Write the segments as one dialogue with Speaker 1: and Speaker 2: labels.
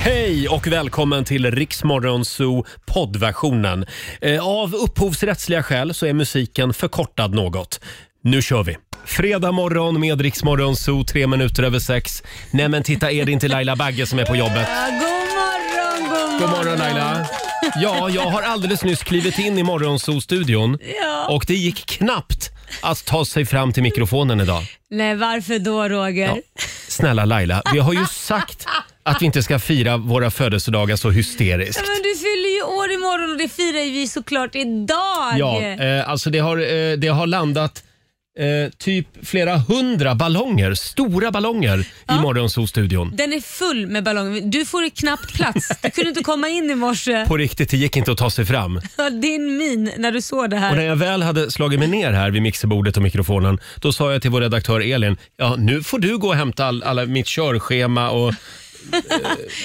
Speaker 1: Hej och välkommen till Riksmorgon Zoo poddversionen. Eh, Av upphovsrättsliga skäl så är musiken förkortad något. Nu kör vi! Fredag morgon med Riksmorgon Zoo, tre minuter över sex. Nej men titta, är det inte Laila Bagge som är på jobbet?
Speaker 2: Ja, god morgon, god morgon.
Speaker 1: God morgon Laila! Ja, jag har alldeles nyss klivit in i Morgonzoo-studion
Speaker 2: Ja.
Speaker 1: och det gick knappt att ta sig fram till mikrofonen idag.
Speaker 2: Nej, varför då Roger?
Speaker 1: Ja. Snälla Laila, vi har ju sagt att vi inte ska fira våra födelsedagar så hysteriskt.
Speaker 2: Ja, Men du fyller ju år imorgon och det firar ju vi såklart idag.
Speaker 1: Ja, eh, alltså det har, eh, det har landat eh, typ flera hundra ballonger, stora ballonger i Morgonzoo-studion.
Speaker 2: Den är full med ballonger. Du får ju knappt plats. Du kunde inte komma in i morse.
Speaker 1: På riktigt, det gick inte att ta sig fram.
Speaker 2: Din min när du såg det
Speaker 1: Och när
Speaker 2: här.
Speaker 1: jag väl hade slagit mig ner här vid mixerbordet och mikrofonen, då sa jag till vår redaktör Elin, ja nu får du gå och hämta all, alla mitt körschema och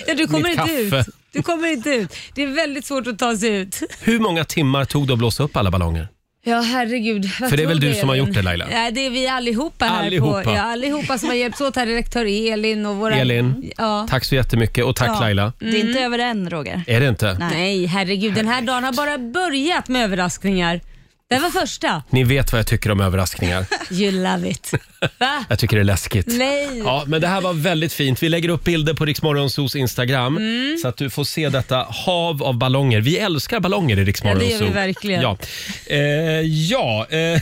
Speaker 2: Ja, du kommer
Speaker 1: mitt
Speaker 2: inte ut.
Speaker 1: kaffe.
Speaker 2: Du kommer inte ut. Det är väldigt svårt att ta sig ut.
Speaker 1: hur många timmar tog det att blåsa upp alla ballonger?
Speaker 2: Ja, herregud. Vad
Speaker 1: För det är väl
Speaker 2: tror
Speaker 1: du som har
Speaker 2: Elin?
Speaker 1: gjort det, Laila?
Speaker 2: Nej, det är vi allihopa här.
Speaker 1: Allihopa.
Speaker 2: På, ja, allihopa som har hjälpts åt här. Redaktör Elin och våra...
Speaker 1: Elin,
Speaker 2: Ja.
Speaker 1: tack så jättemycket och tack Laila.
Speaker 3: Det är inte över än Roger.
Speaker 1: Är det inte?
Speaker 2: Nej, herregud. Den här dagen har bara börjat med överraskningar. Det var första.
Speaker 1: Ni vet vad jag tycker om överraskningar.
Speaker 2: You love it. Va?
Speaker 1: Jag tycker det är läskigt.
Speaker 2: Nej.
Speaker 1: Ja, men det här var väldigt fint. Vi lägger upp bilder på Riksmorgonsos Instagram
Speaker 2: Mm.
Speaker 1: så att du får se detta hav av ballonger. Vi älskar ballonger i Riksmorgonso.
Speaker 2: Ja, det gör vi verkligen.
Speaker 1: Ja. Eh, ja eh.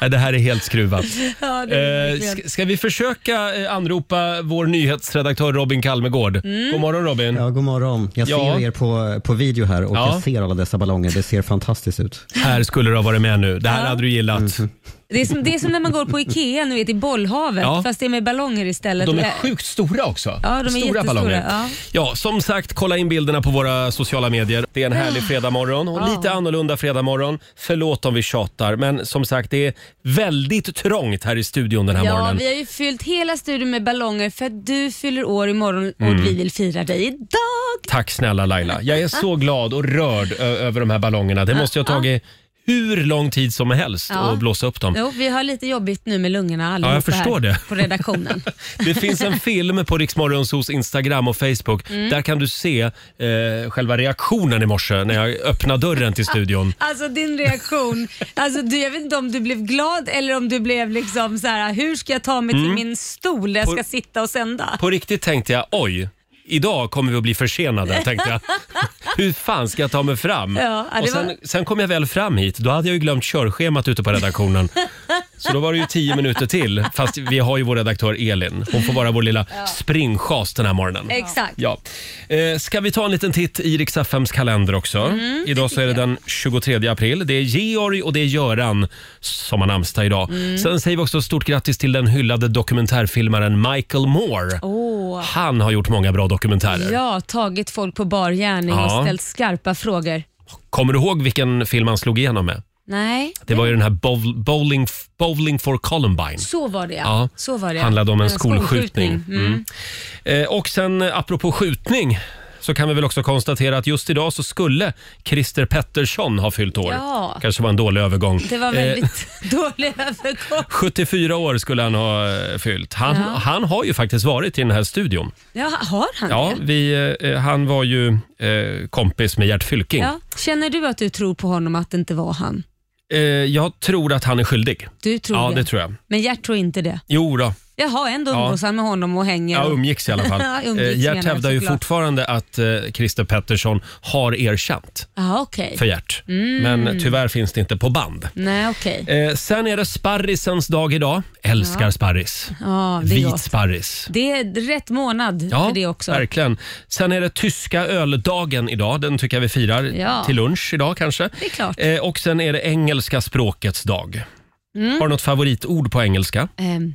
Speaker 1: Nej, Det här är helt skruvat.
Speaker 2: Ja, det är
Speaker 1: Eh,
Speaker 2: verkligen.
Speaker 1: ska, ska vi försöka eh, anropa vår nyhetsredaktör Robin Kalmegård?
Speaker 2: Mm.
Speaker 1: God morgon Robin.
Speaker 4: Ja, god morgon. Jag ser
Speaker 1: Mm. Ja.
Speaker 4: er på, på video här och
Speaker 1: Ja.
Speaker 4: jag ser alla dessa ballonger. Det ser fantastiskt ut.
Speaker 1: Här skulle du ha varit med nu. Det här hade du gillat.
Speaker 2: det, är som, det är som när man går på Ikea nu vet, i bollhavet
Speaker 1: Ja.
Speaker 2: fast det är med ballonger istället.
Speaker 1: De är
Speaker 2: Eh,
Speaker 1: sjukt stora också.
Speaker 2: Ja, de är
Speaker 1: stora
Speaker 2: jättestora,
Speaker 1: ballonger. Ja.
Speaker 2: ja.
Speaker 1: som sagt, kolla in bilderna på våra sociala medier. Det är en
Speaker 2: Ah.
Speaker 1: härlig fredagmorgon och lite annorlunda fredagmorgon. Förlåt om vi tjatar, men som sagt, det är väldigt trångt här i studion den här
Speaker 2: Ja,
Speaker 1: morgonen.
Speaker 2: vi har ju fyllt hela studion med ballonger för att du fyller år imorgon och
Speaker 1: Mm.
Speaker 2: vi vill fira dig idag.
Speaker 1: Tack snälla Laila. Jag är så glad och rörd ö- över de här ballongerna. Det måste ju ha tagit hur lång tid som helst
Speaker 2: Ah, Ja.
Speaker 1: att blåsa upp dem.
Speaker 2: Jo, vi har lite jobbigt nu med lungorna allihopa
Speaker 1: Ja, jag förstår
Speaker 2: här
Speaker 1: det.
Speaker 2: på redaktionen.
Speaker 1: Det finns en film på Riksmorgonsos Instagram och Facebook.
Speaker 2: Mm.
Speaker 1: Där kan du se eh, själva reaktionen i morse när jag öppnade dörren till studion.
Speaker 2: Alltså din reaktion. Alltså, du, jag vet inte om du blev glad eller om du blev liksom så här: hur ska jag ta mig
Speaker 1: Mm.
Speaker 2: till min stol där jag ska sitta och sända?
Speaker 1: På riktigt tänkte jag, oj, idag kommer vi att bli försenade, tänkte jag. Hur fan ska jag ta mig fram?
Speaker 2: Ja, ja, det
Speaker 1: och sen,
Speaker 2: var-
Speaker 1: sen kom jag väl fram hit, då hade jag ju glömt körschemat ute på redaktionen. Så då var det ju tio minuter till, fast vi har ju vår redaktör Elin. Hon får vara vår lilla springschas den här morgonen.
Speaker 2: Exakt.
Speaker 1: Ja. Eh, ska vi ta en liten titt i Rix FMs kalender också?
Speaker 2: Mm,
Speaker 1: idag så är det den 23 april. Det är Georg och det är Göran som har namnsdag idag.
Speaker 2: Mm.
Speaker 1: Sen säger vi också stort grattis till den hyllade dokumentärfilmaren Michael Moore.
Speaker 2: Åh.
Speaker 1: Han har gjort många bra dokumentärer.
Speaker 2: Ja, tagit folk på bar gärning
Speaker 1: Ja.
Speaker 2: och ställt skarpa frågor.
Speaker 1: Kommer du ihåg vilken film han slog igenom med?
Speaker 2: Nej,
Speaker 1: Det var ju den här bowl, bowling, bowling for Columbine.
Speaker 2: så var det
Speaker 1: Ja.
Speaker 2: Så var det.
Speaker 1: Handlade om en skolskjutning.
Speaker 2: Mm.
Speaker 1: Eh, och sen eh, apropå skjutning så kan vi väl också konstatera att just idag så skulle Christer Pettersson ha fyllt år.
Speaker 2: Ja.
Speaker 1: Kanske var en dålig övergång.
Speaker 2: Det var
Speaker 1: Eh,
Speaker 2: väldigt dålig övergång.
Speaker 1: 74 år skulle han ha eh, fyllt. Han,
Speaker 2: Ja.
Speaker 1: han har ju faktiskt varit i den här studion.
Speaker 2: Ja, har han
Speaker 1: Ja,
Speaker 2: det?
Speaker 1: vi, eh, han var ju eh, kompis med Gert Fylking.
Speaker 2: Ja. Känner du att du tror på honom att det inte var han?
Speaker 1: Eh, jag tror att han är skyldig.
Speaker 2: Du tror
Speaker 1: Ja,
Speaker 2: det.
Speaker 1: det tror jag.
Speaker 2: Men Gert tror inte det.
Speaker 1: Jo då.
Speaker 2: Jaha, ändå umgås han med honom och hänger.
Speaker 1: Ja, um-
Speaker 2: och-
Speaker 1: umgicks i alla fall.
Speaker 2: Ja, umgicks
Speaker 1: Eh, Gert
Speaker 2: menar jag
Speaker 1: hävdar ju
Speaker 2: såklart.
Speaker 1: fortfarande att eh, Christer Pettersson har erkänt
Speaker 2: Jaha, okej. Mm.
Speaker 1: för Gert. Men tyvärr finns det inte på band.
Speaker 2: Nej, okej.
Speaker 1: Eh, sen är det sparrisens dag idag. Älskar sparris.
Speaker 2: Ja, det är
Speaker 1: Vit
Speaker 2: gott.
Speaker 1: sparris.
Speaker 2: Det är rätt månad för det också.
Speaker 1: verkligen. Sen är det tyska öldagen idag. Den tycker jag vi firar
Speaker 2: Ja.
Speaker 1: till lunch idag kanske.
Speaker 2: Det är klart.
Speaker 1: Eh, och sen är det engelska språkets dag.
Speaker 2: Mm.
Speaker 1: Har du något favoritord på engelska?
Speaker 2: Ehm,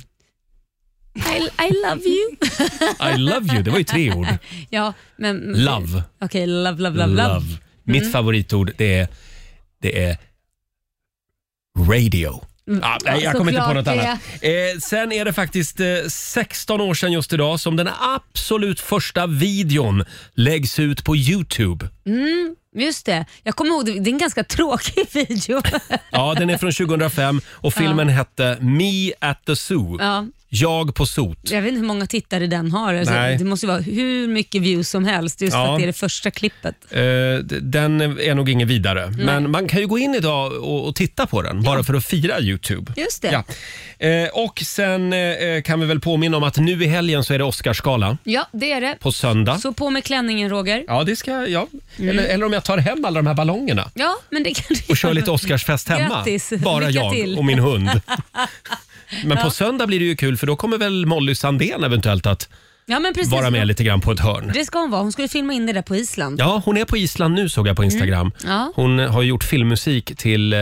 Speaker 2: I, I love you.
Speaker 1: I love you, det var ju tre ord.
Speaker 2: ja, men...
Speaker 1: Love.
Speaker 2: Okej, love, love, love, love.
Speaker 1: Mitt favoritord det är, det är radio. Ah, nej, jag kommer inte på
Speaker 2: såklart
Speaker 1: något annat. Eh, sen är det faktiskt eh, 16 år sedan just idag som den absolut första videon läggs ut på Youtube.
Speaker 2: Mm, Just det. Jag kommer ihåg, det är en ganska tråkig video.
Speaker 1: Ja, den är från 2005 och filmen hette Me at the Zoo.
Speaker 2: ja.
Speaker 1: Jag på sot.
Speaker 2: Jag vet inte hur många tittare den har. Alltså,
Speaker 1: Nej.
Speaker 2: det måste ju vara hur mycket views som helst just
Speaker 1: Ja.
Speaker 2: för att det är det första klippet.
Speaker 1: Eh, d- den är nog ingen vidare. Men man kan ju gå in idag och, och titta på den bara för att fira Youtube.
Speaker 2: Just det.
Speaker 1: Ja. Eh, och sen eh, kan vi väl påminna om att nu i helgen så är det Oscarsgala
Speaker 2: Ja, det är det.
Speaker 1: på söndag.
Speaker 2: Så Mm. på med klänningen Roger.
Speaker 1: Ja, det ska jag. Eller, eller om jag tar hem alla de här ballongerna
Speaker 2: Ja, men det kan du
Speaker 1: och kör
Speaker 2: göra.
Speaker 1: lite Oscarsfest hemma.
Speaker 2: Grattis.
Speaker 1: Bara
Speaker 2: Lycka
Speaker 1: jag
Speaker 2: till.
Speaker 1: och min hund. Men på söndag blir det ju kul för då kommer väl Molly Sandén eventuellt att
Speaker 2: Ja, men precis.
Speaker 1: vara med lite grann på ett hörn.
Speaker 2: Det ska hon vara. Hon skulle filma in det där på Island.
Speaker 1: Ja, hon är på Island nu såg jag på Instagram.
Speaker 2: Mm. Ja.
Speaker 1: Hon har ju gjort filmmusik till eh,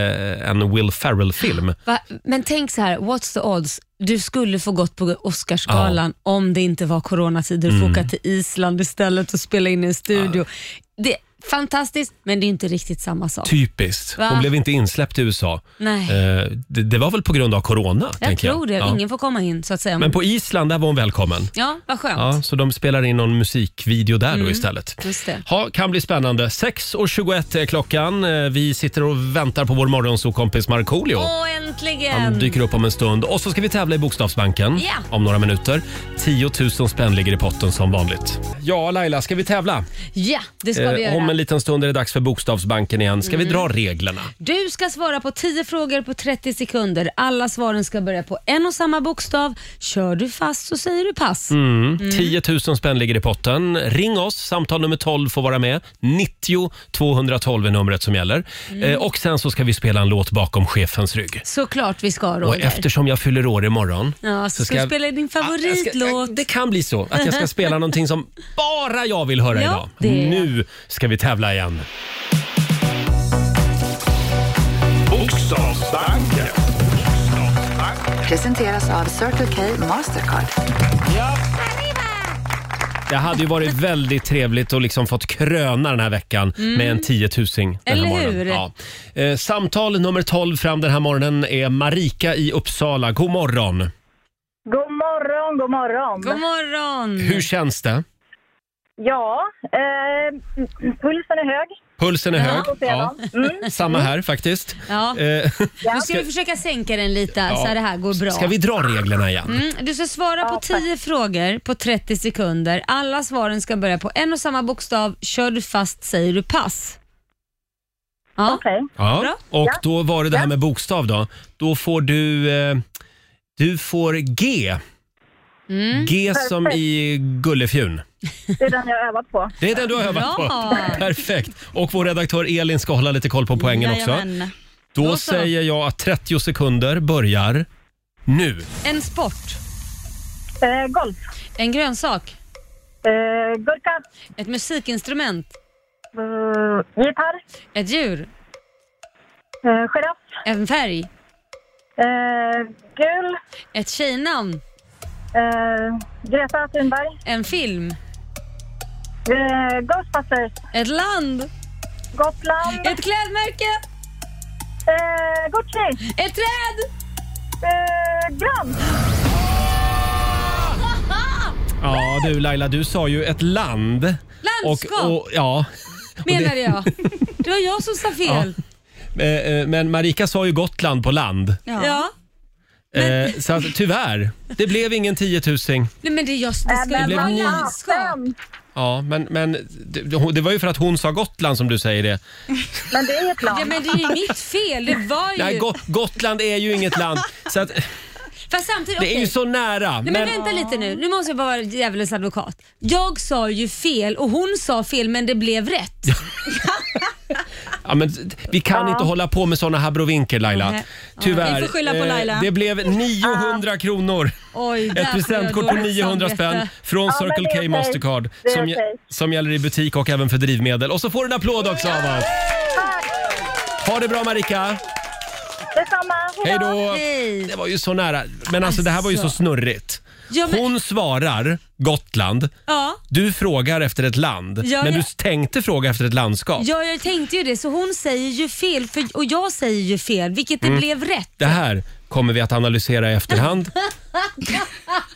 Speaker 1: en Will Ferrell-film.
Speaker 2: Va? Men tänk så här, what's the odds? Du skulle få gått på Oscarsgalan om det inte var coronatider och
Speaker 1: Mm.
Speaker 2: få åka till Island istället och spela in i en studio. Det är fantastiskt, men det är inte riktigt samma sak.
Speaker 1: Typiskt.
Speaker 2: Va?
Speaker 1: Hon blev inte insläppt i USA.
Speaker 2: Nej.
Speaker 1: Eh, det, det var väl på grund av corona?
Speaker 2: Jag
Speaker 1: tänker
Speaker 2: tror det.
Speaker 1: Ja.
Speaker 2: Ingen får komma in så att säga.
Speaker 1: Men på Island där var hon välkommen.
Speaker 2: Ja, vad skönt.
Speaker 1: Ja, så de spelar in någon musikvideo där då istället.
Speaker 2: Mm, Just det.
Speaker 1: Ja, kan bli spännande. 6.21 är klockan. Eh, Vi sitter och väntar på vår morgonsokompis Markoolio.
Speaker 2: Åh, äntligen!
Speaker 1: Han dyker upp om en stund. Och så ska vi tävla i Bokstavsbanken
Speaker 2: Ja.
Speaker 1: om några minuter. 10 000 spänn ligger i potten som vanligt. Ja, Laila, ska vi tävla?
Speaker 2: Ja, det ska vi
Speaker 1: Eh,
Speaker 2: göra. Mm.
Speaker 1: om en liten stund är det dags för Bokstavsbanken igen. Ska vi dra reglerna?
Speaker 2: Du ska svara på 10 frågor på 30 sekunder. Alla svaren ska börja på en och samma bokstav. Kör du fast så säger du pass.
Speaker 1: Mm.
Speaker 2: Mm.
Speaker 1: 10 000 spänn ligger i potten. Ring oss, samtal nummer 12 får vara med. 90 212 är numret som gäller.
Speaker 2: Mm.
Speaker 1: Eh, och sen så ska vi spela en låt bakom chefens rygg.
Speaker 2: Såklart vi ska
Speaker 1: Och
Speaker 2: Roger.
Speaker 1: eftersom jag fyller år imorgon
Speaker 2: Ja, så ska du spela din
Speaker 1: Ja, Ah, jag ska-
Speaker 2: favoritlåt.
Speaker 1: jag- Det kan bli så att jag ska spela någonting som bara jag vill
Speaker 2: Ja,
Speaker 1: höra idag.
Speaker 2: det är-
Speaker 1: Nu ska vi tävla igen.
Speaker 3: Bokstavsbanken.
Speaker 5: Presenteras av Circle K Mastercard.
Speaker 1: Det hade ju varit väldigt trevligt att liksom fått kröna den här veckan med en tiotusing den
Speaker 2: Mm. Eller
Speaker 1: här morgonen.
Speaker 2: hur?
Speaker 1: Ja. Eh, samtal nummer 12 fram den här morgonen är Marika i Uppsala. God morgon!
Speaker 6: God morgon, god morgon.
Speaker 2: God morgon!
Speaker 1: Hur känns det?
Speaker 6: Ja, eh, pulsen är hög.
Speaker 1: Pulsen är hög.
Speaker 6: Och sedan. Mm.
Speaker 1: Samma här faktiskt.
Speaker 2: Ja.
Speaker 1: Eh,
Speaker 2: Nu ska vi försöka sänka den lite så det här går bra.
Speaker 1: Ska vi dra reglerna igen?
Speaker 2: Mm, Du ska svara på 10 frågor på 30 sekunder. Alla svaren ska börja på en och samma bokstav. Kör du fast säger du pass. Ja.
Speaker 6: Okej.
Speaker 1: Ja.
Speaker 2: Bra.
Speaker 1: Och då var det det här med bokstav då. Då får du... Eh, du får G.
Speaker 2: Mm.
Speaker 1: G som i Gullefjun.
Speaker 6: Det är den jag har övat på.
Speaker 1: Det är den du har övat på.
Speaker 2: Bra.
Speaker 1: Perfekt. Och vår redaktör Elin ska hålla lite koll på poängen också.
Speaker 7: Jajamän.
Speaker 1: Då
Speaker 2: Då så.
Speaker 1: säger jag att 30 sekunder börjar nu.
Speaker 2: En sport.
Speaker 6: Eh, golf.
Speaker 2: En grönsak.
Speaker 6: Eh, gurka.
Speaker 2: Ett musikinstrument.
Speaker 6: Eh, gitarr.
Speaker 2: Ett djur.
Speaker 6: Eh, giraff.
Speaker 2: En färg.
Speaker 6: Eh, gul.
Speaker 2: Ett tjejnamn.
Speaker 6: Eh, Greta Thunberg.
Speaker 2: En film.
Speaker 6: Eh, Ghostbusters.
Speaker 2: Ett land.
Speaker 6: Gotland.
Speaker 2: Ett klädmärke.
Speaker 6: Eh, Gucci.
Speaker 2: Ett träd.
Speaker 6: Eh, gran.
Speaker 1: Ja du Laila, du sa ju ett land.
Speaker 2: Landskap
Speaker 1: Och, och, ja.
Speaker 2: menade jag. Det var jag som sa fel.
Speaker 1: Eh, eh, Men Marika sa ju Gotland på land.
Speaker 2: Ja.
Speaker 1: Eh, så att, tyvärr, det blev ingen tiotusing.
Speaker 2: Nej, men det, är just, det skulle
Speaker 6: Eh,
Speaker 1: blev
Speaker 2: vara
Speaker 1: ni-
Speaker 2: landskap.
Speaker 6: fasen.
Speaker 1: Ja, men, men det, det var ju för att hon sa Gotland som du säger det.
Speaker 6: Men det är ju ett land.
Speaker 2: Ja, men det är ju mitt fel. Det var ju...
Speaker 1: Nej, Go- Gotland är ju inget land. Så att,
Speaker 2: Fast samtidigt,
Speaker 1: det är ju
Speaker 2: okej.
Speaker 1: så nära.
Speaker 2: Nej, men, vänta lite nu. Nu måste jag bara vara djävulens advokat. Jag sa ju fel och hon sa fel men det blev rätt.
Speaker 1: ja, men vi kan inte hålla på med såna här brovinker Laila.
Speaker 2: Nej. Ja,
Speaker 1: Tyvärr.
Speaker 7: vi får skylla på
Speaker 1: Eh,
Speaker 7: Laila.
Speaker 1: Det blev 900 kronor.
Speaker 2: Oj, där
Speaker 1: Ett
Speaker 2: får jag
Speaker 1: presentkort på
Speaker 2: dåligt
Speaker 1: 900 spänn
Speaker 2: samvete.
Speaker 1: från
Speaker 6: men
Speaker 1: Circle
Speaker 6: det är
Speaker 1: K
Speaker 6: okej.
Speaker 1: Mastercard
Speaker 6: Det är
Speaker 1: som,
Speaker 6: okej.
Speaker 1: som gäller i butik och även för drivmedel. Och så får du en applåd också av oss. Ha det bra Marika.
Speaker 6: Detsamma.
Speaker 1: Hej då.
Speaker 2: Hej.
Speaker 1: Det var ju så nära. Men alltså det här var ju så
Speaker 2: Alltså.
Speaker 1: snurrigt.
Speaker 2: Ja, men-
Speaker 1: Hon svarar Gotland.
Speaker 2: Ja.
Speaker 1: Du frågar efter ett land,
Speaker 2: Ja,
Speaker 1: men
Speaker 2: ja.
Speaker 1: du tänkte fråga efter ett landskap.
Speaker 2: Ja, jag tänkte ju det. Så hon säger ju fel för, och jag säger ju
Speaker 1: Mm.
Speaker 2: fel, vilket det blev rätt.
Speaker 1: Det här kommer vi att analysera i efterhand.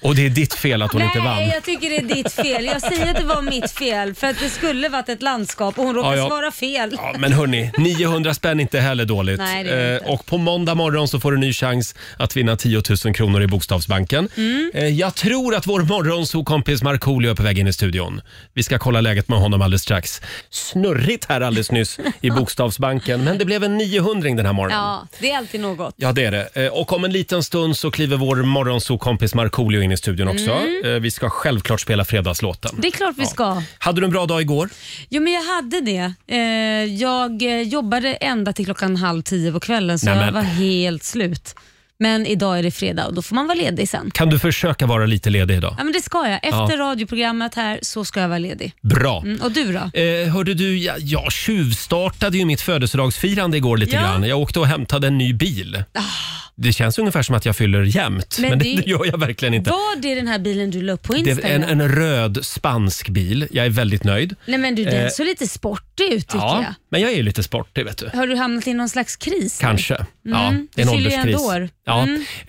Speaker 1: Och det är ditt fel att hon inte vann.
Speaker 2: Nej, jag tycker det är ditt fel. Jag säger att det var mitt fel för att det skulle varit ett landskap och hon råkade
Speaker 1: Ja, ja.
Speaker 2: svara fel.
Speaker 1: Ja, men hörni, 900 spänn är inte heller dåligt.
Speaker 2: Nej, det är det
Speaker 1: Eh,
Speaker 2: inte.
Speaker 1: och på måndag morgon så får du en ny chans att vinna 10 000 kronor i Bokstavsbanken.
Speaker 2: Mm.
Speaker 1: Eh, jag tror att vår morgonsokompis Markoolio är på väg in i studion. Vi ska kolla läget med honom alldeles strax. Snurrigt här alldeles nyss i Bokstavsbanken, men det blev en 900 den här morgonen.
Speaker 2: Ja, det är alltid något.
Speaker 1: Ja, det är det. Eh, Och om en liten stund så kliver vår morgonsokompis Markoolio in i studion också. Eh, Vi ska självklart spela fredagslåten.
Speaker 2: Mm. Det är klart vi ska.
Speaker 1: Hade du en bra dag igår?
Speaker 2: Jo, men jag hade det. Eh, jag eh, jobbade ända till klockan halv tio på kvällen så
Speaker 1: Nämen.
Speaker 2: jag var helt slut. Men idag är det fredag och då får man vara ledig sen.
Speaker 1: Kan du försöka vara lite ledig idag?
Speaker 2: Ja, men det ska jag. Efter
Speaker 1: Ja.
Speaker 2: radioprogrammet här så ska jag vara ledig.
Speaker 1: Bra.
Speaker 2: Mm, och du då?
Speaker 1: Eh, hörde du, jag, jag tjuvstartade ju mitt födelsedagsfirande igår lite
Speaker 2: Ja. Ah.
Speaker 1: grann. Jag åkte och hämtade en ny bil. Det känns ungefär som att jag fyller jämt, men,
Speaker 2: Men
Speaker 1: det,
Speaker 2: det-
Speaker 1: det gör jag verkligen inte.
Speaker 2: Var det den här bilen du la upp på
Speaker 1: Det är
Speaker 2: Instagram?
Speaker 1: en, en röd spansk bil. Jag är väldigt nöjd.
Speaker 2: Nej men du, den
Speaker 1: Eh,
Speaker 2: såg lite sportig ut tycker jag.
Speaker 1: men jag är ju lite sportig vet du.
Speaker 2: Har du hamnat i någon slags kris? nu?
Speaker 1: Kanske. ja,
Speaker 2: du
Speaker 1: det är en
Speaker 2: Mm. fyller ju
Speaker 1: ålderskris.
Speaker 2: ändå år. Mm.
Speaker 1: Ja,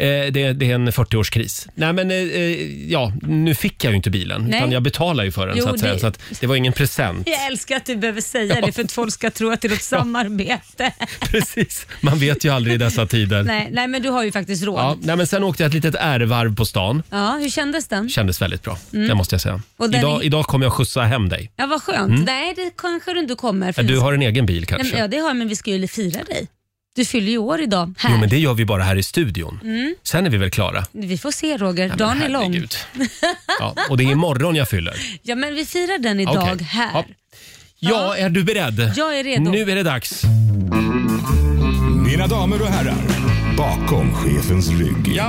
Speaker 1: eh, det, det är en 40-årskris. Nej, men eh, eh, ja, nu fick jag ju inte bilen,
Speaker 2: Nej.
Speaker 1: utan jag betalade ju för den.
Speaker 2: Jo,
Speaker 1: så att säga,
Speaker 2: det-
Speaker 1: så att det var ingen present.
Speaker 2: Jag älskar att du behöver säga det för att folk ska tro att det är något samarbete.
Speaker 1: Precis. Man vet ju aldrig i dessa tider.
Speaker 2: nej, nej, men du har ju faktiskt råd.
Speaker 1: Ja,
Speaker 2: Ja.
Speaker 1: nej, men sen åkte jag ett litet ärevarv på stan.
Speaker 2: hur kändes den?
Speaker 1: Kändes väldigt bra, det måste jag säga.
Speaker 2: Mm. Och den
Speaker 1: Idag,
Speaker 2: är-
Speaker 1: idag kommer jag skjutsa hem dig.
Speaker 2: Ja, vad skönt. Nej, det kanske du inte kommer. För
Speaker 1: Mm. Du
Speaker 2: vi-
Speaker 1: har en egen bil
Speaker 2: nej,
Speaker 1: kanske?
Speaker 2: men, ja, det har jag, men vi ska ju fira dig. Du fyller ju år idag. Här.
Speaker 1: Jo, men det gör vi bara här i studion. Sen är vi väl klara.
Speaker 2: Vi får se Roger, Mm. dagen är
Speaker 1: Men
Speaker 2: lång.
Speaker 1: herregud. Ja, och det är imorgon jag fyller.
Speaker 2: Ja, men vi firar den idag
Speaker 1: Okej.
Speaker 2: här.
Speaker 1: Ja. Ja, är du beredd?
Speaker 2: Jag är redo.
Speaker 1: Nu är det dags.
Speaker 3: Mina damer och herrar, bakom chefens rygg.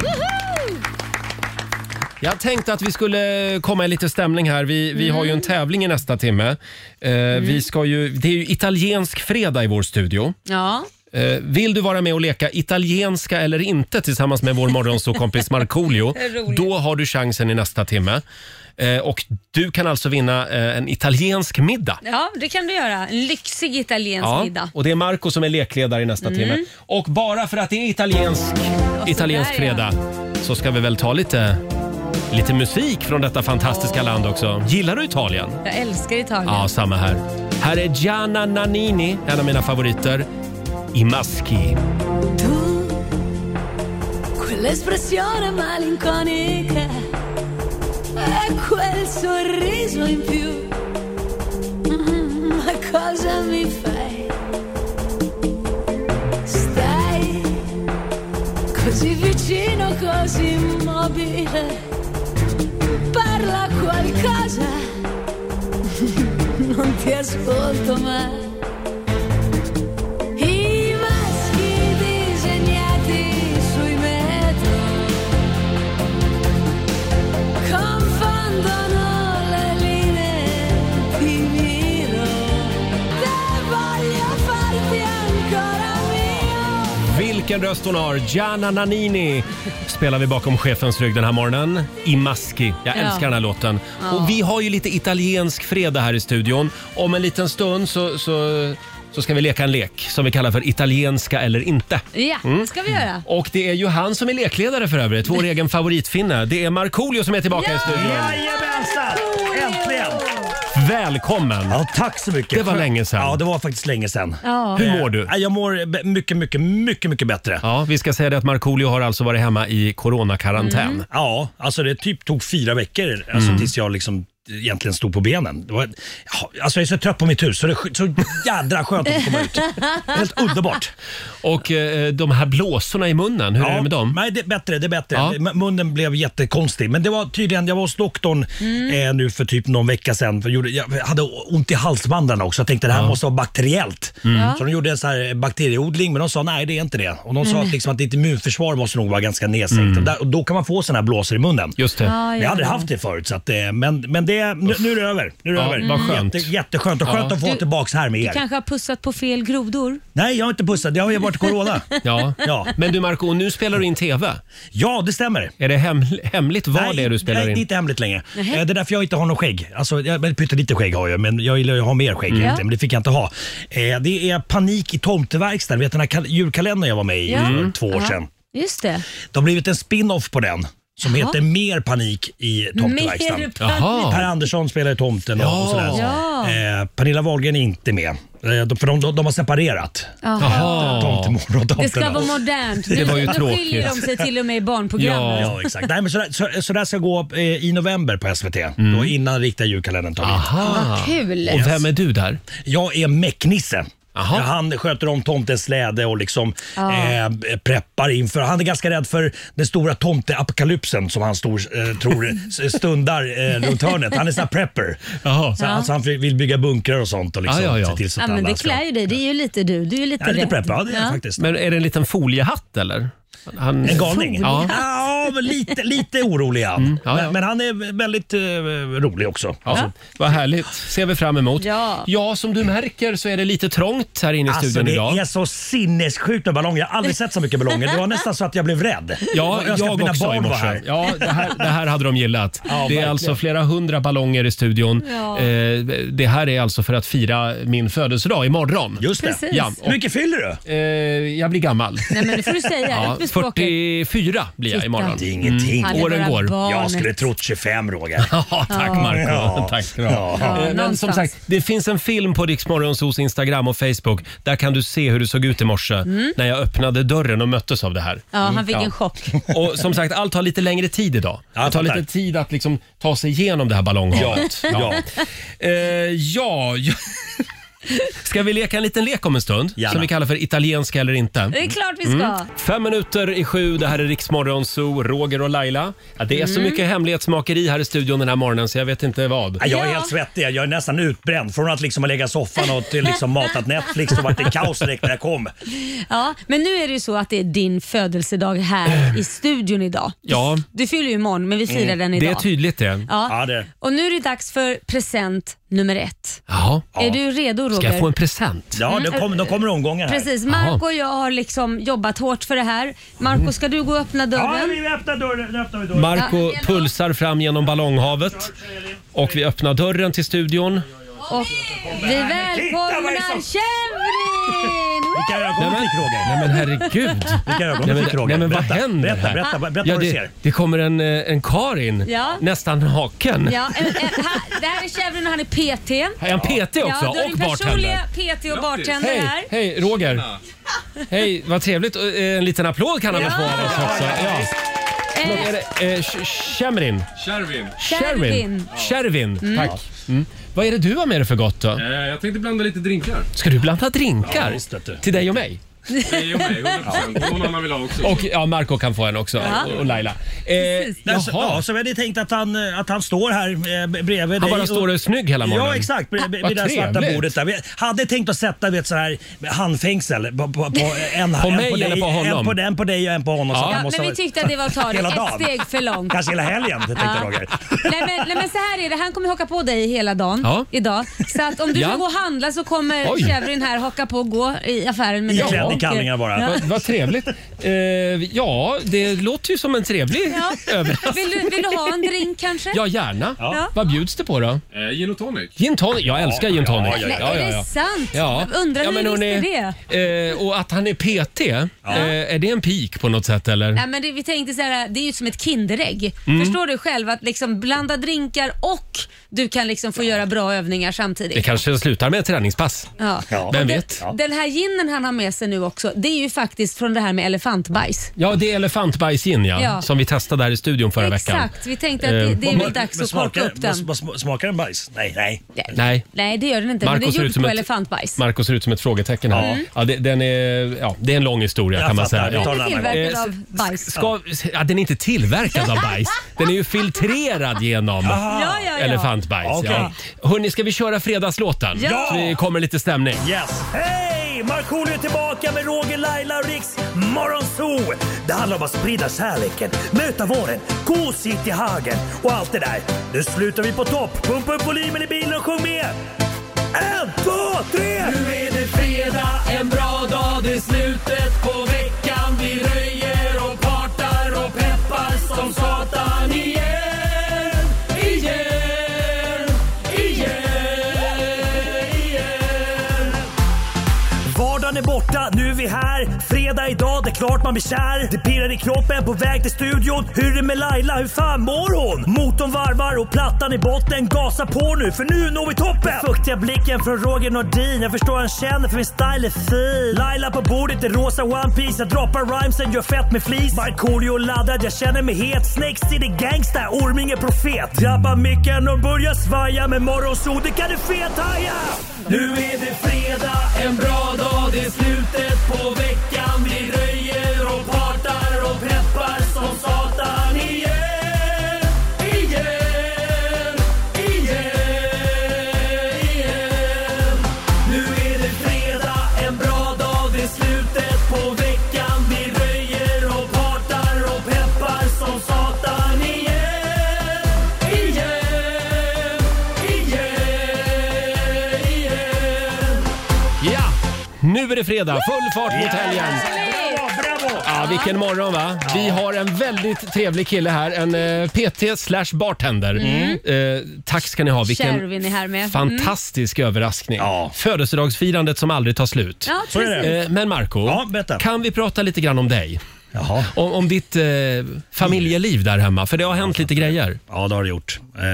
Speaker 1: Jag tänkte att vi skulle komma i lite stämning här. Vi, vi har ju en
Speaker 2: Mm.
Speaker 1: tävling i nästa timme. Eh, vi ska ju, det är ju italiensk fredag i vår studio.
Speaker 2: Ja.
Speaker 1: Eh, vill du vara med och leka italienska eller inte tillsammans med vår morgonsåkompis Markoolio,
Speaker 2: Roligt.
Speaker 1: då har du chansen i nästa timme. Eh, och du kan alltså vinna eh, en italiensk middag.
Speaker 2: ja, det kan du göra. En lyxig italiensk middag.
Speaker 1: och det är Marco som är lekledare i nästa timme. Och bara för att det är italiensk, italiensk
Speaker 2: Mm. där, ja.
Speaker 1: fredag så ska vi väl ta lite, lite musik från detta fantastiska land också. Gillar du Italien?
Speaker 2: Jag älskar Italien.
Speaker 1: Ja, samma här. Här är Gianna Nannini, en av mina favoriter. I Maschi.
Speaker 7: Quell'espressione malinconica e quel sorriso in più. Mm, Ma cosa mi fai? Stai così vicino, così immobile. Parla qualcosa. Non ti ascolto mai. I maschi disegnati sui metro confondono le linee, ti miro, te voglio farti ancora mio.
Speaker 1: Vilken röst hon har! Gianna Nannini spelar vi bakom chefens rygg den här morgonen. I Maschi. Jag
Speaker 2: Ja.
Speaker 1: älskar den här låten. Och vi har ju lite italiensk fredag här i studion. Om en liten stund så, så, så ska vi leka en lek som vi kallar för italienska eller inte.
Speaker 2: Ja,
Speaker 1: Mm.
Speaker 2: det ska vi göra.
Speaker 1: Och det är ju han som är lekledare för övrigt, vår egen favoritfinne. Det är Markoolio som är tillbaka i studion.
Speaker 8: Jajamensan! Äntligen!
Speaker 1: Välkommen!
Speaker 8: Ja, tack så mycket.
Speaker 1: Det var länge sedan.
Speaker 8: Ja, det var faktiskt länge sedan.
Speaker 2: Ja.
Speaker 1: Hur mår du?
Speaker 8: Ja, Jag mår b- mycket, mycket, mycket, mycket bättre. Ja.
Speaker 1: Ja, vi ska säga det att Markoolio har alltså varit hemma i coronakarantän.
Speaker 8: alltså det typ tog fyra veckor alltså,
Speaker 1: Mm.
Speaker 8: tills jag liksom egentligen stod på benen. Det var, ja, alltså jag är så trött på mitt hus så det är sk- så jädra skönt att komma ut. Helt underbart.
Speaker 1: Och eh, de här blåsorna i munnen, hur är det med dem?
Speaker 8: Nej, det är bättre. Det är bättre.
Speaker 1: Ja.
Speaker 8: M- Munnen blev jättekonstig. Men det var tydligen, jag var hos doktorn
Speaker 1: Mm.
Speaker 8: eh, nu för typ någon vecka sedan. För jag, gjorde, jag hade ont i halsbandarna också. Jag tänkte det här måste vara bakteriellt.
Speaker 1: Mm.
Speaker 8: Så de gjorde en så här bakterieodling, men de sa nej det är inte det. Och de sa att, liksom, att ditt immunförsvar måste nog vara ganska nedsänkt.
Speaker 1: Mm.
Speaker 8: Och, där, och då kan man få sådana här blåsor i munnen.
Speaker 1: Just det.
Speaker 2: Ja,
Speaker 8: Jag har
Speaker 2: ja.
Speaker 8: aldrig haft det förut, så att, eh, men, men det, nu, nu är det över. Nu är det
Speaker 1: Ja,
Speaker 8: över.
Speaker 1: vad skönt.
Speaker 8: Jätte, jätteskönt och skönt att få
Speaker 2: Du-
Speaker 8: vara tillbaka här med
Speaker 2: Du
Speaker 8: er.
Speaker 2: kanske har pussat på fel grodor?
Speaker 8: Nej, jag har inte pussat. Det har ju varit corona.
Speaker 1: Ja.
Speaker 8: Ja.
Speaker 1: Men du Marco, nu spelar du in TV.
Speaker 8: ja, det stämmer.
Speaker 1: Är det hem, hemligt vad det är du spelar
Speaker 8: nej, det är
Speaker 1: in?
Speaker 8: inte hemligt längre. Eh, Det är därför jag inte har någon skägg. Alltså, jag- men pyttelite skägg har jag, men jag gillar ju att ha mer skägg
Speaker 1: Mm.
Speaker 8: egentligen, men det fick jag inte ha. Eh, Det är panik i tomteverkstan. Vet du den här kal- julkalendern jag var med i
Speaker 2: Ja.
Speaker 8: för två år
Speaker 2: Ja.
Speaker 8: sedan?
Speaker 2: Just det.
Speaker 8: Det har blivit en spin-off på den. som
Speaker 2: Jaha.
Speaker 8: heter Mer panik i
Speaker 2: Mer
Speaker 8: tomteverkstan. Per
Speaker 1: Jaha.
Speaker 8: Andersson spelar ju tomten och,
Speaker 1: Ja.
Speaker 8: och sådär.
Speaker 2: Ja.
Speaker 8: Eh, Pernilla Wahlgren är inte med. Eh, de- För de, de, de har separerat.
Speaker 1: Jaha.
Speaker 8: Tomtemor och tomten.
Speaker 2: Det ska vara modernt.
Speaker 1: Det var ju
Speaker 2: nu, nu skiljer de
Speaker 1: tråkigt.
Speaker 2: sig till och med i barnprogrammet.
Speaker 1: Ja.
Speaker 8: Ja, exakt. Nej, men sådär, så, sådär ska gå eh, i november på SVT.
Speaker 1: Mm.
Speaker 8: Då innan riktiga julkalendern
Speaker 1: Ah.
Speaker 8: tar vid.
Speaker 1: Aha.
Speaker 2: Vad kul.
Speaker 1: Och vem är du där?
Speaker 8: Jag är Mäcknisse.
Speaker 1: Aha.
Speaker 8: Ja, Han sköter om tomtens släde och liksom eh, preppar inför. Han är ganska rädd för den stora tomteapokalypsen som han stor, eh, tror s- stundar eh, runt hörnet. Han är sån här prepper.
Speaker 1: Jaha.
Speaker 8: Så, alltså, han vill bygga bunkrar och sånt och liksom
Speaker 1: Ja, ja, ja.
Speaker 8: se till så
Speaker 2: Ja,
Speaker 8: att
Speaker 2: men
Speaker 8: alla
Speaker 2: det
Speaker 8: ska...
Speaker 2: klär ju dig. Det är ju lite du. Du är lite
Speaker 8: Jag är lite
Speaker 2: rädd.
Speaker 8: prepper, ja det är jag faktiskt.
Speaker 1: Men är det en liten foliehatt eller? Han...
Speaker 8: En galning?
Speaker 1: Ja.
Speaker 8: ja men lite, lite orolig är han.
Speaker 1: Mm, ja, ja.
Speaker 8: Men, men han är väldigt eh, rolig också.
Speaker 1: Ja, vad härligt. ser vi fram emot.
Speaker 2: Ja.
Speaker 1: ja, som du märker så är det lite trångt här inne i
Speaker 8: Alltså
Speaker 1: studion
Speaker 8: det
Speaker 1: idag.
Speaker 8: är så sinnessjukt med ballonger. Jag har aldrig sett så mycket ballonger. Det var nästan så att jag blev rädd.
Speaker 1: Ja,
Speaker 8: jag önskar att
Speaker 1: jag
Speaker 8: mina
Speaker 1: också i
Speaker 8: barn var
Speaker 1: morse.
Speaker 8: här.
Speaker 1: Ja, det, här, det här hade de gillat. det är
Speaker 8: verkligen.
Speaker 1: alltså flera hundra ballonger i studion.
Speaker 2: Ja.
Speaker 1: Eh, det här är alltså för att fira min födelsedag imorgon.
Speaker 8: Just det.
Speaker 2: Precis.
Speaker 1: Ja,
Speaker 8: Hur
Speaker 1: och,
Speaker 8: mycket fyller du?
Speaker 1: eh, jag blir gammal.
Speaker 2: Nej, men det får du säga.
Speaker 1: Ja,
Speaker 2: Upp med språket.
Speaker 1: 44 blir jag
Speaker 2: Titta.
Speaker 1: imorgon.
Speaker 8: Det är ingenting.
Speaker 2: Han är
Speaker 1: Åren
Speaker 2: bara
Speaker 1: går.
Speaker 2: barnet.
Speaker 8: Jag skulle trott 25 Roger.
Speaker 1: Ja, tack Marco.
Speaker 8: Ja.
Speaker 1: Tack ska du ha.
Speaker 8: Ja.
Speaker 1: Eh, Men som
Speaker 2: någonstans.
Speaker 1: sagt, det finns en film på Riksmorgonsos Instagram och Facebook. Där kan du se hur det såg ut i morse
Speaker 2: Mm.
Speaker 1: när jag öppnade dörren och möttes av det här.
Speaker 2: Ja,
Speaker 8: Mm,
Speaker 2: han fick
Speaker 1: Ja.
Speaker 2: en chock.
Speaker 1: Och som sagt, allt tar lite längre tid idag.
Speaker 8: Ja,
Speaker 1: Det tar
Speaker 8: fattar.
Speaker 1: lite tid att liksom ta sig igenom det här ballonghavet. Ja. Ja. Eh, ja. ja. Ska vi leka en liten lek om en stund?
Speaker 8: Gärna.
Speaker 1: Som vi kallar för italienska eller inte.
Speaker 2: Det är klart vi ska.
Speaker 1: Fem minuter i sju, det här är Riksmorgon Zoo, Roger och Laila. Ja, det är
Speaker 2: Mm.
Speaker 1: så mycket hemlighetsmakeri här i studion den här morgonen så jag vet inte vad.
Speaker 8: Ja, Jag är
Speaker 2: Ja.
Speaker 8: helt svettig. Jag är nästan utbränd. Från att liksom ha legat i soffan och till liksom matat Netflix så vart det kaos direkt när jag kom.
Speaker 2: Ja, men nu är det ju så att det är din födelsedag här i studion idag.
Speaker 1: Ja,
Speaker 2: Du fyller ju imorgon, men vi firar den
Speaker 1: det
Speaker 2: idag.
Speaker 1: är tydligt det.
Speaker 8: Mm. Ja, det-
Speaker 2: Och nu är det dags för present nummer ett.
Speaker 1: Jaha.
Speaker 2: Är du redo Roger?
Speaker 1: Ska jag få en present?
Speaker 8: Ja, de, kom, de kommer omgångar här.
Speaker 2: Precis, Marco och jag har liksom jobbat hårt för det här. Marco, ska du gå och öppna
Speaker 8: Mm. Ja,
Speaker 2: dörren?
Speaker 8: vi öppnar dörren. Nu öppnar vi dörren.
Speaker 1: Marco
Speaker 2: Ja.
Speaker 1: pulsar fram genom ballonghavet och vi öppnar dörren till studion.
Speaker 2: Och vi
Speaker 8: vad är
Speaker 2: välkomnar
Speaker 8: det
Speaker 2: Kevin!
Speaker 8: Vilka ögonblick Roger.
Speaker 1: Nej men herregud.
Speaker 8: Vilka
Speaker 1: Nej men,
Speaker 8: ögonblick Roger.
Speaker 1: nej, men vad
Speaker 8: Berätta,
Speaker 1: händer
Speaker 8: Berätta,
Speaker 1: här?
Speaker 8: berätta, berätta
Speaker 1: ja,
Speaker 8: vad du
Speaker 1: det,
Speaker 8: ser.
Speaker 1: det kommer en, eh, en Karin,
Speaker 2: Ja.
Speaker 1: nästan naken.
Speaker 2: Ja, eh, eh, ha- det här är Kevin och han är PT.
Speaker 1: Är han PT också?
Speaker 2: ja, du är
Speaker 1: och
Speaker 2: din
Speaker 1: bartender.
Speaker 2: personliga PT och bartender här.
Speaker 1: Hej, hej Roger. Hej, vad trevligt. Och, eh, En liten applåd kan han
Speaker 2: Ja.
Speaker 1: få av oss också. Ja. Och är det, eh, Sh- Shemrin?
Speaker 9: Kärvin,
Speaker 1: Shervin. Shervin, tack. Mm. Vad är det du har med dig för gott då?
Speaker 9: eh, jag tänkte blanda lite drinkar.
Speaker 1: Ska du blanda drinkar?
Speaker 8: Ja, visst, vet du.
Speaker 1: Till dig och mig?
Speaker 9: Dig och mig, 100%. Någon annan vill ha också.
Speaker 1: Och ja, Marco kan få en också. Och Laila. Eh,
Speaker 8: Men så-
Speaker 1: jaha.
Speaker 8: Alltså, Ja, så vi hade tänkt att han, eh, att han står här eh, bredvid dig.
Speaker 1: Han bara står och är snygg hela morgonen.
Speaker 8: Ja, exakt. Vid, vid
Speaker 1: Vad
Speaker 8: det där svarta
Speaker 1: trevligt.
Speaker 8: bordet där. Vi hade tänkt att sätta vet, så här handfängsel på, på, på en
Speaker 1: På
Speaker 8: en
Speaker 1: mig
Speaker 8: dig,
Speaker 1: eller på honom?
Speaker 8: En på den, på dig och en på honom.
Speaker 1: Ja.
Speaker 8: Så att
Speaker 1: Ja,
Speaker 8: han
Speaker 2: Ja,
Speaker 8: måste
Speaker 2: men
Speaker 8: ha-
Speaker 2: vi tyckte att det var att ta det
Speaker 8: Hela
Speaker 2: ett
Speaker 8: dagen.
Speaker 2: steg för långt.
Speaker 8: Kanske hela helgen, det tänkte
Speaker 2: Ja.
Speaker 8: Roger.
Speaker 2: Nej men, nej men så här är det, han kommer hocka på dig hela dagen
Speaker 1: Ja.
Speaker 2: idag. Så att om du
Speaker 1: Ja.
Speaker 2: vill gå och handla så kommer
Speaker 1: Oj.
Speaker 2: Kevin här hocka på och gå i affären med dig.
Speaker 8: Iklädd i
Speaker 2: Och-
Speaker 8: kallingar bara.
Speaker 2: Ja.
Speaker 1: Vad, vad trevligt. Eh, ja, det låter ju som en trevlig
Speaker 2: Ja.
Speaker 1: överraskning.
Speaker 2: Vill, du, vill du ha en drink kanske?
Speaker 1: Ja, gärna.
Speaker 8: Ja.
Speaker 1: Vad bjuds det på då?
Speaker 9: Eh, gin och tonic.
Speaker 1: Gin tonic? Jag älskar gin tonic.
Speaker 8: ja,
Speaker 2: Nej,
Speaker 1: Ja, ja,
Speaker 2: Är
Speaker 1: ja.
Speaker 2: det sant?
Speaker 1: Ja.
Speaker 2: Undrar
Speaker 1: ja,
Speaker 2: hur ni
Speaker 1: hon
Speaker 2: visste det?
Speaker 1: är- Eh, och att han är PT, eh, är det en pik på något sätt eller?
Speaker 2: Nej, men det, vi tänkte så här, det är ju som ett Kinderägg.
Speaker 1: Mm.
Speaker 2: Förstår du själv att liksom blanda drinkar och du kan liksom få göra bra övningar samtidigt.
Speaker 1: Det kanske slutar med ett träningspass.
Speaker 2: Ja.
Speaker 8: Ja.
Speaker 1: Vem
Speaker 2: Den-
Speaker 1: vet?
Speaker 2: Den här ginen han har med sig nu också, det är ju faktiskt från det här med elefantbajs.
Speaker 1: Ja, det är elefantbajsgin ja,
Speaker 2: Ja.
Speaker 1: som vi testade här i studion förra veckan. Eh,
Speaker 2: Exakt, vi tänkte att det, det är
Speaker 8: Men-
Speaker 2: väl dags
Speaker 8: men
Speaker 2: att korka
Speaker 8: smakar-
Speaker 2: upp den.
Speaker 8: men sm- Smakar den bajs? Nej, nej.
Speaker 1: Nej.
Speaker 2: Nej, det gör den inte. Men det
Speaker 1: Marco
Speaker 2: är
Speaker 1: ser ut
Speaker 2: gjort
Speaker 1: som
Speaker 2: på
Speaker 1: ett-
Speaker 2: elefantbajs.
Speaker 1: Marco ser ut som ett frågetecken här.
Speaker 2: Mm.
Speaker 1: Ja. det, den är, ja, det är en lång historia
Speaker 8: Jag
Speaker 1: kan man
Speaker 8: fattar,
Speaker 1: säga.
Speaker 8: vi tar
Speaker 1: Ja.
Speaker 8: den
Speaker 2: Den är
Speaker 8: annan gång.
Speaker 2: tillverkad
Speaker 1: Eh,
Speaker 2: av bajs.
Speaker 1: Ska, ja, den är inte tillverkad av bajs. Den är ju filtrerad genom
Speaker 2: Ja, ja, ja.
Speaker 1: elefantbajs.
Speaker 8: Okej.
Speaker 1: Ja. Hörni, ska vi köra fredagslåten?
Speaker 2: Ja.
Speaker 1: Så vi kommer lite stämning.
Speaker 8: Yes. Hej! Markoolio är tillbaka med Roger, Laila och Riks Morgonzoo. Det handlar om att sprida kärleken, möta våren, gosigt i hagen och allt det där. Nu slutar vi på topp. Pumpa upp volymen i bilen och sjung med. En, två, tre! Nu är det fredag, en bra dag, det är slutet på veckan. Vi röjer och partar och peppar som satan igen, igen, igen. Vardagen är borta, nu är vi här. Fredag
Speaker 10: idag, det är klart man blir kär. Det pirrar i kroppen på väg till studion. Hur är det med Laila, hur fan mår hon? Motorn varvar och plattan i botten. Gasa på nu, för nu når vi toppen! Den fuktiga blicken från Roger Nordin. Jag förstår han känner för min style är fin. Laila på bordet i rosa One Piece Jag droppar rhymesen, gör fett med flis. Markoolio laddad, jag känner mig het. Snake City gangsta, Orminge profet. Drabbar micken och börjar svaja. Med morgonsol, det kan du fethaja! Nu är det fredag, en bra dag. Det är slutet på veckan. Vi röjer och partar och peppar som satan igen. Igen, igen, igen. Nu är det fredag, en bra dag. Det är slutet på veckan. Vi röjer och partar och peppar som satan igen. Igen, igen, igen.
Speaker 1: Ja! Nu är det fredag, full fart mot helgen.
Speaker 10: Bravo!
Speaker 1: Ja, vilken morgon va? Vi har en väldigt trevlig kille här, en eh, PT slash bartender. Eh, tack ska ni ha,
Speaker 2: Kärvin är
Speaker 1: vilken
Speaker 2: här Mm. med. Mm.
Speaker 1: fantastisk överraskning. Födelsedagsfirandet som aldrig tar slut.
Speaker 2: Ja,
Speaker 8: Så är
Speaker 2: precis.
Speaker 8: det.
Speaker 1: Eh, Men Marco,
Speaker 8: Ja, berätta.
Speaker 1: kan vi prata lite grann om dig?
Speaker 8: Jaha.
Speaker 1: Om, om ditt eh, familjeliv där hemma, för det har hänt lite grejer.
Speaker 8: Ja, det har det gjort. Eh,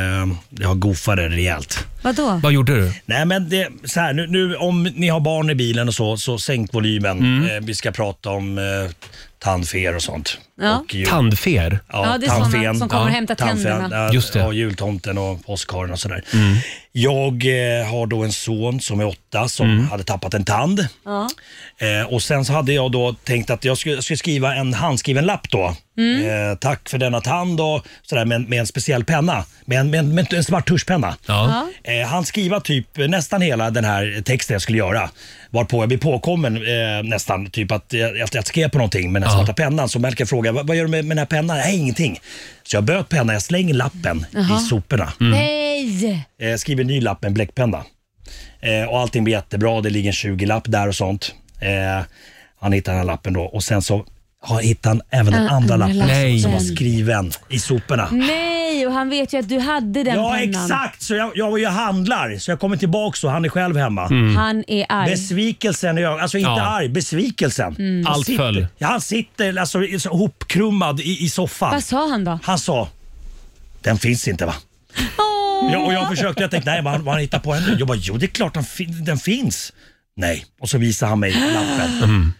Speaker 8: jag har goofat det rejält.
Speaker 2: Vadå?
Speaker 1: Vad gjorde du?
Speaker 8: Nej men det, så här, nu, nu om ni har barn i bilen och så, så sänk volymen. Eh, vi ska prata om eh, tandfer och sånt.
Speaker 2: Ja.
Speaker 8: Och ju-
Speaker 1: Tandfer?
Speaker 2: Ja, det är såna som kommer och hämtar tänderna.
Speaker 8: Ja,
Speaker 1: Just det. Mm.
Speaker 8: Ja, jultomten och påskharen och sådär. Jag eh, har då en son som är åtta som
Speaker 1: Mm.
Speaker 8: hade tappat en tand.
Speaker 2: Ja.
Speaker 8: Eh, och sen så hade jag då tänkt att jag skulle, jag skulle skriva en handskriven lapp då.
Speaker 2: Mm.
Speaker 8: Eh, tack för denna tand och sådär med, med en speciell penna. Med en, med en, med en svart tuschpenna.
Speaker 1: Ja.
Speaker 8: Eh, han skriva typ nästan hela den här texten jag skulle göra. Varpå jag blir påkommen eh, nästan, typ att eh, att jag skrev på någonting med den här
Speaker 1: Ja.
Speaker 8: svarta pennan. Så Melker frågar, vad vad gör du med, med den här pennan? Nej, ingenting. Så jag böt pennan, jag slänger lappen i soporna.
Speaker 1: Mm.
Speaker 2: Nej!
Speaker 8: Eh, skriver en ny lapp med en bläckpenna. Eh, och allting blir jättebra, det ligger en 20-lapp där och sånt. Eh, han hittar den här lappen då och sen så har hittar han även den
Speaker 2: Ah,
Speaker 8: andra lappen
Speaker 1: lappen.
Speaker 8: som var
Speaker 1: Nej.
Speaker 8: skriven i soporna.
Speaker 2: Nej, och han vet ju att du hade den
Speaker 8: Ja
Speaker 2: pennan.
Speaker 8: exakt, så jag, jag var ju och handlar så jag kommer tillbaka och han är själv hemma.
Speaker 2: Han är arg. Mm.
Speaker 8: Besvikelsen i ögonen, alltså inte
Speaker 1: Ja.
Speaker 8: arg, besvikelsen. Han
Speaker 1: Allt
Speaker 8: sitter-
Speaker 1: föll.
Speaker 8: Ja, han sitter alltså i- så hopkrummad i, i soffan.
Speaker 2: Vad sa han då?
Speaker 8: Han sa, den finns inte va?
Speaker 2: Åh.
Speaker 8: Ja, och jag försökte, jag tänkte nej vad han, vad han hittar på henne. Jag bara, jo det är klart den, fin- den finns. Nej, och så visar han mig lappen.
Speaker 1: Mm.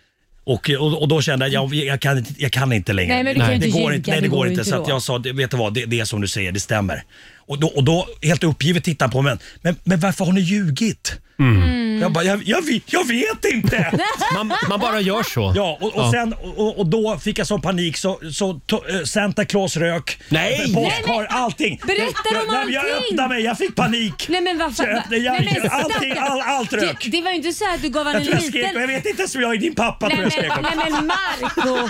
Speaker 8: Och, och, och då kände jag, jag, jag, kan, inte- jag kan inte längre.
Speaker 2: Nej, men du kan ju
Speaker 8: det
Speaker 2: inte
Speaker 8: går
Speaker 2: ljuga,
Speaker 8: inte, nej, det går inte. Så
Speaker 2: då.
Speaker 8: att jag sa, det- vet du vad, det, det är som du säger, det stämmer. Och då, och då helt uppgivet tittar han på mig, men, men varför har ni ljugit?
Speaker 2: Mm.
Speaker 8: Jag bara, jag, jag, vet- jag vet inte!
Speaker 1: Man, man bara gör så.
Speaker 8: Ja, och, och, Sen, och, och då fick jag sån panik så, så to, eh, Santa Claus rök,
Speaker 1: Nej!
Speaker 8: eh, påskhar, allting.
Speaker 2: Berättar
Speaker 8: jag,
Speaker 2: om
Speaker 8: jag, jag
Speaker 2: allting!
Speaker 8: öppnade mig, jag fick panik.
Speaker 2: Nej men vad
Speaker 8: Så
Speaker 2: fan.
Speaker 8: jag öppnade- jag-
Speaker 2: Nej, men
Speaker 8: allting,
Speaker 2: stackarn.
Speaker 8: all, allt rök.
Speaker 2: Du, det var ju inte så att du gav han en
Speaker 8: jag, tror jag, skrek, jag
Speaker 2: liten...
Speaker 8: vet inte ens om jag är din pappa tror
Speaker 2: Nej
Speaker 8: jag skrek
Speaker 2: men,
Speaker 8: om.
Speaker 2: nej men Marco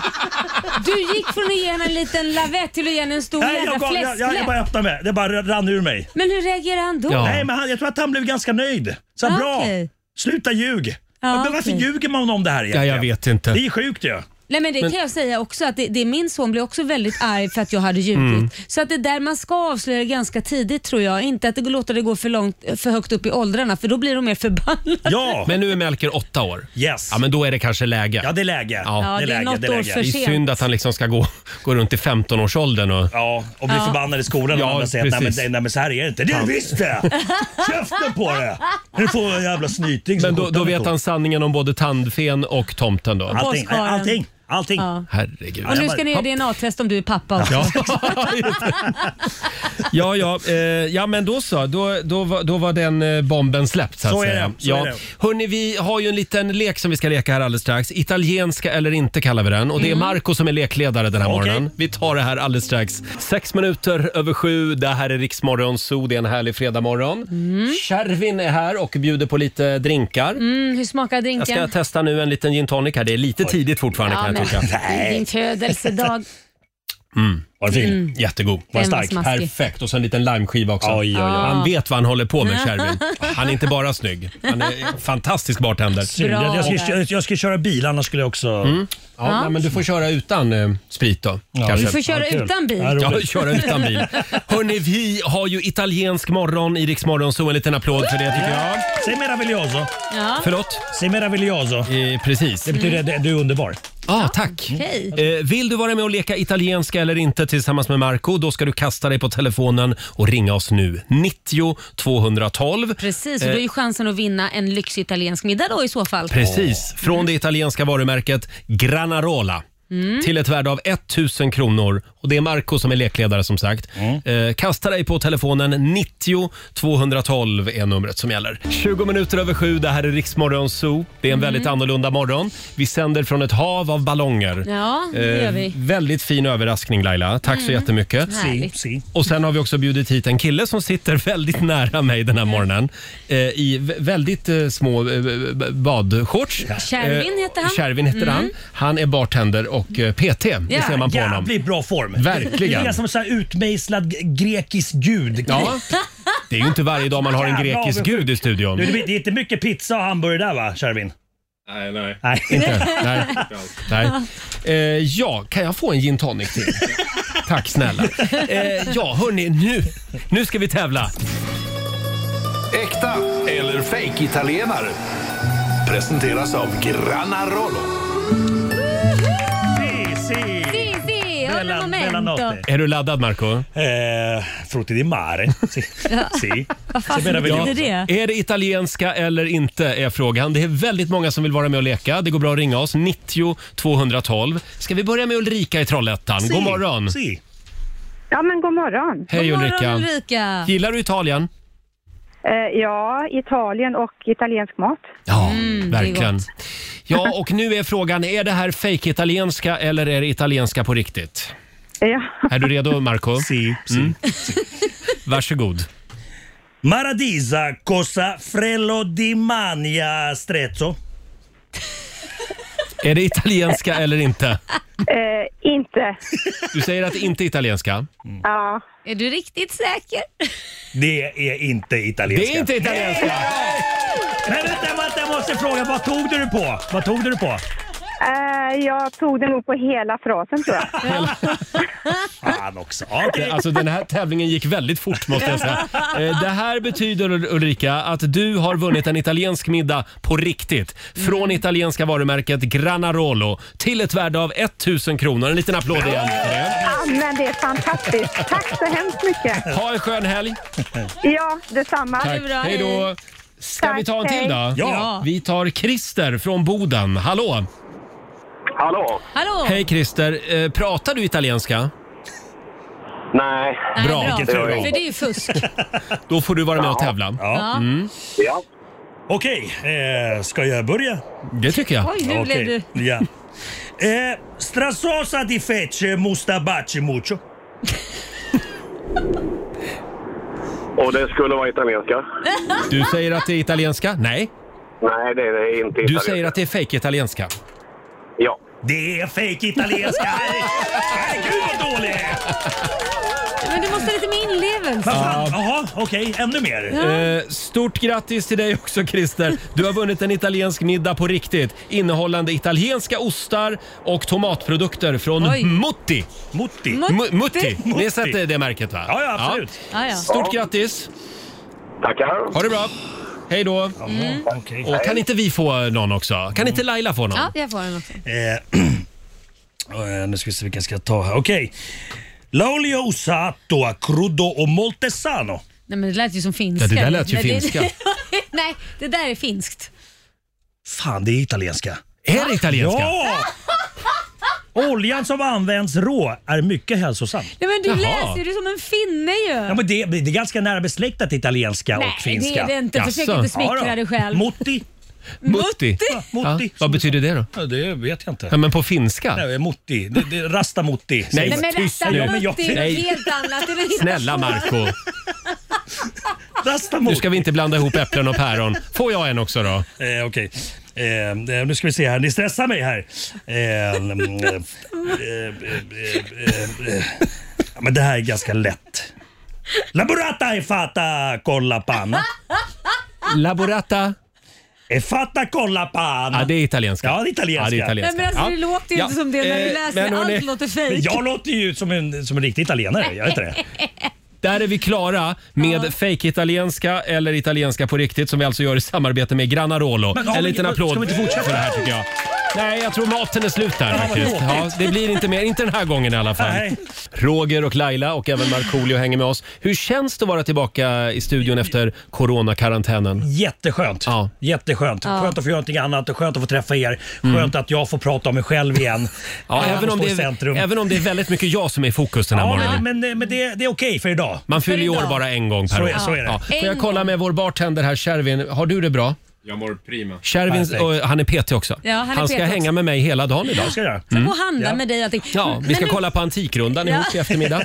Speaker 2: Du gick från att ge henne en liten lavett till att ge henne en stor
Speaker 8: Nej, jag,
Speaker 2: jävla
Speaker 8: gav, jag, jag, jag bara
Speaker 2: fläskläpp.
Speaker 8: öppnade mig. Det bara rann ur mig.
Speaker 2: Men hur reagerar han då?
Speaker 1: Ja.
Speaker 8: Nej, men han, jag tror att han blev ganska nöjd. Så
Speaker 2: Ah,
Speaker 8: bra,
Speaker 2: okej.
Speaker 8: sluta ljug. men varför
Speaker 2: okej.
Speaker 8: ljuger man om det här
Speaker 1: Ja,
Speaker 8: egentligen?
Speaker 1: jag vet inte.
Speaker 8: Det är sjukt ju.
Speaker 2: Nej men det kan jag säga också att det, det, min son blev också väldigt arg för att jag hade ljugit.
Speaker 1: Mm.
Speaker 2: Så att det där man ska avslöja ganska tidigt tror jag. Inte att det låter det gå för, långt, för högt upp i åldrarna för då blir de mer förbannade.
Speaker 8: Ja,
Speaker 1: Men nu är Melker åtta år.
Speaker 8: yes.
Speaker 1: Ja, men då är det kanske läge.
Speaker 8: Ja, det är läge.
Speaker 1: Ja,
Speaker 2: Ja, det är
Speaker 8: läge,
Speaker 2: något
Speaker 8: läge.
Speaker 2: år för
Speaker 1: Det är
Speaker 2: sent.
Speaker 1: synd att han liksom ska gå, gå runt i 15-årsåldern och...
Speaker 8: Ja, och bli förbannad i skolan
Speaker 1: Ja,
Speaker 8: och andra säger att nej men,
Speaker 1: precis.
Speaker 8: nej, nej men så här är det inte. Det är visst det! Käften på det! Nu får jag en jävla snyting. som
Speaker 1: Men då,
Speaker 8: skjuter
Speaker 1: då
Speaker 8: mig
Speaker 1: vet
Speaker 8: på.
Speaker 1: han sanningen om både tandfen och tomten då.
Speaker 8: Allting,
Speaker 2: Påskharen.
Speaker 8: allting, allting.
Speaker 2: Ja.
Speaker 1: Herregud.
Speaker 2: Och nu
Speaker 8: jag
Speaker 2: ska
Speaker 8: bara-
Speaker 2: ni göra DNA-test om du är pappa också.
Speaker 1: Ja, ja, ja, eh, ja men då så. Då, då, var- då var den eh, bomben släppt så att
Speaker 8: Så är det,
Speaker 1: säga.
Speaker 8: så
Speaker 1: ja.
Speaker 8: är det.
Speaker 1: Hörrni, vi har ju en liten lek som vi ska leka här alldeles strax. Italienska eller inte kallar vi den. Och det är Marco som är lekledare den här
Speaker 8: Okej.
Speaker 1: morgonen. Vi tar det här alldeles strax. Sex minuter över sju. Det här är Riksmorgon Zoo. Det är en härlig fredagmorgon. Kärvin är här och bjuder på lite drinkar.
Speaker 2: Mm, hur smakar drinken?
Speaker 1: Jag ska testa nu en liten gin tonic här. Det är lite tidigt fortfarande
Speaker 2: Ja,
Speaker 1: kan jag
Speaker 2: men-
Speaker 1: tycka.
Speaker 2: Det är Din födelsedag.
Speaker 8: Var den fin?
Speaker 2: Mm.
Speaker 1: Jättegod.
Speaker 2: Den var stark. var smaskig.
Speaker 1: Perfekt. Och så en liten limeskiva också.
Speaker 2: Oj, oj, oj. Ah.
Speaker 1: Han vet vad han håller på med, Kärvin. Han är inte bara snygg. Han är en fantastisk bartender.
Speaker 8: Synd. Jag, jag, ska, jag, jag ska köra bil, annars skulle jag också...
Speaker 1: Ja, nej, men du får köra utan eh, sprit då. kanske.
Speaker 2: Du får köra utan bil.
Speaker 1: Ja, köra utan bil. Hörni, vi har ju italiensk morgon i Rix Morgon, så en liten applåd för det tycker jag.
Speaker 8: Sei meraviglioso.
Speaker 2: Ja.
Speaker 1: Förlåt?
Speaker 8: Sei meraviglioso.
Speaker 1: Eh, precis.
Speaker 8: Det betyder att du är underbar.
Speaker 1: Ah, tack. Eh, vill du vara med och leka italienska eller inte tillsammans med Marco då ska du kasta dig på telefonen och ringa oss nu. 90 212.
Speaker 2: Precis, och då är ju chansen att vinna en lyxig italiensk middag då i så fall.
Speaker 1: Eh. Precis, från det italienska varumärket Granarola.
Speaker 2: Mm.
Speaker 1: Till ett värde av 1000 kronor. Och Det är Marco som är lekledare som sagt.
Speaker 2: Mm.
Speaker 1: Eh, kasta dig på telefonen 90 212 är numret som gäller. 20 minuter över sju, det här är Riksmorgon Zoo. Det är
Speaker 2: Mm.
Speaker 1: en väldigt annorlunda morgon. Vi sänder från ett hav av ballonger. Eh,
Speaker 2: Ja, det gör vi.
Speaker 1: Väldigt fin överraskning Laila. Tack så
Speaker 2: Mm.
Speaker 1: jättemycket.
Speaker 2: Härligt. Si, si.
Speaker 1: Och sen har vi också bjudit hit en kille som sitter väldigt nära mig den här morgonen. Eh, I vä- väldigt eh, små eh, b- b- badshorts. Eh,
Speaker 2: Kärvin heter han.
Speaker 1: Kärvin heter
Speaker 2: Mm.
Speaker 1: han. Han är bartender och eh, PT. Det ser man på honom.
Speaker 8: Jävligt bra form.
Speaker 1: Verkligen.
Speaker 8: Det är som så här utmejslad g- grekisk gud.
Speaker 1: Ja. Det är ju inte varje dag man har en
Speaker 8: Jävla
Speaker 1: grekisk
Speaker 8: avundsjuk.
Speaker 1: gud i studion.
Speaker 8: Du, det är inte mycket pizza och hamburgare där va, Kärvin?
Speaker 9: Nej, nej.
Speaker 8: Nej.
Speaker 1: Inte? Nej. Nej. Eh, ja, kan jag få en gin tonic till? Tack snälla. Eh, ja, hörni, nu, nu ska vi tävla.
Speaker 3: Äkta eller fake italienare Presenteras av Granarolo.
Speaker 8: si.
Speaker 2: si, hålla momento.
Speaker 1: Är du laddad, Marco?
Speaker 8: Eh, frutti di mare. Si. si.
Speaker 2: Vad fan
Speaker 8: Så menar liksom- väl
Speaker 2: betyder det?
Speaker 1: Är det italienska eller inte är frågan. Det är väldigt många som vill vara med och leka. Det går bra att ringa oss. 90 212. Ska vi börja med Ulrika i Trollhättan?
Speaker 8: Si.
Speaker 1: God morgon!
Speaker 8: Si.
Speaker 6: Ja, men god morgon.
Speaker 1: Hej
Speaker 2: God morgon,
Speaker 1: Ulrika.
Speaker 2: Ulrika.
Speaker 1: Gillar du Italien?
Speaker 6: Eh, ja, Italien och italiensk mat.
Speaker 1: Ja,
Speaker 2: Mm, det är
Speaker 1: verkligen.
Speaker 2: gott.
Speaker 1: Ja, och nu är frågan, är det här fake italienska eller är det italienska på riktigt?
Speaker 6: Ja.
Speaker 1: Är du redo Marco?
Speaker 8: Si. si.
Speaker 1: Mm. Varsågod.
Speaker 8: Maradisa cosa frello di mania strezzo?
Speaker 1: Är det italienska eller inte?
Speaker 6: Eh, inte.
Speaker 1: Du säger att det inte är italienska.
Speaker 6: Ja.
Speaker 2: Är du riktigt säker?
Speaker 8: Det är inte italienska.
Speaker 1: Det är inte italienska!
Speaker 8: Men vänta, vänta, jag måste fråga. Vad tog du det på? Vad tog du det på?
Speaker 6: Eh, jag tog det nog på hela frasen tror jag.
Speaker 8: Fan också. Ja, Okej.
Speaker 1: Alltså den här tävlingen gick väldigt fort måste jag säga. Eh, Det här betyder Ul- Ulrika att du har vunnit en italiensk middag på riktigt. Från italienska varumärket Granarolo till ett värde av 1000 kronor. En liten applåd igen för det.
Speaker 6: Ja, men det är fantastiskt. Tack så hemskt mycket.
Speaker 1: Ha en skön helg.
Speaker 6: Ja, detsamma.
Speaker 1: Tack.
Speaker 2: bra,
Speaker 1: Hej då.
Speaker 2: hej.
Speaker 1: Ska vi ta en till då?
Speaker 8: Ja.
Speaker 1: Vi tar Christer från Boden. Hallå!
Speaker 11: Hallå?
Speaker 2: Hallå?
Speaker 1: Hej Christer. Eh, Pratar du italienska?
Speaker 11: Nej.
Speaker 2: Nej,
Speaker 1: bra.
Speaker 8: Vilken tur då.
Speaker 2: För det är ju fusk.
Speaker 1: Då får du vara med och tävla.
Speaker 8: Ja.
Speaker 2: Ja.
Speaker 11: Ja.
Speaker 8: Okej, eh, ska jag börja?
Speaker 1: Det tycker jag.
Speaker 2: Oj, hur blev du?
Speaker 8: Ja. Eh, Strassosa di fece mustabaci mucho.
Speaker 11: Och det skulle vara italienska?
Speaker 1: Du säger att det är italienska? Nej.
Speaker 11: Nej, det är det inte italienska.
Speaker 1: Du säger att det är fake italienska
Speaker 11: Ja.
Speaker 8: Det är fake italienska. Herregud vad dålig jag är.
Speaker 2: Men du måste ha lite mer inlevelse.
Speaker 8: Vad fan? Jaha, okej. Ännu mer.
Speaker 1: Eh, Stort grattis till dig också Christer. Du har vunnit en italiensk middag på riktigt innehållande italienska ostar och tomatprodukter från
Speaker 2: Oj.
Speaker 1: Mutti.
Speaker 8: Mutti.
Speaker 2: Mut-
Speaker 1: Mu- Mutti. Ni har
Speaker 8: Mutti.
Speaker 1: sett det, det märket va?
Speaker 8: Ja, ja, absolut.
Speaker 2: Ja, ja.
Speaker 1: Stort grattis.
Speaker 11: Tackar.
Speaker 1: Ha det bra. Hej då.
Speaker 8: Okej.
Speaker 2: Mm.
Speaker 1: Och kan inte vi få någon också? Kan inte Laila få någon?
Speaker 2: ja, jag får den också.
Speaker 8: Eh, nu ska vi se vilka jag ska ta här. Okej. L'olio usato a crudo och moltesano.
Speaker 2: Nej, men det lät ju som finska.
Speaker 1: Ja, det där lät ju
Speaker 2: Nej, det-
Speaker 1: finska.
Speaker 2: Nej, det där är finskt.
Speaker 8: Fan, det är italienska.
Speaker 1: Är det italienska?
Speaker 8: Ja! Oljan som används rå är mycket hälsosam.
Speaker 2: Nej, men du
Speaker 1: Jaha.
Speaker 2: läser ju som en finne ju.
Speaker 8: Ja, men det, det är ganska nära besläktat italienska
Speaker 2: Nej,
Speaker 8: och finska.
Speaker 2: det är det inte. Försök
Speaker 1: Jaså?
Speaker 2: inte smickra dig själv.
Speaker 8: Mutti.
Speaker 1: Mutti.
Speaker 8: Ja,
Speaker 1: Ja,
Speaker 8: Mutti.
Speaker 1: vad betyder det då?
Speaker 8: Ja, det vet jag
Speaker 1: Ja,
Speaker 8: inte.
Speaker 1: men på finska?
Speaker 8: Nej, Mutti. Det, det, rasta Mutti.
Speaker 1: Nej,
Speaker 2: Nej, men
Speaker 1: tyst
Speaker 2: rätta
Speaker 1: nu.
Speaker 8: Ja, men jag-
Speaker 2: Mutti är
Speaker 1: Nej.
Speaker 2: något helt annat. Det är-
Speaker 1: Snälla Marco
Speaker 8: Rasta
Speaker 1: nu
Speaker 8: Mutti.
Speaker 1: ska vi inte blanda ihop äpplen och päron. Får jag en också då?
Speaker 8: Eh, Okej. Eh, eh, nu ska vi se här. Ni stressar mig här. Eh, mm, eh, eh, eh, eh, eh, Ja, men det här är ganska lätt. La burrata e fatta colla panna.
Speaker 1: La burrata?
Speaker 8: E fatta colla panna.
Speaker 1: Ja, det är italienska.
Speaker 8: Ja, det är italienska.
Speaker 1: Ja, Eh, det är italienska.
Speaker 2: Nej, men alltså, det låter ju inte som det när vi läser. Allt låter
Speaker 8: Men
Speaker 2: fejk.
Speaker 8: jag låter ju ut som en, som en riktig italienare, gör jag inte det?
Speaker 1: Där är vi klara med ja. italienska eller italienska på riktigt som vi alltså gör i samarbete med Granarolo.
Speaker 8: Men, ja,
Speaker 1: en
Speaker 8: men,
Speaker 1: liten
Speaker 8: ska
Speaker 1: applåd
Speaker 8: vi inte fortsätta?
Speaker 1: för det här tycker jag. Nej, jag tror maten är slut där
Speaker 8: Ja, vad
Speaker 1: faktiskt. Ja,
Speaker 8: tråkigt.
Speaker 1: det blir inte mer, inte den här gången i alla fall.
Speaker 8: Nej.
Speaker 1: Roger och Laila och även Markoolio hänger med oss. Hur känns det att vara tillbaka i studion efter coronakarantänen?
Speaker 8: Jätteskönt.
Speaker 1: Ja.
Speaker 8: Jätteskönt.
Speaker 1: Ja.
Speaker 8: Skönt att få göra någonting annat och skönt att få träffa er. Skönt att jag får prata om mig själv igen.
Speaker 1: Mm. Ja,
Speaker 8: Jag
Speaker 1: även, om
Speaker 8: står
Speaker 1: det
Speaker 8: i centrum.
Speaker 1: är, även om det är väldigt mycket jag som är i fokus den här
Speaker 8: Ja,
Speaker 1: morgonen.
Speaker 8: men, men, men det, det är okej för idag.
Speaker 1: Man fyller ju
Speaker 8: För
Speaker 1: år
Speaker 8: idag.
Speaker 1: bara en gång per
Speaker 8: Så
Speaker 1: år.
Speaker 8: är- så är det.
Speaker 1: Får
Speaker 8: En
Speaker 1: jag kolla med vår bartender här, Kärvin. Har du det bra?
Speaker 9: Jag mår prima.
Speaker 1: Kärvin,
Speaker 9: Perfekt.
Speaker 1: och han är PT också.
Speaker 2: Ja, han är
Speaker 1: ska
Speaker 2: PT också.
Speaker 1: hänga med mig hela dagen idag.
Speaker 2: Ja, ska jag göra. Sen gå och handla med dig och allting.
Speaker 1: Mm. Ja, vi ska
Speaker 2: Men nu-
Speaker 1: kolla på Antikrundan
Speaker 2: Ja.
Speaker 1: ihop i eftermiddag.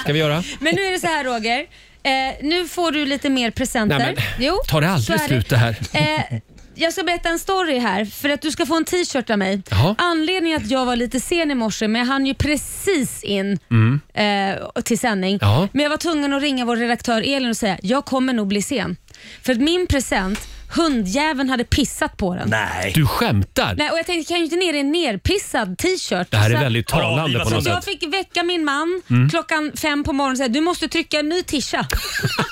Speaker 1: Ska vi göra?
Speaker 2: Men nu är det så här Roger. Eh, nu får du lite mer presenter.
Speaker 1: Nej, men, tar det aldrig
Speaker 2: så är
Speaker 1: slut det här?
Speaker 2: Eh, jag ska berätta en story här för att du ska få en t-shirt av mig.
Speaker 1: Jaha.
Speaker 2: Anledningen att jag var lite sen i morse, men jag hann ju precis in
Speaker 7: Mm.
Speaker 2: eh, till sändning.
Speaker 7: Ja.
Speaker 2: Men jag var tvungen att ringa vår redaktör Elin och säga jag kommer nog bli sen. För att min present, hundjäveln hade pissat på den.
Speaker 8: Nej.
Speaker 1: Du skämtar?
Speaker 2: Nej, och jag tänkte, kan jag ju inte ner i en nerpissad t-shirt?
Speaker 1: Det här är
Speaker 2: Så att-
Speaker 1: väldigt talande på
Speaker 2: så
Speaker 1: något
Speaker 2: att jag
Speaker 1: sätt.
Speaker 2: fick väcka min man
Speaker 1: Alltså, Mm.
Speaker 2: klockan fem på morgonen och säga du måste trycka en ny tisha.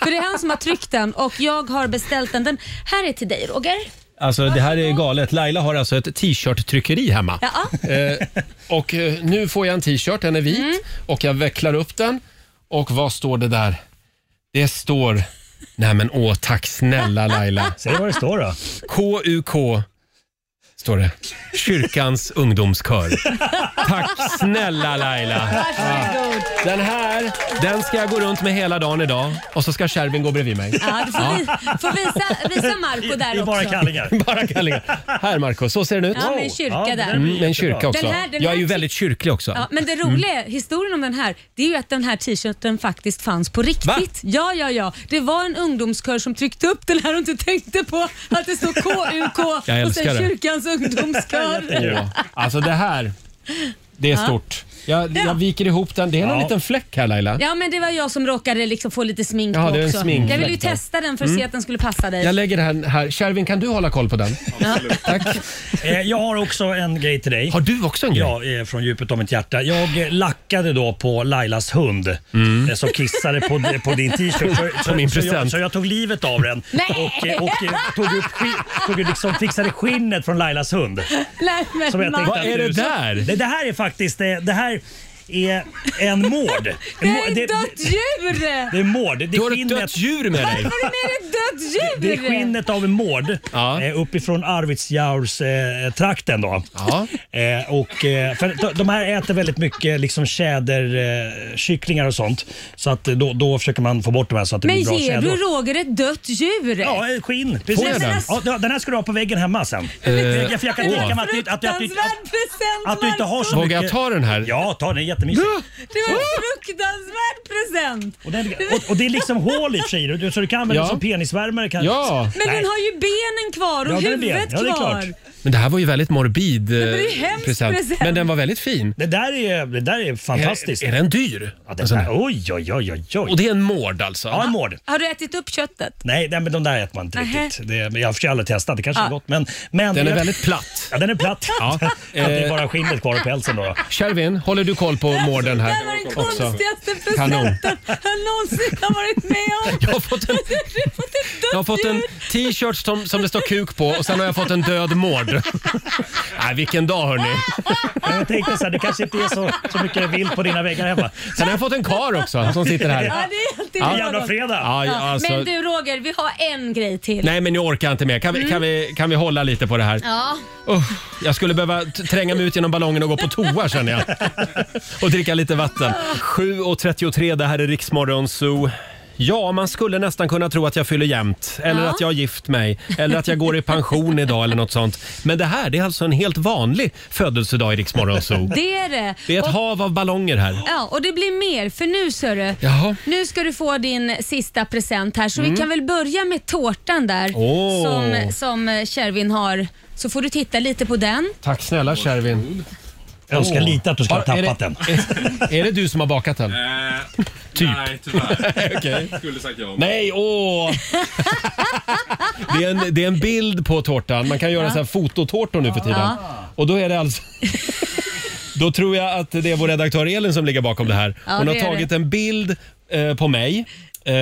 Speaker 2: För det är han som har tryckt den och jag har beställt den. Den här är till dig Roger.
Speaker 1: Alltså det här är galet. Laila har alltså ett t-shirt-tryckeri hemma.
Speaker 2: Ja.
Speaker 1: Eh, och eh, nu får jag en t-shirt, den är vit
Speaker 2: Mm.
Speaker 1: och jag vecklar upp den. Och vad står det där? Det står... Nej men åh tack snälla Laila.
Speaker 8: Säg vad det står då.
Speaker 1: KUK står det. Kyrkans ungdomskör. Tack snälla Laila.
Speaker 2: Varsågod.
Speaker 1: Den här, den ska jag gå runt med hela dagen idag och så ska Kärvin gå bredvid mig.
Speaker 2: Ja, du får,
Speaker 1: Ja.
Speaker 2: Vi, får visa, visa Marco där också.
Speaker 1: bara kallingar. Här Marco, så ser den ut.
Speaker 2: Ja, med en kyrka
Speaker 1: Ja,
Speaker 2: där.
Speaker 1: Mm, med en kyrka
Speaker 2: Den
Speaker 1: också.
Speaker 2: här- den
Speaker 1: jag är
Speaker 2: här
Speaker 1: ju
Speaker 2: ty-
Speaker 1: väldigt kyrklig också.
Speaker 2: Ja, men
Speaker 1: Mm.
Speaker 2: det roliga, är- historien om den här, det är ju att den här t-shirten faktiskt fanns på riktigt. Ja, ja, ja. Det var en ungdomskör som tryckte upp den här och inte tänkte på att det stod KUK
Speaker 1: Jag
Speaker 2: och
Speaker 1: älskar
Speaker 2: sen
Speaker 1: det.
Speaker 2: kyrkans ungdomskör.
Speaker 1: Åh, Alltså det här, det är
Speaker 2: Ja.
Speaker 1: stort. Jag, jag viker ihop den. Det är en
Speaker 2: Ja.
Speaker 1: liten fläck här Laila.
Speaker 2: Ja, men det var jag som råkade liksom få lite smink
Speaker 1: Ja,
Speaker 2: på
Speaker 1: det är en
Speaker 2: också.
Speaker 1: smink.
Speaker 2: jag ville ju testa den för att
Speaker 1: Mm.
Speaker 2: se att den skulle passa dig.
Speaker 1: Jag lägger den här. Kärvin, kan du hålla koll på den?
Speaker 8: Eh, Jag har också en grej till dig. Har
Speaker 1: du också en grej?
Speaker 8: Ja, eh, från djupet av mitt hjärta. Jag eh, lackade då på Lailas hund eh, som kissade på, på din t-shirt. Så-
Speaker 1: På min
Speaker 8: så, så, jag,
Speaker 1: present.
Speaker 8: så jag tog livet av den
Speaker 2: Nej!
Speaker 8: och, eh, och eh, tog upp skin- tog liksom, fixade skinnet från Lailas hund.
Speaker 2: Nej, men
Speaker 8: Som jag
Speaker 2: Marco.
Speaker 8: tänkte att du- Det, det här är faktiskt, eh, det här är en mård.
Speaker 2: Det är ett dött djur!
Speaker 8: Det är mård. Det du har ett dött
Speaker 1: djur med
Speaker 2: Varför har du med dig ett dött djur?
Speaker 8: Det är skinnet av en mård eh, uppifrån Arvidsjaurs eh, trakten då. Eh, och, eh, för de- de här äter väldigt mycket liksom tjäderkycklingar eh, kycklingar och sånt. Så att eh, då, då försöker man få bort de här så att det
Speaker 2: Men
Speaker 8: blir bra
Speaker 2: ger du
Speaker 8: tjädror.
Speaker 2: Roger ett dött djur?
Speaker 8: Ja, ett skinn. Precis. Ja, den? den här ska du ha på väggen hemma
Speaker 1: Eh,
Speaker 8: sen. jag, för jag kan
Speaker 1: åh.
Speaker 8: tänka mig att, du- att, du- att, du- att,
Speaker 2: Fruktansvärd present
Speaker 8: att du inte har så
Speaker 1: Vågar
Speaker 8: mycket...
Speaker 1: jag ta den här?
Speaker 8: Ja, ta den. Den är jättemysig.
Speaker 2: Det var en fruktansvärd present!
Speaker 8: Och, den, och, och det är liksom hål i och för sig, du- så du kan använda
Speaker 1: Ja.
Speaker 8: den som penisvärmare. Kan...
Speaker 1: Ja.
Speaker 2: Men den har ju benen kvar och
Speaker 8: Ja, den är ben.
Speaker 2: huvudet
Speaker 8: Ja, det är
Speaker 2: kvar.
Speaker 8: klart.
Speaker 1: Men det här var ju väldigt morbid eh,
Speaker 2: det är ju hemskt present.
Speaker 1: Men den var väldigt fin.
Speaker 8: Det där är, det där är fantastiskt.
Speaker 1: Är, är den dyr? Alltså,
Speaker 8: Ja, den där, oj, oj, oj, oj, oj.
Speaker 1: Och det är en mård alltså?
Speaker 8: Ja, en mård.
Speaker 2: Har du ätit upp köttet?
Speaker 8: Nej, nej, men de där äter man inte
Speaker 2: Nähä.
Speaker 8: riktigt. Det, men jag har för sig aldrig testat, det kanske
Speaker 2: Ja.
Speaker 8: är gott. Men, men,
Speaker 1: Den är
Speaker 8: jag-
Speaker 1: väldigt platt.
Speaker 8: Ja, den är platt.
Speaker 1: Ja. eh.
Speaker 8: Så att det är bara skinnet kvar och pälsen då. då.
Speaker 1: Kärvin, håller du koll på mården här
Speaker 2: Det här var den
Speaker 1: också?
Speaker 2: konstigaste
Speaker 1: Kanon.
Speaker 2: presenten jag någonsin har varit med om.
Speaker 1: Jag har fått en, jag har fått en t-shirt som, som det står kuk på och sen har jag fått en död mård. Nej, vilken dag hörni.
Speaker 8: Men Jag tänkte så här, det kanske inte är så, så mycket vilt på dina väggar hemma.
Speaker 1: Sen har jag fått en kar också som sitter här.
Speaker 2: Ja, det är alltid
Speaker 1: Ja.
Speaker 2: bra.
Speaker 1: Jävla fredag. Ja, ja, alltså-
Speaker 2: Men du Roger, vi har en grej till.
Speaker 1: Nej, men jag orkar inte mer. Kan vi, kan vi, kan vi hålla lite på det här?
Speaker 2: Ja.
Speaker 1: Oh, jag skulle behöva t- tränga mig ut genom ballongen och gå på toa känner jag. Och dricka lite vatten. 7.33, det här är Riksmorgon Zoo. Ja, man skulle nästan kunna tro att jag fyller jämnt. Eller
Speaker 2: Ja.
Speaker 1: att jag har gift mig. Eller att jag går i pension idag eller något sånt. Men det här, det är alltså en helt vanlig födelsedag i Riksmorgon Zoo.
Speaker 2: Det är det.
Speaker 1: Det är ett
Speaker 2: Och-
Speaker 1: hav av ballonger här.
Speaker 2: Ja, och det blir mer för nu sörru.
Speaker 1: Jaha.
Speaker 2: Nu ska du få din sista present här så
Speaker 1: Mm.
Speaker 2: vi kan väl börja med tårtan där
Speaker 1: Åh.
Speaker 2: som, som eh, Kärvin har. Så får du titta lite på den.
Speaker 1: Tack snälla Kärvin.
Speaker 8: Jag önskar lite att du skulle ha
Speaker 1: Har- är
Speaker 8: tappat
Speaker 1: det-
Speaker 8: den.
Speaker 1: Är, är det du som har bakat den? typ.
Speaker 9: Eh, Nej, tyvärr.
Speaker 1: Okej.
Speaker 9: Skulle sagt ja.
Speaker 1: Nej, åh! Det är, en, det är en bild på tårtan. Man kan göra
Speaker 9: Ja.
Speaker 1: så här fototårtor nu för tiden.
Speaker 9: Ja.
Speaker 1: Och då är det alltså... Då tror jag att det är vår redaktör Elin som ligger bakom det här.
Speaker 2: Ja,
Speaker 1: hon
Speaker 2: det
Speaker 1: har
Speaker 2: är
Speaker 1: tagit
Speaker 2: det.
Speaker 1: en bild eh, på mig eh,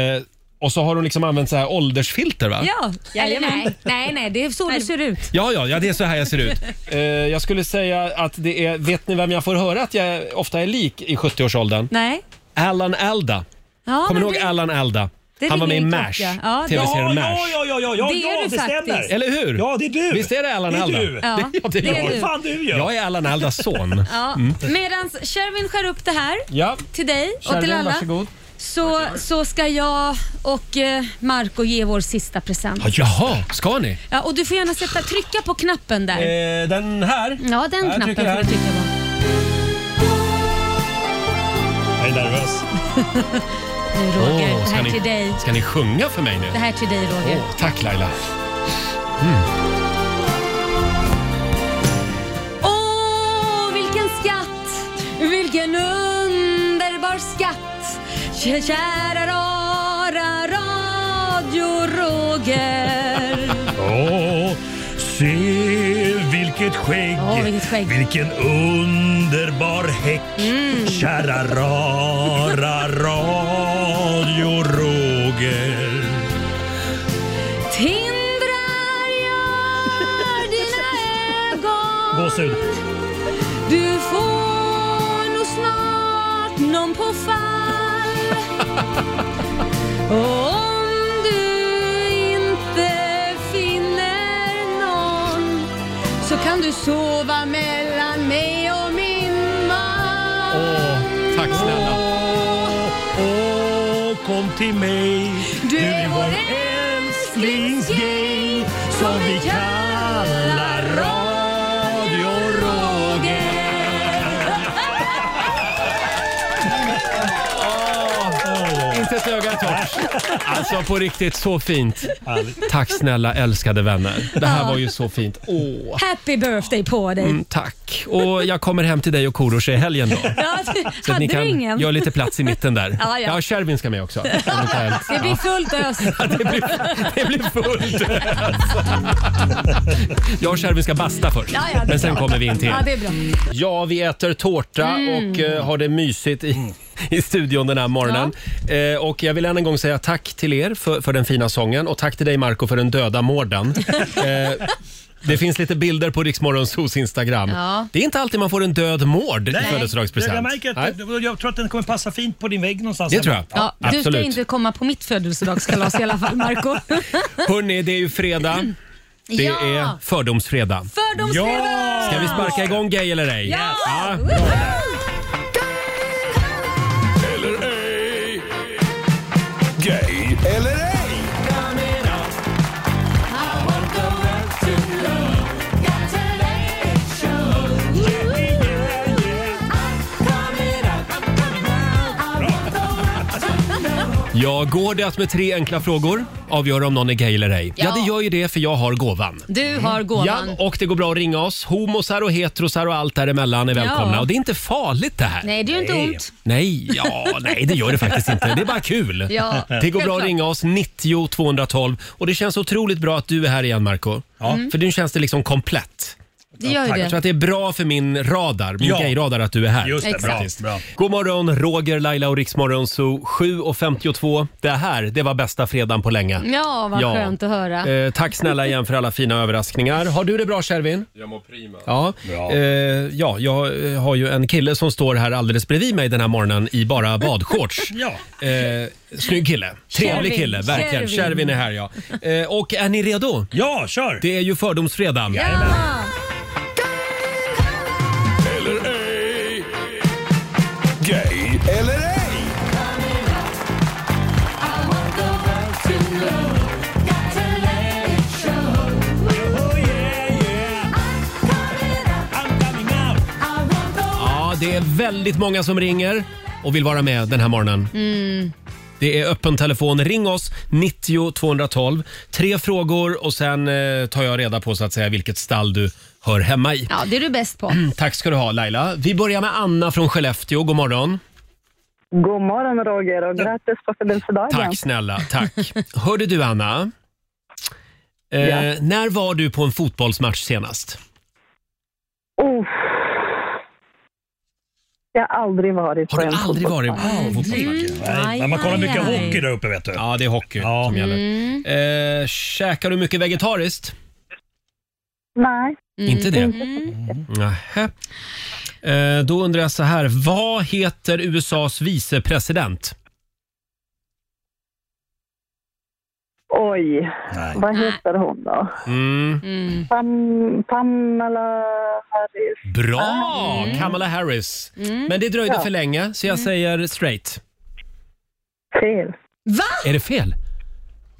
Speaker 1: och så har hon liksom använt så här åldersfilter va?
Speaker 2: Ja, eller nej, nej, nej, det är så det ser ut.
Speaker 1: Ja, ja, ja, det är så här jag ser ut. Eh, jag skulle säga att det är, vet ni vem jag får höra att jag ofta är lik i 70-årsåldern?
Speaker 2: Nej.
Speaker 1: Alan Alda.
Speaker 2: Ja,
Speaker 1: Kommer ni
Speaker 2: men
Speaker 1: ihåg
Speaker 2: det-
Speaker 1: Alan Alda?
Speaker 2: det
Speaker 1: Han var med i
Speaker 2: ringer en
Speaker 1: MASH,
Speaker 2: klocka. Ja, det-
Speaker 1: tv-serien
Speaker 2: Ja,
Speaker 1: MASH.
Speaker 8: Ja, ja, ja, ja,
Speaker 2: Det är
Speaker 8: ja
Speaker 2: du
Speaker 8: det
Speaker 2: faktiskt.
Speaker 8: stämmer.
Speaker 1: Eller hur?
Speaker 8: Ja, det är du.
Speaker 1: Visst är det Alan
Speaker 8: Det är
Speaker 1: Alda?
Speaker 8: du.
Speaker 1: Ja,
Speaker 2: Ja,
Speaker 1: det
Speaker 2: det är
Speaker 1: är
Speaker 2: du.
Speaker 1: jag.
Speaker 2: Fan,
Speaker 8: du gör.
Speaker 1: Jag är Alan Aldas son.
Speaker 2: Ja.
Speaker 1: Mm.
Speaker 2: Medan Sherwin skär upp det här
Speaker 1: Ja.
Speaker 2: till dig och till
Speaker 1: Sherwin,
Speaker 2: alla
Speaker 1: varsågod.
Speaker 2: så, så ska jag och eh, Marco ge vår sista present.
Speaker 1: Ja, Jaha, ska ni?
Speaker 2: Ja, och du får gärna sätta, trycka på knappen där.
Speaker 1: Eh, den här?
Speaker 2: Ja, den
Speaker 1: jag
Speaker 2: knappen
Speaker 1: trycker här.
Speaker 2: får du trycka på.
Speaker 8: Jag är nervös.
Speaker 2: Nu Roger,
Speaker 1: Åh,
Speaker 2: det
Speaker 1: ska,
Speaker 2: här
Speaker 1: ni,
Speaker 2: till dig.
Speaker 1: ska ni sjunga för mig nu?
Speaker 2: Det här till dig Roger.
Speaker 1: Åh, tack Laila. Mm.
Speaker 2: Åh, vilken skatt! Vilken underbar skatt! Kä- Kära rara radio Roger.
Speaker 8: Åh, se vilket skägg,
Speaker 7: Åh, vilket skägg. Mm.
Speaker 8: vilken underbar häck. Kära rara radio Roger.
Speaker 2: Tindrar jag dina ögon
Speaker 8: Gåshud.
Speaker 2: Du får nog snart någon på fall Och om du inte finner någon Så kan du sova mellan mig och min man
Speaker 1: Tack snälla.
Speaker 8: Åh, kom till mig.
Speaker 7: Du är vår
Speaker 8: älsklingsgäng som vi kallar Radio
Speaker 1: Inte ett öga torrt. Alltså på riktigt, så fint. Tack snälla älskade vänner. Det här
Speaker 2: Ja.
Speaker 1: var ju så fint. Åh.
Speaker 2: Happy birthday på dig!
Speaker 1: Mm, tack. Och jag kommer hem till dig och Korosh i helgen då.
Speaker 2: Ja,
Speaker 1: Så att
Speaker 2: hade
Speaker 1: ni
Speaker 2: du
Speaker 1: kan
Speaker 2: ingen?
Speaker 1: göra lite plats i mitten där.
Speaker 2: Ja, ja.
Speaker 1: ja Shervin ska med också. Om ni kan-
Speaker 2: Det blir fullt ös.
Speaker 1: Det blir fullt Jag och Shervin ska basta först,
Speaker 2: Ja, ja, det är
Speaker 1: men sen
Speaker 2: bra.
Speaker 1: kommer vi in till
Speaker 2: Ja,
Speaker 1: er.
Speaker 2: det är bra.
Speaker 1: Ja, vi äter tårta
Speaker 2: Mm.
Speaker 1: och eh, har det mysigt i, i studion den här morgonen. Eh, och jag vill än en gång säga tack till er för, för den fina sången och tack till dig Marco för den döda mården. eh, det finns lite bilder på Riksmorgonsos Instagram.
Speaker 8: Ja.
Speaker 1: Det är inte alltid man får en död mård i
Speaker 8: Jag,
Speaker 1: födelsedagspresent.
Speaker 8: märker
Speaker 1: Nej.
Speaker 8: att, jag tror att den kommer passa fint på din vägg någonstans.
Speaker 1: Det tror jag.
Speaker 2: Ja, du ska
Speaker 1: Absolut.
Speaker 2: inte komma på mitt födelsedagskalas i alla fall, Marco
Speaker 1: Hörni, det är ju fredag. Det
Speaker 2: Ja.
Speaker 1: är fördomsfredag.
Speaker 2: Fördomsfredag! Ja!
Speaker 1: Ska vi sparka igång gay eller ej?
Speaker 2: Ja!
Speaker 3: Eller ej. Gay eller ej.
Speaker 1: Ja, går det att med tre enkla frågor avgöra om någon är gay eller ej? Ja,
Speaker 2: Ja.
Speaker 1: det gör ju det för jag har gåvan.
Speaker 2: Du har gåvan.
Speaker 1: Mm. Ja, och det går bra att ringa oss. Homosar och heterosar och allt däremellan är välkomna.
Speaker 2: Ja.
Speaker 1: Och det är inte farligt det här.
Speaker 2: Nej, det gör inte ont.
Speaker 1: Nej, ja, nej det gör det faktiskt inte. Det är bara kul.
Speaker 2: Ja,
Speaker 1: det går bra
Speaker 2: självklart.
Speaker 1: att ringa oss, 90 212. Och det känns otroligt bra att du är här igen Marco.
Speaker 2: Mm.
Speaker 1: För nu känns det liksom komplett.
Speaker 2: Det gör ju
Speaker 1: Tack.
Speaker 2: det.
Speaker 1: Jag tror att det är bra för min radar, min
Speaker 8: Ja.
Speaker 1: gayradar att du är här.
Speaker 8: Just det, bra,
Speaker 1: Faktiskt.
Speaker 8: bra.
Speaker 1: God morgon, Roger, Laila och Riksmorgon Zoo 7.52. Det här, det var bästa fredagen på länge.
Speaker 2: Ja, vad
Speaker 1: Ja.
Speaker 2: skönt att höra.
Speaker 1: Eh, tack snälla igen för alla fina överraskningar. Har du det bra Shervin?
Speaker 9: Jag mår prima.
Speaker 1: Ja. Eh, ja, jag eh, har ju en kille som står här alldeles bredvid mig den här morgonen i bara badshorts.
Speaker 8: Ja.
Speaker 1: eh, snygg kille. Trevlig
Speaker 8: Shervin.
Speaker 1: kille, verkligen.
Speaker 8: Shervin.
Speaker 1: Shervin är här ja. Eh, och är ni redo?
Speaker 8: Ja, kör!
Speaker 1: Det är ju fördomsfredagen.
Speaker 3: Eller ej. Gay eller ej.
Speaker 1: Ja, det är väldigt många som ringer och vill vara med den här morgonen.
Speaker 2: Mm.
Speaker 1: Det är öppen telefon. Ring oss, 90 212. Tre frågor och sen eh, tar jag reda på så att säga vilket stall du hör hemma i. Mm,
Speaker 2: Ja, det är du bäst på.
Speaker 1: Tack ska du ha Laila. Vi börjar med Anna från Skellefteå. God morgon.
Speaker 12: God morgon Roger och grattis på födelsedagen.
Speaker 1: Tack snälla, tack. Hörde du Anna? Eh,
Speaker 12: Ja.
Speaker 1: När var du på en fotbollsmatch senast?
Speaker 12: Uff. Jag har aldrig varit
Speaker 1: Har
Speaker 12: på
Speaker 1: du
Speaker 12: en
Speaker 1: aldrig varit på en fotbollsmatch?
Speaker 8: Nej, men man kollar aj, mycket aj. hockey
Speaker 1: där uppe vet du. Ja, det är hockey som gäller. Eh, käkar du mycket vegetariskt?
Speaker 12: Nej.
Speaker 1: Inte det?
Speaker 12: Mm.
Speaker 1: Nähä. Eh, då undrar jag så här, vad heter USAs vicepresident?
Speaker 12: Oj, vad heter hon då?
Speaker 1: Mm.
Speaker 12: Pam, Pamela Harris.
Speaker 1: Bra! Kamala Harris.
Speaker 12: Ah, Mm.
Speaker 1: Men det dröjde
Speaker 12: Ja. Mm.
Speaker 1: för länge, så jag säger straight.
Speaker 12: Fel.
Speaker 2: Va?
Speaker 1: Är det fel?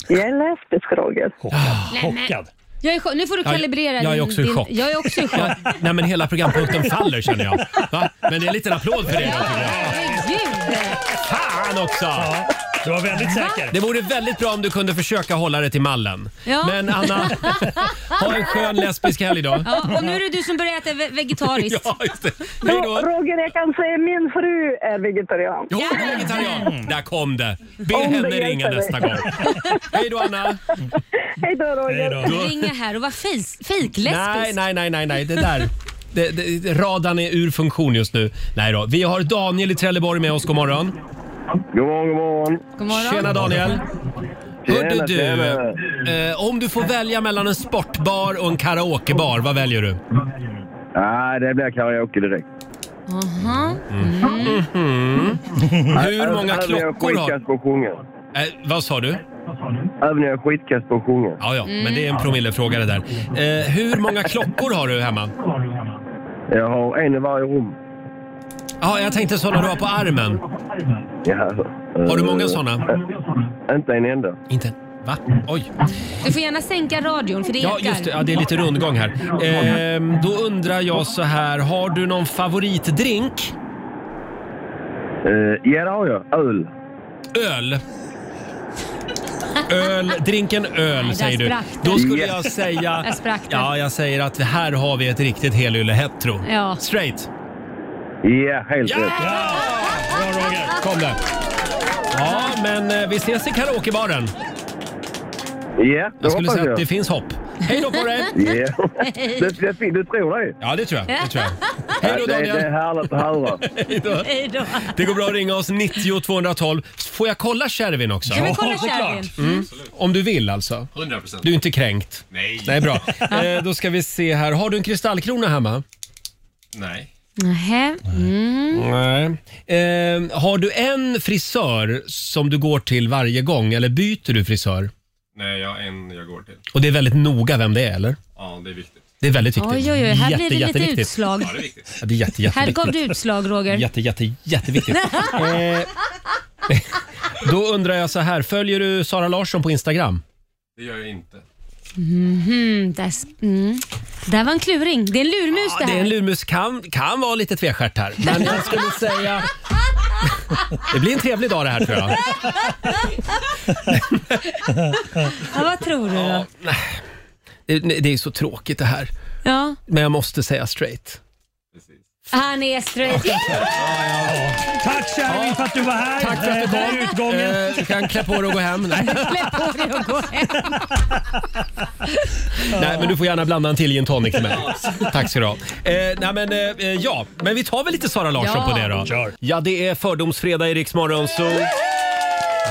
Speaker 12: Jag är lesbisk Roger.
Speaker 1: Chockad.
Speaker 2: Jag är, i chock. nu får du
Speaker 1: Jag-
Speaker 2: kalibrera
Speaker 1: jag är
Speaker 2: din,
Speaker 1: också i
Speaker 2: din,
Speaker 1: chock.
Speaker 2: Jag är också i chock.
Speaker 1: Ja, nej men hela programpunkten faller känner jag. Va? Men det är en liten applåd för det. då, tycker jag.
Speaker 2: Herregud!
Speaker 1: Fan också! du var väldigt
Speaker 2: säker.
Speaker 1: Det vore väldigt bra om du kunde försöka hålla det till mallen.
Speaker 2: Ja.
Speaker 1: Men Anna, ha en skön lesbisk helg idag.
Speaker 2: Ja, och nu är det du som börjar äta ve- vegetariskt.
Speaker 1: Ja, just det. Hej då!
Speaker 12: Ro- Roger, jag kan säga min fru är vegetarian.
Speaker 1: Jo, hon är vegetarian. Mm, Där kom det. Be
Speaker 12: Om det
Speaker 1: henne
Speaker 12: hjälper
Speaker 1: ringa
Speaker 12: dig.
Speaker 1: nästa gång. Hej då Anna!
Speaker 12: Hej då Roger.
Speaker 2: Ringa här och vara fejs- fejklesbisk.
Speaker 1: Nej, nej, nej, nej, nej. Det där. Det, det, radan är ur funktion just nu. Nej då. Vi har Daniel i Trelleborg med oss. God morgon.
Speaker 13: God morgon, god morgon.
Speaker 2: God morgon.
Speaker 1: Tjena Daniel. Hörde
Speaker 13: Tjena,
Speaker 1: du, eh, om du får välja mellan en sportbar och en karaokebar, vad väljer du?
Speaker 13: Nej, det blir karaoke direkt.
Speaker 2: Aha.
Speaker 1: Hur många
Speaker 13: Även jag är
Speaker 1: klockor har
Speaker 13: skitkast på att sjunga.
Speaker 1: eh, Vad sa du?
Speaker 13: Även jag är skitkast på att sjunga.
Speaker 1: Ja, ja,
Speaker 12: Mm.
Speaker 1: men det är en promillefråga det där. Eh, hur många klockor har du hemma?
Speaker 13: Jag har en i varje rum.
Speaker 1: Ja, jag tänkte sådana du har på armen.
Speaker 13: Ja,
Speaker 1: Har du många
Speaker 13: eh,
Speaker 1: sådana?
Speaker 13: eh, Inte en enda.
Speaker 1: Inte? Va? Oj.
Speaker 2: Du får gärna sänka radion för det
Speaker 1: Ja,
Speaker 2: ekar.
Speaker 1: just det. Ja, det är lite rundgång här. Ehm, då undrar jag så här, har du någon favoritdrink?
Speaker 13: Eh, ja, det har jag. Öl.
Speaker 1: Öl. Öl, drinken öl
Speaker 13: där
Speaker 1: säger du.
Speaker 13: sprack det.
Speaker 1: Då skulle jag
Speaker 13: Yes.
Speaker 1: säga...
Speaker 2: Där sprack det.
Speaker 1: Ja, jag säger att här har vi ett riktigt helyllehetero.
Speaker 2: Ja.
Speaker 1: Straight.
Speaker 13: Ja, helt rätt.
Speaker 1: Bra Roger. Kom där. Ja, men eh, vi ses i karaokebaren.
Speaker 13: Ja, det
Speaker 1: Jag skulle
Speaker 13: hoppas
Speaker 1: säga att
Speaker 13: jag.
Speaker 1: det finns hopp. Hej då på dig!
Speaker 13: Ja. Det, det, fin- du tror det?
Speaker 1: Ja, det tror jag. Det, tror jag. Hej då,
Speaker 13: det,
Speaker 1: Daniel.
Speaker 13: det är härligt att höra.
Speaker 1: Hej då.
Speaker 2: Hej då.
Speaker 1: Det går bra att ringa oss 90 212. Får jag kolla Kärvin också?
Speaker 2: Ja, men kolla Ja, såklart. Kärvin.
Speaker 1: Mm. Om du vill alltså?
Speaker 9: 100%.
Speaker 1: Du är inte kränkt?
Speaker 9: Nej.
Speaker 1: Nej, bra. eh, då ska vi se här. Har du en kristallkrona hemma?
Speaker 9: Nej.
Speaker 2: Nähä. Mm.
Speaker 1: Nej. Eh, har du en frisör som du går till varje gång eller byter du frisör?
Speaker 9: Nej, jag har en jag går till.
Speaker 1: Och det är väldigt noga vem det är eller?
Speaker 9: Ja, det är viktigt.
Speaker 1: Det är väldigt viktigt.
Speaker 2: Oj, oj, oj. Här blir det lite
Speaker 1: jätteviktigt.
Speaker 2: utslag. Ja,
Speaker 9: det är viktigt.
Speaker 1: Ja, det är jätte,
Speaker 2: Här
Speaker 1: jätteviktigt.
Speaker 2: gav du utslag Roger.
Speaker 1: Jätte, jätte, jätteviktigt. eh, då undrar jag så här, följer du Sara Larsson på Instagram?
Speaker 9: Det gör jag inte.
Speaker 2: Mhm, där, s- mm. där var en kluring. Det är en lurmus det
Speaker 1: Ja, det
Speaker 2: här.
Speaker 1: är en lurmus, kan, kan vara lite tvestjärt här. Men jag skulle säga... Det blir en trevlig dag det här tror jag.
Speaker 2: ja, vad tror du då?
Speaker 1: Det, det är så tråkigt det här.
Speaker 2: Ja.
Speaker 1: Men jag måste säga straight.
Speaker 2: Han är straight.
Speaker 8: Tack Kärring för att du var här.
Speaker 1: Tack för att du
Speaker 8: Eh, där är
Speaker 1: kom.
Speaker 8: utgången.
Speaker 1: Eh, kan klä på dig och gå hem. Nej.
Speaker 2: Klä på dig och gå hem.
Speaker 1: nej, men du får gärna blanda en till gin tonic till mig. Tack ska du ha. Eh, nej, men, eh, eh, ja, men vi tar väl lite Sara Larsson
Speaker 3: Ja.
Speaker 1: på det då.
Speaker 3: Kör.
Speaker 1: Ja, det är fördomsfredag i Rix Morgon, så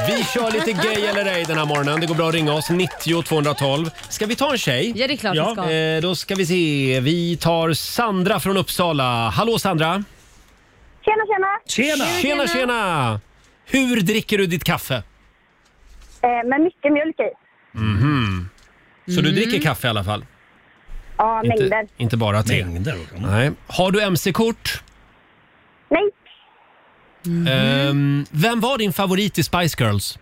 Speaker 1: Vi kör lite gay eller ej den här morgonen. Det går bra att ringa oss, 90 212. Ska vi ta en tjej?
Speaker 2: Ja, det är klart vi ska.
Speaker 1: Eh, då ska vi se. Vi tar Sandra från Uppsala. Hallå Sandra!
Speaker 14: Tjena, tjena!
Speaker 1: Tjena, tjena! tjena. Hur dricker du ditt kaffe?
Speaker 14: Eh, med mycket mjölk i.
Speaker 1: Mhm. Så du dricker kaffe i alla fall?
Speaker 14: Ja, mängder.
Speaker 1: Inte, inte bara te. Nej. Har du mc-kort?
Speaker 14: Nej.
Speaker 1: Ehm, vem var din favorit i Spice Girls?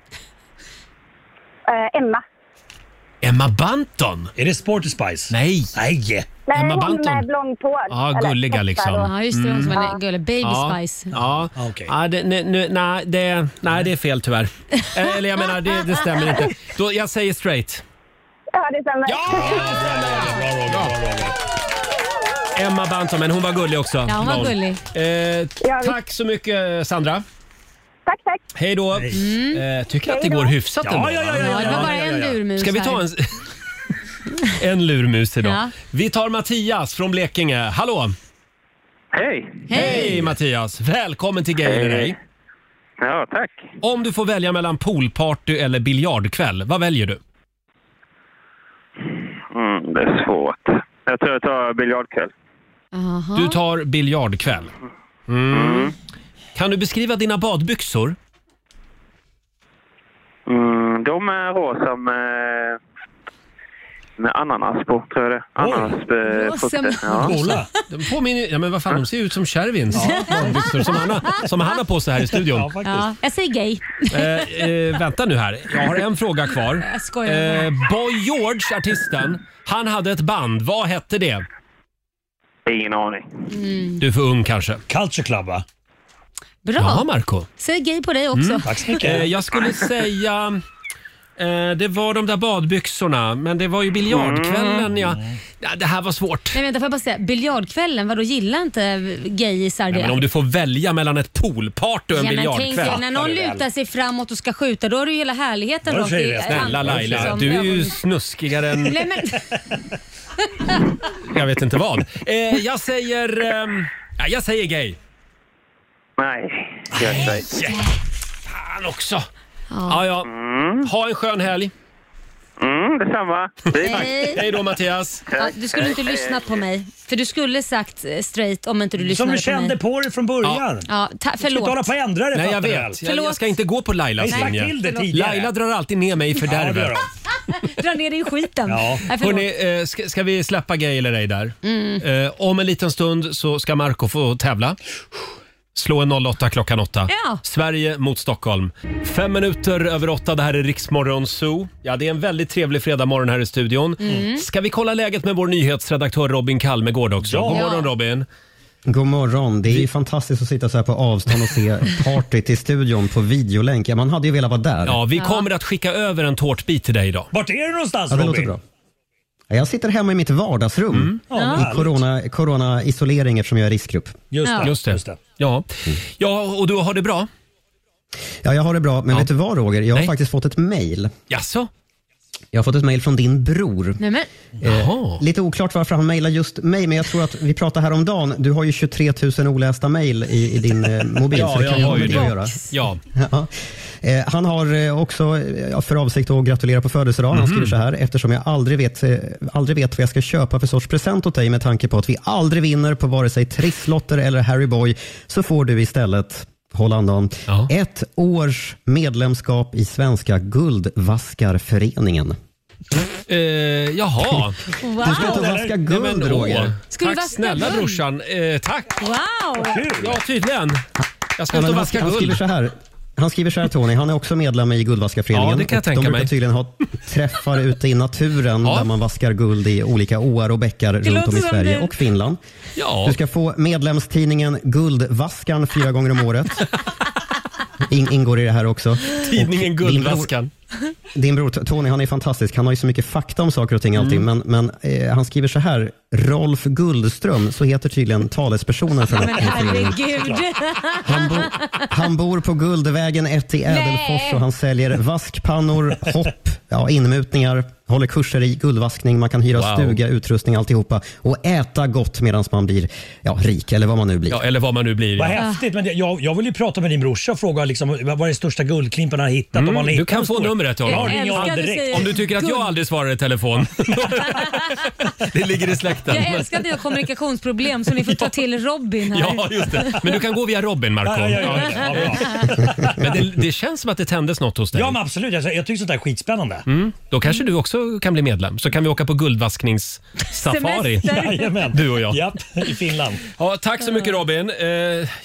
Speaker 14: Eh, Emma.
Speaker 1: Emma Banton? Är det Sporty Spice? Nej.
Speaker 8: Nej.
Speaker 14: Nej,
Speaker 1: Emma
Speaker 14: hon
Speaker 1: Banton?
Speaker 14: med blond på.
Speaker 1: Ja, gulliga liksom.
Speaker 2: Ja, just det. Hon som
Speaker 1: Mm.
Speaker 2: är gullig. Baby
Speaker 1: ja,
Speaker 2: Spice.
Speaker 1: Ja,
Speaker 8: Ah,
Speaker 1: ja det, nu, nu, nej, det, nej, det är fel tyvärr. Eh, Eller jag menar, det, det stämmer inte. Då, jag säger straight.
Speaker 14: Ja, det stämmer.
Speaker 1: Emma Banton, men hon var gullig också.
Speaker 14: Ja, hon var
Speaker 1: hon. Eh, tack så mycket Sandra.
Speaker 14: Tack, tack.
Speaker 1: Hej då. Eh, tycker att det
Speaker 2: Hej då.
Speaker 1: går hyfsat
Speaker 2: Ja,
Speaker 1: ändå.
Speaker 2: ja, ja, ja, Ja, det var ja, bara ja, en ja, ja. lurmus
Speaker 1: Ska vi ta
Speaker 2: här.
Speaker 1: en... en lurmus idag.
Speaker 2: Ja.
Speaker 1: Vi tar Mattias från Blekinge. Hallå!
Speaker 15: Hej!
Speaker 1: Hej Mattias! Välkommen till Gay eller
Speaker 15: Hej.
Speaker 1: ej.
Speaker 15: Ja, tack.
Speaker 1: Om du får välja mellan poolparty eller biljardkväll, vad väljer du?
Speaker 15: Mm, det är svårt. Jag tror jag tar biljardkväll.
Speaker 1: Du tar biljardkväll. Mm. Kan du beskriva dina badbyxor?
Speaker 15: Mm, de är rosa med, med ananas på, tror jag det eh, Ananasfrukter.
Speaker 1: Kolla! De påminner, ja, men vad fan, de ser ju ut som Kärvins badbyxor som han, har, som han har på sig här i studion.
Speaker 2: Ja, jag säger gay.
Speaker 1: Eh, eh, vänta nu här, jag har en fråga kvar.
Speaker 2: Jag
Speaker 1: Eh,
Speaker 2: skojar
Speaker 1: Boy George, artisten, han hade ett band. Vad hette det?
Speaker 15: Ingen aning.
Speaker 2: Mm.
Speaker 1: Du är för ung kanske.
Speaker 8: Culture Club va?
Speaker 2: Bra.
Speaker 1: Ja, Marco.
Speaker 2: Säg gay på dig också.
Speaker 1: Eh, jag skulle säga... Eh, det var de där badbyxorna, men det var ju biljardkvällen. Ja.
Speaker 2: Mm.
Speaker 1: Ja, det här var svårt.
Speaker 2: Nej, vänta, får jag bara säga, biljardkvällen, vadå gillar inte gayisar
Speaker 1: Nej,
Speaker 2: det?
Speaker 1: men om du får välja mellan ett poolparty och en
Speaker 2: Ja, men tänk dig,
Speaker 1: biljardkväll.
Speaker 2: när någon lutar sig framåt och ska skjuta, då är det ju hela härligheten rakt i-
Speaker 1: Snälla
Speaker 2: hand-
Speaker 1: Laila,
Speaker 2: liksom.
Speaker 1: du är ju snuskigare än
Speaker 2: Nej, men,
Speaker 1: jag vet inte vad. Eh, jag säger... ehm, ja, jag säger gay.
Speaker 15: Nej, jag säger...
Speaker 1: Fan också! Ja, ja. Ha en skön helg.
Speaker 15: Mm, detsamma.
Speaker 2: Hej.
Speaker 1: Hej då Mattias.
Speaker 2: ja, du skulle inte lyssnat på mig, för du skulle sagt eh, straight om inte du lyssnade
Speaker 8: Som
Speaker 2: på
Speaker 8: du
Speaker 2: mig.
Speaker 8: kände på dig från början.
Speaker 2: Ja, ta,
Speaker 8: ska inte
Speaker 2: förlåt.
Speaker 8: hålla på och ändra det,
Speaker 1: Nej, jag
Speaker 8: fattar du
Speaker 1: vet.
Speaker 8: väl?
Speaker 1: Jag, jag ska inte gå på Lailas
Speaker 8: Nej, säg till det
Speaker 1: linje.
Speaker 8: tidigare.
Speaker 1: Laila drar alltid ner mig i fördärvet.
Speaker 2: Dra ner dig i skiten. Nej, förlåt.
Speaker 1: Hörrni, eh, ska, ska vi släppa gay eller ej där?
Speaker 2: Mm.
Speaker 1: Eh, om en liten stund så ska Marco få tävla. Slå en 08 klockan 8.
Speaker 2: Ja.
Speaker 1: Sverige mot Stockholm. Fem minuter över åtta, det här är Riksmorgon Zoo. Ja, det är en väldigt trevlig fredagmorgon här i studion.
Speaker 4: Mm.
Speaker 1: Ska vi kolla läget med vår nyhetsredaktör Robin Kalmegård också? God morgon Robin.
Speaker 4: God morgon. Det är ju fantastiskt att sitta så här på avstånd och se partyt i studion på videolänk. Ja, man hade ju velat vara där.
Speaker 1: Ja, vi kommer att skicka över en tårtbit till dig idag.
Speaker 8: Vart är du någonstans
Speaker 4: Ja, det
Speaker 8: Robin?
Speaker 4: låter bra. Ja, Jag sitter hemma i mitt vardagsrum
Speaker 1: Mm. Ja.
Speaker 4: i corona, corona-isolering eftersom jag är riskgrupp.
Speaker 1: Just det, Ja. just det. just Ja.
Speaker 4: Mm.
Speaker 1: ja, och du har det bra?
Speaker 4: Ja, jag har det bra, men vet du vad Roger? Jag har faktiskt fått ett mejl.
Speaker 1: Jaså?
Speaker 4: Jag har fått ett mejl från din bror.
Speaker 2: Nej, men.
Speaker 4: Eh, lite oklart varför han mejlar just mig, men jag tror att vi pratade häromdagen. Du har ju 23 000 olästa mejl i, i din eh, mobil, så det kan ju ha med det att göra.
Speaker 1: Ja.
Speaker 4: Ja. Eh, Han har eh, också eh, för avsikt att gratulera på födelsedagen. Han
Speaker 1: Mhm.
Speaker 4: skriver så här, eftersom jag aldrig vet, eh, aldrig vet vad jag ska köpa för sorts present åt dig med tanke på att vi aldrig vinner på vare sig trisslotter eller Harry Boy, så får du istället Håll andan. Ett års medlemskap i Svenska Guldvaskarföreningen.
Speaker 1: Eh, jaha.
Speaker 2: Wow.
Speaker 4: Du ska ta och vaska guld,
Speaker 1: Nej, men, åh.
Speaker 4: Roger.
Speaker 2: Ska du
Speaker 1: Tack
Speaker 2: vaska
Speaker 1: snälla
Speaker 2: guld?
Speaker 1: brorsan. Eh, tack.
Speaker 2: Wow!
Speaker 1: Ja, tydligen. Jag ska
Speaker 4: Ja,
Speaker 1: ut och
Speaker 4: men han,
Speaker 1: vaska
Speaker 4: han skriver
Speaker 1: guld.
Speaker 4: så här. Han skriver så här Tony, han är också medlem i Guldvaskarföreningen.
Speaker 1: Ja, det kan jag
Speaker 4: Och
Speaker 1: tänka
Speaker 4: de brukar
Speaker 1: mig.
Speaker 4: tydligen ha träffar ute i naturen där man vaskar guld i olika åar och bäckar runt
Speaker 3: låter
Speaker 4: om i
Speaker 3: som
Speaker 4: Sverige
Speaker 3: du.
Speaker 4: och Finland.
Speaker 3: Ja.
Speaker 4: Du ska få medlemstidningen Guldvaskan fyra gånger om året. In, ingår i det här också.
Speaker 1: Tidningen
Speaker 4: Och din bror-
Speaker 1: Guldvaskan.
Speaker 4: din bror Tony, han är fantastisk. Han har ju så mycket fakta om saker och ting alltid.
Speaker 1: Mm.
Speaker 4: Men, men eh, han skriver så här. Rolf Guldström, så heter tydligen talespersonen för
Speaker 2: Ja,
Speaker 4: den
Speaker 2: men
Speaker 4: här föreningen.
Speaker 2: herregud.
Speaker 4: Han, bo, han bor på Guldvägen 1 i Ädelfors och han säljer vaskpannor, hopp, ja, inmutningar, håller kurser i guldvaskning, man kan hyra
Speaker 1: Wow.
Speaker 4: stuga, utrustning, alltihopa och äta gott medan man blir ja, rik eller vad man nu blir.
Speaker 1: Ja, eller vad man nu blir.
Speaker 8: Vad
Speaker 1: Ja.
Speaker 8: häftigt, men det- jag, jag vill ju prata med din brorsa och fråga liksom, vad vad är den största guldklimpen han har hittat? om
Speaker 1: Mm,
Speaker 8: han
Speaker 1: du
Speaker 8: har hittat
Speaker 1: kan
Speaker 8: en
Speaker 1: få
Speaker 8: stor-
Speaker 1: numret av honom.
Speaker 8: Ja, ringer
Speaker 1: Jag
Speaker 8: honom
Speaker 1: älskar att du
Speaker 8: direkt.
Speaker 1: Om du tycker att jag aldrig svarar i telefon. det ligger i släkten.
Speaker 2: Jag älskar att ni har kommunikationsproblem så ni får ta till Robin här.
Speaker 1: Ja, just det. Men du kan gå via Robin, Marco.
Speaker 8: Ja, ja, ja, ja, ja,
Speaker 1: Men det, det känns som att det tändes något hos dig.
Speaker 8: Ja men absolut, jag, jag tycker sånt där är skitspännande.
Speaker 1: Mm. Då kanske du också också kan bli medlem så kan vi åka på guldvaskningssafari.
Speaker 2: Semester. Jajamän.
Speaker 1: Du och jag.
Speaker 8: Japp, i Finland.
Speaker 1: Ja, tack så mycket Robin. Eh,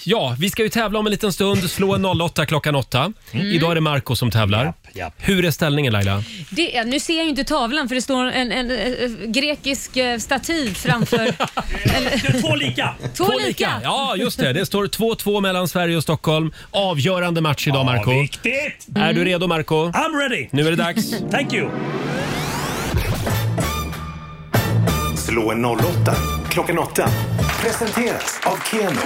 Speaker 1: ja, vi ska ju tävla om en liten stund. Slå en 08 klockan 8.
Speaker 2: Mm.
Speaker 1: Idag är det Marco som tävlar. Hur är ställningen Laila?
Speaker 2: Det är, nu ser jag ju inte tavlan för det står en, en, eh, grekisk eh, staty framför. Eller,
Speaker 8: två lika!
Speaker 2: Två lika!
Speaker 1: Ja, just det. Det står 2-2 mellan Sverige och Stockholm. Avgörande match idag, Marco.
Speaker 8: viktigt!
Speaker 1: Är du redo, Marco?
Speaker 8: I'm ready!
Speaker 1: Nu är det dags.
Speaker 8: Thank you!
Speaker 3: Slå en 08 klockan 8. Presenteras av Keno.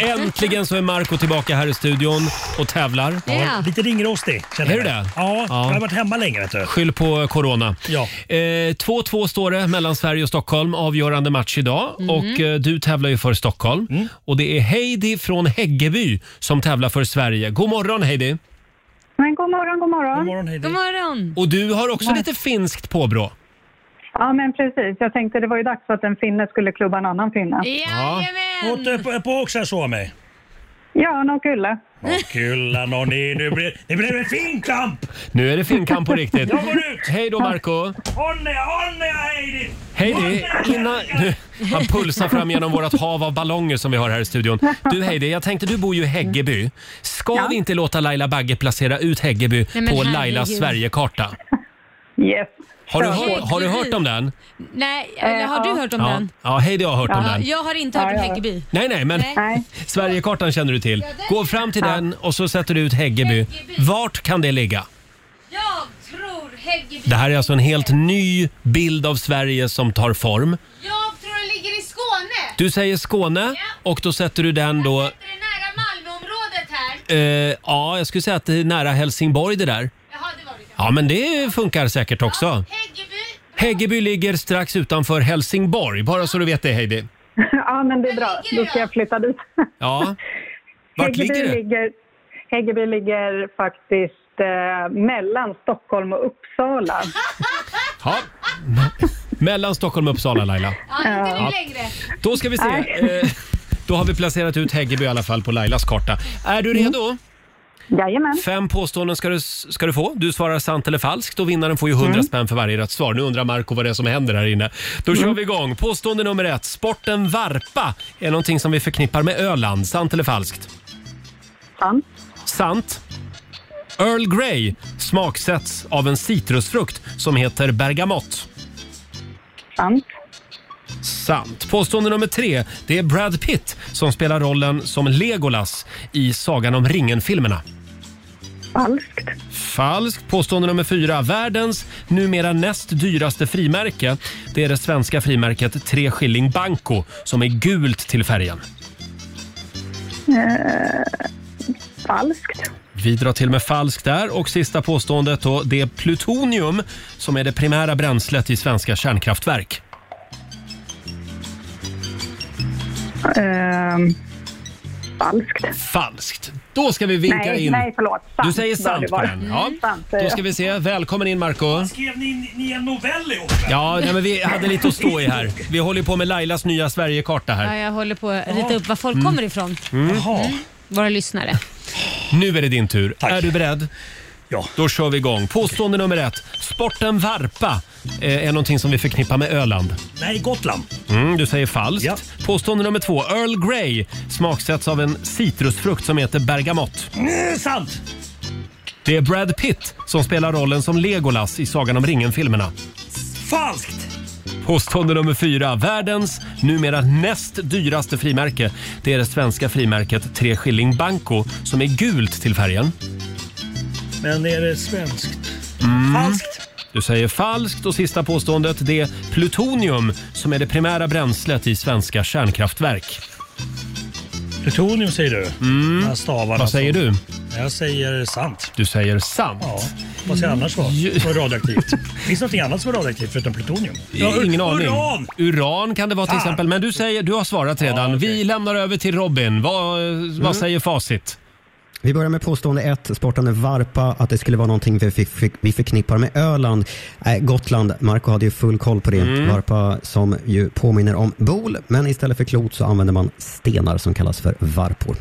Speaker 1: Äntligen så är Marco tillbaka här i studion och tävlar.
Speaker 8: Ja. lite ringrostig. känner
Speaker 1: Är du
Speaker 8: jag.
Speaker 1: det?
Speaker 8: Ja, jag har
Speaker 1: Ja.
Speaker 8: varit hemma länge vet du.
Speaker 1: Skyll på corona.
Speaker 8: Ja.
Speaker 1: Eh, 2-2 står det mellan Sverige och Stockholm. Avgörande match idag.
Speaker 8: Mhm. Mm.
Speaker 1: Och eh, Du tävlar ju för Stockholm. Och Det är Heidi från Häggeby som tävlar för Sverige. God morgon Heidi!
Speaker 6: Men god morgon, god morgon. God
Speaker 8: morgon, Heidi.
Speaker 2: God morgon.
Speaker 1: Och Du har också
Speaker 6: Ja.
Speaker 1: lite finskt påbrå.
Speaker 6: Ja, men precis. Jag tänkte det var ju dags för att en finne skulle klubba en annan finne.
Speaker 8: Åt eh, på, på också så mig.
Speaker 6: Ja, någon kulle.
Speaker 8: Kulla nån i, nu blir det blev en finkamp!
Speaker 1: Nu är det finkamp på riktigt.
Speaker 8: Jag går ut!
Speaker 1: Hej då Marco
Speaker 8: Onne, onne Heidi!
Speaker 1: Heidi, innan... Nu, han pulsar fram genom vårt hav av ballonger som vi har här i studion. Du Heidi, jag tänkte du bor ju i Häggeby. Ska vi inte låta Laila Bagge placera ut Häggeby
Speaker 2: Nej, men
Speaker 1: på Lailas
Speaker 2: herregud.
Speaker 1: Sverigekarta?
Speaker 6: Yes.
Speaker 1: Har du,
Speaker 2: Ja.
Speaker 1: hört, har du hört om den?
Speaker 2: Nej, eller har du hört om
Speaker 1: ja.
Speaker 2: den?
Speaker 1: Ja, Heidi har hört om
Speaker 2: Ja,
Speaker 1: den.
Speaker 2: Jag har inte hört om Häggeby.
Speaker 1: Nej, nej, men
Speaker 2: Nej.
Speaker 1: Sverigekartan känner du till. Gå fram till den och så sätter du ut Häggeby. Vart kan det ligga?
Speaker 2: Jag tror Häggeby...
Speaker 1: Det här är alltså en helt ny bild av Sverige som tar form.
Speaker 2: Jag tror det ligger i Skåne.
Speaker 1: Du säger Skåne och då sätter du den då...
Speaker 2: Nära Malmöområdet här.
Speaker 1: Eh, ja, jag skulle säga att det är nära Helsingborg det där. Ja, men det funkar säkert också. Häggeby ligger strax utanför Helsingborg, bara så du vet det Heidi.
Speaker 6: ja, men det är bra. Då ska jag flytta dit.
Speaker 1: Ja. Vart
Speaker 6: Häggeby
Speaker 1: ligger det?
Speaker 6: Ligger, Häggeby ligger faktiskt eh, mellan Stockholm och Uppsala.
Speaker 1: Ja. Mellan Stockholm och Uppsala Laila. Ja.
Speaker 2: längre.
Speaker 1: Då ska vi se.
Speaker 6: Nej.
Speaker 1: Eh, då har vi placerat ut Häggeby i alla fall på Lailas karta. Är du redo?
Speaker 6: Jajamän.
Speaker 1: Fem påståenden ska du, ska du få. Du svarar sant eller falskt och vinnaren får ju 100 spänn för varje rätt svar. Nu undrar Marco vad det är som händer här inne. Då kör vi igång. Påstående nummer ett. Sporten varpa är någonting som vi förknippar med Öland. Sant eller falskt?
Speaker 6: Sant.
Speaker 1: Sant. Earl Grey smaksätts av en citrusfrukt som heter bergamott.
Speaker 6: Sant.
Speaker 1: Sant. Påstående nummer tre. Det är Brad Pitt som spelar rollen som Legolas i Sagan om ringen-filmerna.
Speaker 6: Falskt.
Speaker 1: Falskt. Påstående nummer fyra. Världens numera näst dyraste frimärke. Det är det svenska frimärket Tre Skilling Banco som är gult till färgen.
Speaker 6: Eh, falskt.
Speaker 1: Vi drar till med falskt där. Och sista påståendet då. Det är plutonium som är det primära bränslet i svenska kärnkraftverk.
Speaker 6: Eh, falskt.
Speaker 1: Falskt. Då ska vi vinka
Speaker 6: nej,
Speaker 1: in.
Speaker 6: Nej, förlåt. Sant
Speaker 1: Du säger
Speaker 6: bör
Speaker 1: sant
Speaker 6: det
Speaker 1: på
Speaker 6: vara.
Speaker 1: den. Ja.
Speaker 6: Sant säger
Speaker 1: Då
Speaker 6: jag.
Speaker 1: ska vi se. Välkommen in Marco.
Speaker 8: Skrev ni, ni en novell ihop?
Speaker 1: Ja, nej, men vi hade lite att stå i här. Vi håller ju på med Lailas nya Sverigekarta
Speaker 2: Ja,
Speaker 1: här.
Speaker 2: jag håller på att rita upp var folk
Speaker 1: Mm.
Speaker 2: kommer ifrån.
Speaker 1: Mm.
Speaker 2: Mm. Våra lyssnare.
Speaker 1: Nu är det din tur. Är du beredd? Ja. Då kör vi igång. Påstående nummer ett. Sporten varpa eh, är någonting som vi förknippar med Öland.
Speaker 8: Nej, Gotland.
Speaker 1: Mm, du säger falskt. Påstående nummer två. Earl Grey smaksätts av en citrusfrukt som heter bergamott.
Speaker 8: Mm, sant!
Speaker 1: Det är Brad Pitt som spelar rollen som Legolas i Sagan om ringen-filmerna.
Speaker 8: Falskt!
Speaker 1: Påstående nummer fyra. Världens numera näst dyraste frimärke. Det är det svenska frimärket Tre Skilling Banco som är gult till färgen.
Speaker 8: Men är det svenskt?
Speaker 1: Mm.
Speaker 8: Falskt.
Speaker 1: Du säger falskt och sista påståendet det är plutonium som är det primära bränslet i svenska kärnkraftverk.
Speaker 8: Plutonium säger du? Mm. Stavarna
Speaker 1: Vad säger du?
Speaker 8: Jag säger sant.
Speaker 1: Du säger sant.
Speaker 8: Ja, vad ska det annars vara? Som är radioaktivt. Finns det något annat som är radioaktivt förutom plutonium? Ja,
Speaker 1: Ingen
Speaker 8: uran.
Speaker 1: aning. Uran kan det vara till
Speaker 8: Fan.
Speaker 1: exempel. Men du, säger, du har svarat redan. Vi lämnar över till Robin. Vad, vad säger facit?
Speaker 4: Vi börjar med påstående ett, sportande varpa, att det skulle vara någonting vi, fick, fick, vi förknippar med Öland. Nej, Gotland, Marco hade ju full koll på det.
Speaker 1: Mm.
Speaker 4: Varpa som ju påminner om bol, men istället för klot så använder man stenar som kallas för varpor.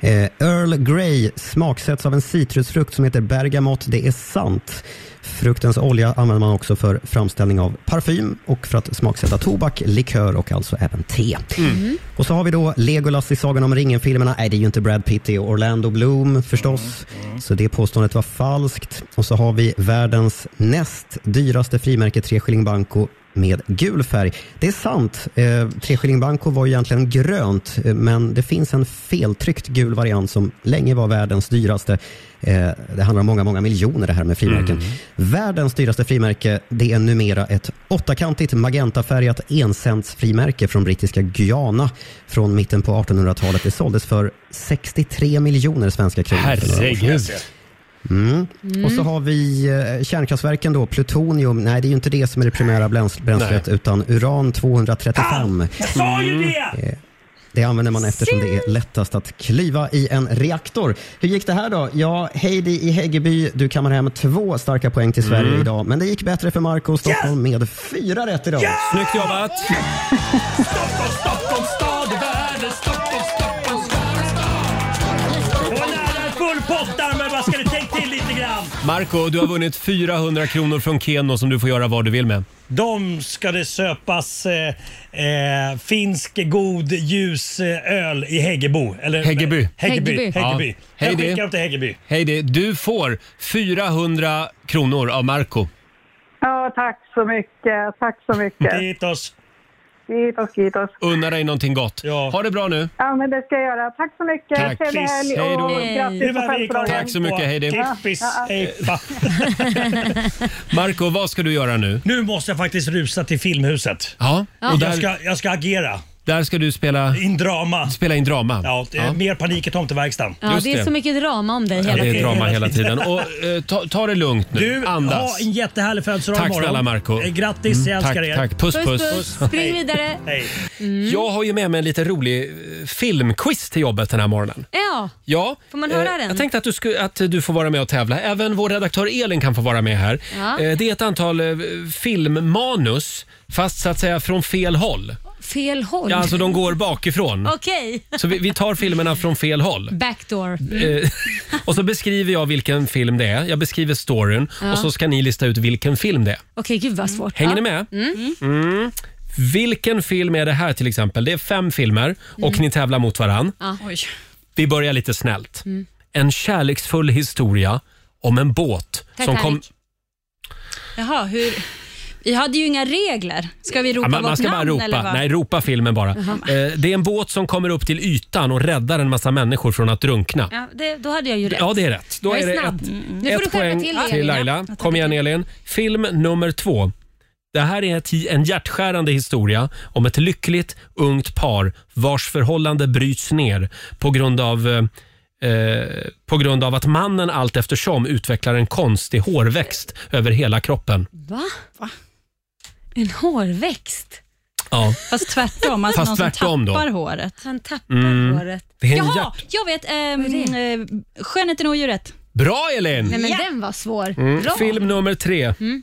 Speaker 4: Eh, Earl Grey smaksätts av en citrusfrukt som heter bergamott. Det är sant. Fruktens olja använder man också för framställning av parfym och för att smaksätta tobak, likör och alltså även te.
Speaker 7: Mm.
Speaker 4: Och så har vi då Legolas i Sagan om ringen-filmerna. Nej, det är ju inte Brad Pitt, det är Orlando Bloom förstås. Så det påståendet var falskt. Och så har vi världens näst dyraste frimärke, 3 skilling banco med gul färg. Det är sant. Eh, 3 skilling banco var ju egentligen grönt, eh, men det finns en feltryckt gul variant som länge var världens dyraste. Eh, det handlar om många, många miljoner det här med frimärken. Världens dyraste frimärke, det är numera ett åttakantigt magentafärgat encentsfrimärke från brittiska Guyana från mitten på 1800-talet. Det såldes för 63 miljoner svenska kronor. för några år sedan.
Speaker 1: Herregud.
Speaker 4: Mm.
Speaker 1: Mm.
Speaker 4: Och så har vi eh, kärnkraftverken då, plutonium. Nej, det är ju inte det som är det primära bräns- bränslet, utan uran-235.
Speaker 10: Jag sa ju
Speaker 1: Mm.
Speaker 10: det!
Speaker 4: Det använder man eftersom det är lättast att klyva i en reaktor. Hur gick det här då? Ja, Heidi i Häggeby, du kammar hem två starka poäng till Sverige
Speaker 1: Mm.
Speaker 4: idag. Men det gick bättre för Marco Stockholm med fyra rätt idag.
Speaker 1: Snyggt jobbat!
Speaker 10: Stockholms stad är världens Stockholm, Stockholm, Stockholm, Stockholm. Och nära full pott där, men vad ska du tänka till lite grann?
Speaker 1: Marco, du har vunnit 400 kronor från Keno som du får göra vad du vill med.
Speaker 8: De ska det söpas eh, eh, finsk god ljus eh, öl i Häggebo. Eller,
Speaker 1: Häggeby.
Speaker 8: Häggeby.
Speaker 1: Häggeby.
Speaker 8: Häggeby.
Speaker 1: Ja. Hej
Speaker 8: Jag
Speaker 1: det.
Speaker 8: skickar upp till Häggeby.
Speaker 1: Hej det, du får 400 kronor av Marco.
Speaker 6: Ja, tack så mycket. Tack så mycket.
Speaker 8: Kitos.
Speaker 6: Kitos, kitos.
Speaker 1: Unna dig någonting gott. Ha det bra nu.
Speaker 6: Ja, men det ska jag göra. Tack så mycket.
Speaker 1: Tack.
Speaker 6: Trevlig helg
Speaker 1: Hej då.
Speaker 6: och grattis på födelsedagen.
Speaker 1: Tack så mycket, hej då.
Speaker 8: Kippis, eh,
Speaker 6: Ja, ja.
Speaker 8: ejpa.
Speaker 1: Marco, vad ska du göra nu?
Speaker 8: Nu måste jag faktiskt rusa till Filmhuset.
Speaker 1: Ja,
Speaker 8: Och
Speaker 1: och
Speaker 8: Jag,
Speaker 1: där,
Speaker 8: ska, jag ska agera.
Speaker 1: där ska du spela...
Speaker 8: In drama.
Speaker 1: Spela in drama.
Speaker 8: Ja, det är Mer panik i tomteverkstan.
Speaker 2: Ja, det är så mycket drama om dig hela
Speaker 1: Ja, det är
Speaker 2: tiden.
Speaker 1: drama hela tiden. Och, eh, ta, ta det lugnt nu.
Speaker 8: Du,
Speaker 1: Andas.
Speaker 8: ha en jättehärlig födelsedag
Speaker 1: Tack
Speaker 8: imorgon.
Speaker 1: snälla Marco.
Speaker 8: Eh, Grattis,
Speaker 1: Mm,
Speaker 8: jag
Speaker 1: tack,
Speaker 8: älskar er.
Speaker 1: tack. Puss, Puss, puss. puss.
Speaker 2: Spring vidare. Mm.
Speaker 1: Jag har ju med mig en lite rolig eh, filmquiz till jobbet den här morgonen.
Speaker 2: Ja,
Speaker 1: Ja,
Speaker 2: Får man höra
Speaker 1: eh,
Speaker 2: den?
Speaker 1: Jag tänkte att du, sku, att du får vara med och tävla. Även vår redaktör Elin kan få vara med här.
Speaker 2: Ja.
Speaker 1: Eh, Det är ett antal eh, filmmanus, fast så att säga från fel håll.
Speaker 2: fel håll.
Speaker 1: Ja, alltså de går bakifrån.
Speaker 2: Okej.
Speaker 1: Så vi, vi tar filmerna från fel håll.
Speaker 2: Backdoor.
Speaker 1: Eh, och så beskriver jag vilken film det är. Jag beskriver storyn
Speaker 2: Ja.
Speaker 1: och så ska ni lista ut vilken film det är.
Speaker 2: Okej, gud vad svårt.
Speaker 1: Hänger
Speaker 2: Ja.
Speaker 1: ni med?
Speaker 2: Mm.
Speaker 1: Mm. Vilken film är det här till exempel? Det är fem filmer och
Speaker 2: Mm.
Speaker 1: ni tävlar mot varann.
Speaker 2: Ja.
Speaker 1: Vi börjar lite snällt.
Speaker 2: Mm.
Speaker 1: En kärleksfull historia om en båt som
Speaker 16: Titanic.
Speaker 1: kom...
Speaker 16: Jaha, hur... Vi hade ju inga regler. Ska vi ropa
Speaker 1: Ja, man, man
Speaker 16: vårt
Speaker 1: ska
Speaker 16: namn
Speaker 1: bara
Speaker 16: eller
Speaker 1: ropa.
Speaker 16: vad?
Speaker 1: Nej, ropa filmen bara.
Speaker 16: Jaha.
Speaker 1: Eh, det är en båt som kommer upp till ytan och räddar en massa människor från att drunkna.
Speaker 16: Ja, det, då hade jag ju rätt.
Speaker 1: Ja, det är rätt. Då
Speaker 16: jag
Speaker 1: är det
Speaker 16: snabb.
Speaker 1: ett,
Speaker 16: Mm. Nu får du
Speaker 1: ett
Speaker 16: skärpa
Speaker 1: poäng
Speaker 16: till
Speaker 1: till,
Speaker 16: dig, Elin.
Speaker 1: Laila. Kom igen Elin. Film nummer två. Det här är ett, hi- en hjärtskärande historia om ett lyckligt ungt par vars förhållande bryts ner på grund av eh, eh, på grund av att mannen allt eftersom utvecklar en konstig hårväxt över hela kroppen.
Speaker 2: Va? En hårväxt?
Speaker 1: Ja.
Speaker 16: Fast tvärtom, alltså
Speaker 1: Fast
Speaker 16: någon
Speaker 1: tvärtom
Speaker 16: som
Speaker 1: då.
Speaker 16: tappar håret.
Speaker 2: Han tappar
Speaker 1: Mm.
Speaker 2: håret.
Speaker 1: Det är en
Speaker 16: Jaha,
Speaker 1: hjärt-
Speaker 16: jag vet. Ähm, Skönheten och odjuret.
Speaker 1: Bra Elin!
Speaker 16: Nej, men den var svår.
Speaker 1: Mm.
Speaker 16: Bra.
Speaker 1: Film nummer tre.
Speaker 16: Mm.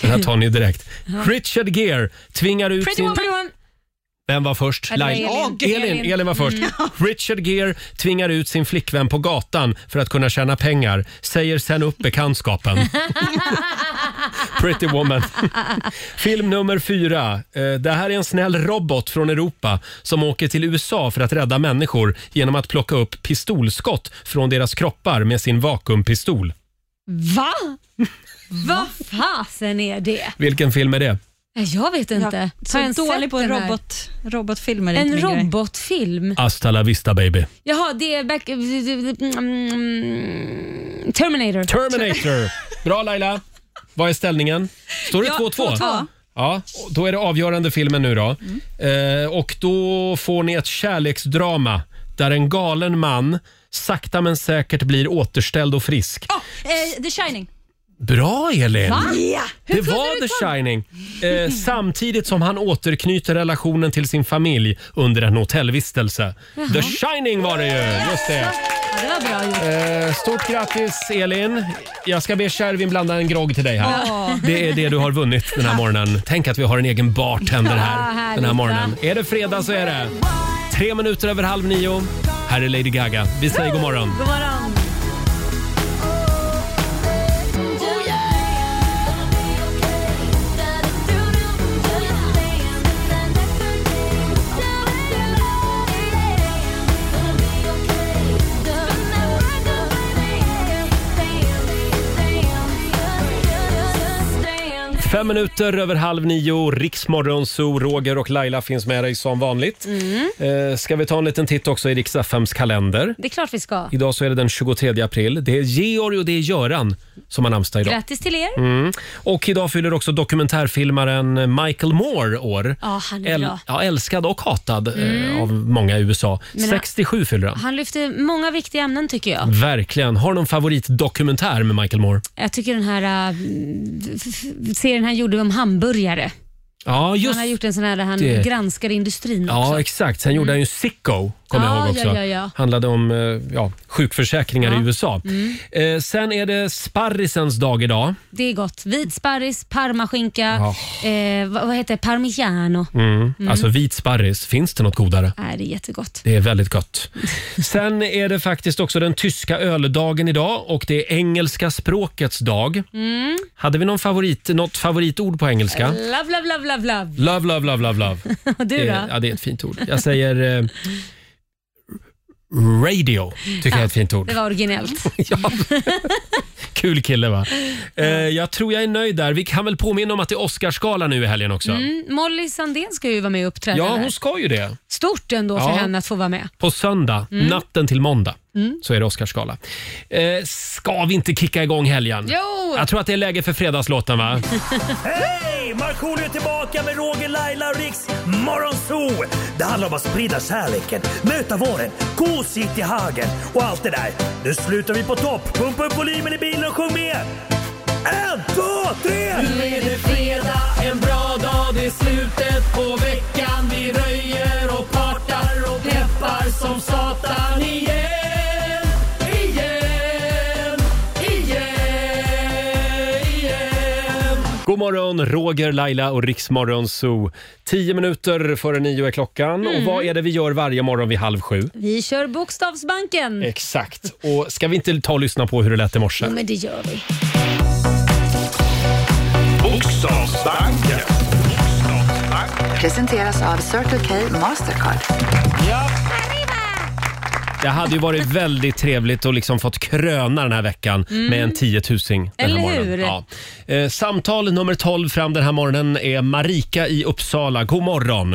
Speaker 1: Den här tar ni direkt.
Speaker 16: Ja.
Speaker 1: Richard Gere tvingar ut
Speaker 16: Pretty
Speaker 1: sin...
Speaker 16: Woman.
Speaker 1: Vem var först?
Speaker 16: Ja, det var
Speaker 1: Laila-
Speaker 16: Elin.
Speaker 1: Åh, Elin. Elin.
Speaker 16: Elin.
Speaker 1: var först.
Speaker 16: Mm.
Speaker 1: Richard Gere tvingar ut sin flickvän på gatan för att kunna tjäna pengar. Säger sen upp bekantskapen. Pretty woman. Film nummer fyra. Eh, Det här är en snäll robot från Europa som åker till USA för att rädda människor genom att plocka upp pistolskott från deras kroppar med sin vakuumpistol.
Speaker 2: Va? Vad fasen är det?
Speaker 1: Vilken film är det?
Speaker 2: Jag vet inte. Har
Speaker 16: så
Speaker 2: jag ens
Speaker 16: dålig
Speaker 2: sett
Speaker 16: på en
Speaker 2: den här?
Speaker 16: robot, robotfilmer. är inte
Speaker 2: En
Speaker 16: min grej.
Speaker 2: robotfilm?
Speaker 1: Hasta la vista baby.
Speaker 2: Jaha, det är back... Mm, Terminator.
Speaker 1: Terminator. Bra Laila. Vad är ställningen? Står det
Speaker 2: Ja,
Speaker 1: 2-2?
Speaker 2: 2-2.
Speaker 1: Ja, och då är det avgörande filmen nu då. Eh, och då får ni ett kärleksdrama där en galen man sakta men säkert blir återställd och frisk.
Speaker 16: Ah, eh, The Shining.
Speaker 1: Bra Elin!
Speaker 16: Va? Ja. Hur
Speaker 1: Det
Speaker 16: kunde
Speaker 1: var
Speaker 16: du
Speaker 1: The Shining. Eh, samtidigt som han återknyter relationen till sin familj under en hotellvistelse.
Speaker 2: Jaha.
Speaker 1: The Shining var det ju! Just det.
Speaker 2: Ja, det var bra gjort.
Speaker 1: Eh, stort grattis Elin. Jag ska be Kärvin blanda en grogg till dig här.
Speaker 2: Ja.
Speaker 1: Det är det du har vunnit den här morgonen. Tänk att vi har en egen bartender
Speaker 2: Ja,
Speaker 1: här
Speaker 2: härligt,
Speaker 1: den här
Speaker 2: va?
Speaker 1: morgonen. Är det fredag så är det. Tre minuter över halv nio. Här är Lady Gaga. Vi säger god morgon.
Speaker 2: God morgon.
Speaker 1: Fem minuter över halv nio, Riksmorgon, Zoo, Roger och Laila finns med dig som vanligt.
Speaker 2: Mm.
Speaker 1: Eh, ska vi ta en liten titt också i Rix FMs kalender?
Speaker 2: Det är klart vi ska.
Speaker 1: Idag så är det den 23 april. Det är Georg och det är Göran som har namnsdag idag.
Speaker 2: Grattis till er.
Speaker 1: Mm. Och idag fyller också dokumentärfilmaren Michael Moore år.
Speaker 2: Ja, han är bra.
Speaker 1: ja, älskad och hatad eh,
Speaker 2: Mm.
Speaker 1: av många i USA.
Speaker 2: Men han-
Speaker 1: 67 fyller han.
Speaker 2: Han lyfter många viktiga ämnen tycker jag.
Speaker 1: Verkligen. Har du någon favoritdokumentär med Michael Moore?
Speaker 2: Jag tycker den här äh, f- f- serien han gjorde om hamburgare.
Speaker 1: Ja, just
Speaker 2: han har gjort en sån här där han
Speaker 1: det.
Speaker 2: granskar industrin
Speaker 1: Ja,
Speaker 2: också. Mm.
Speaker 1: exakt. Sen gjorde han ju Sicko, kommer
Speaker 2: Ja,
Speaker 1: jag ihåg också.
Speaker 2: ja, ja, ja.
Speaker 1: Handlade om eh, ja, sjukförsäkringar i USA.
Speaker 2: Mm.
Speaker 1: Eh, sen är det sparrisens dag idag.
Speaker 2: Det är gott. Vit sparris, parmaskinka,
Speaker 1: Ja.
Speaker 2: eh, vad, vad heter det? Parmigiano.
Speaker 1: Mm.
Speaker 2: Mm.
Speaker 1: Alltså vit sparris, finns det något godare?
Speaker 2: Nej, det är jättegott.
Speaker 1: Det är väldigt gott. Sen är det faktiskt också den tyska öldagen idag och det är engelska språkets dag.
Speaker 2: Mm.
Speaker 1: Hade vi någon favorit, något favoritord på engelska?
Speaker 2: Love, love, love, love, love.
Speaker 1: Love, love, love, love, love.
Speaker 2: Och
Speaker 1: det,
Speaker 2: du
Speaker 1: är-
Speaker 2: då?
Speaker 1: ja, det är ett fint ord. Jag säger eh, radio, tycker jag är ett fint ord.
Speaker 2: Det var originellt.
Speaker 1: Kul kille va? Eh, jag tror jag är nöjd där. Vi kan väl påminna om att det är Oscarsgala nu i helgen också.
Speaker 2: Mm. Molly Sandén ska ju vara med och uppträda
Speaker 1: Ja,
Speaker 2: där.
Speaker 1: hon ska ju det.
Speaker 2: Stort ändå för
Speaker 1: Ja.
Speaker 2: henne att få vara med.
Speaker 1: På söndag,
Speaker 2: Mm.
Speaker 1: natten till måndag,
Speaker 2: Mm.
Speaker 1: så är det Oscarsgala. Eh, ska vi inte kicka igång helgen?
Speaker 10: Jo!
Speaker 1: Jag tror att det är läge för fredagslåten va?
Speaker 10: Hej! Markoolio är tillbaka med Roger, Laila och Riks Morgonzoo! Det handlar om att sprida kärleken, möta våren, gosigt i hagen och allt det där. Nu slutar vi på topp! Pumpa upp volymen i bilen och sjung med! En, två, tre!
Speaker 7: Nu är det fredag, en bra dag, det är slutet på veckan. Vi röjer och partar och peppar som satan igen. Igen, igen, igen.
Speaker 1: God morgon, Roger, Laila och Riksmorgon Zoo. Tio minuter före nio är klockan.
Speaker 2: Mm.
Speaker 1: Och vad är det vi gör varje morgon vid halv sju?
Speaker 2: Vi kör
Speaker 1: Eh.
Speaker 2: Bokstavsbanken.
Speaker 1: Exakt. Och ska vi inte ta och lyssna på hur det lät i morse?
Speaker 2: Jo, men det gör vi.
Speaker 3: Bokstavsbanken.
Speaker 5: Presenteras av Circle K Mastercard.
Speaker 1: Det hade ju varit väldigt trevligt att liksom fått kröna den här veckan
Speaker 2: Mm.
Speaker 1: med en tiotusing. Den
Speaker 2: Eller
Speaker 1: här morgonen.
Speaker 2: hur?
Speaker 1: Ja. Eh, samtal nummer 12 fram den här morgonen är Marika i Uppsala. God morgon!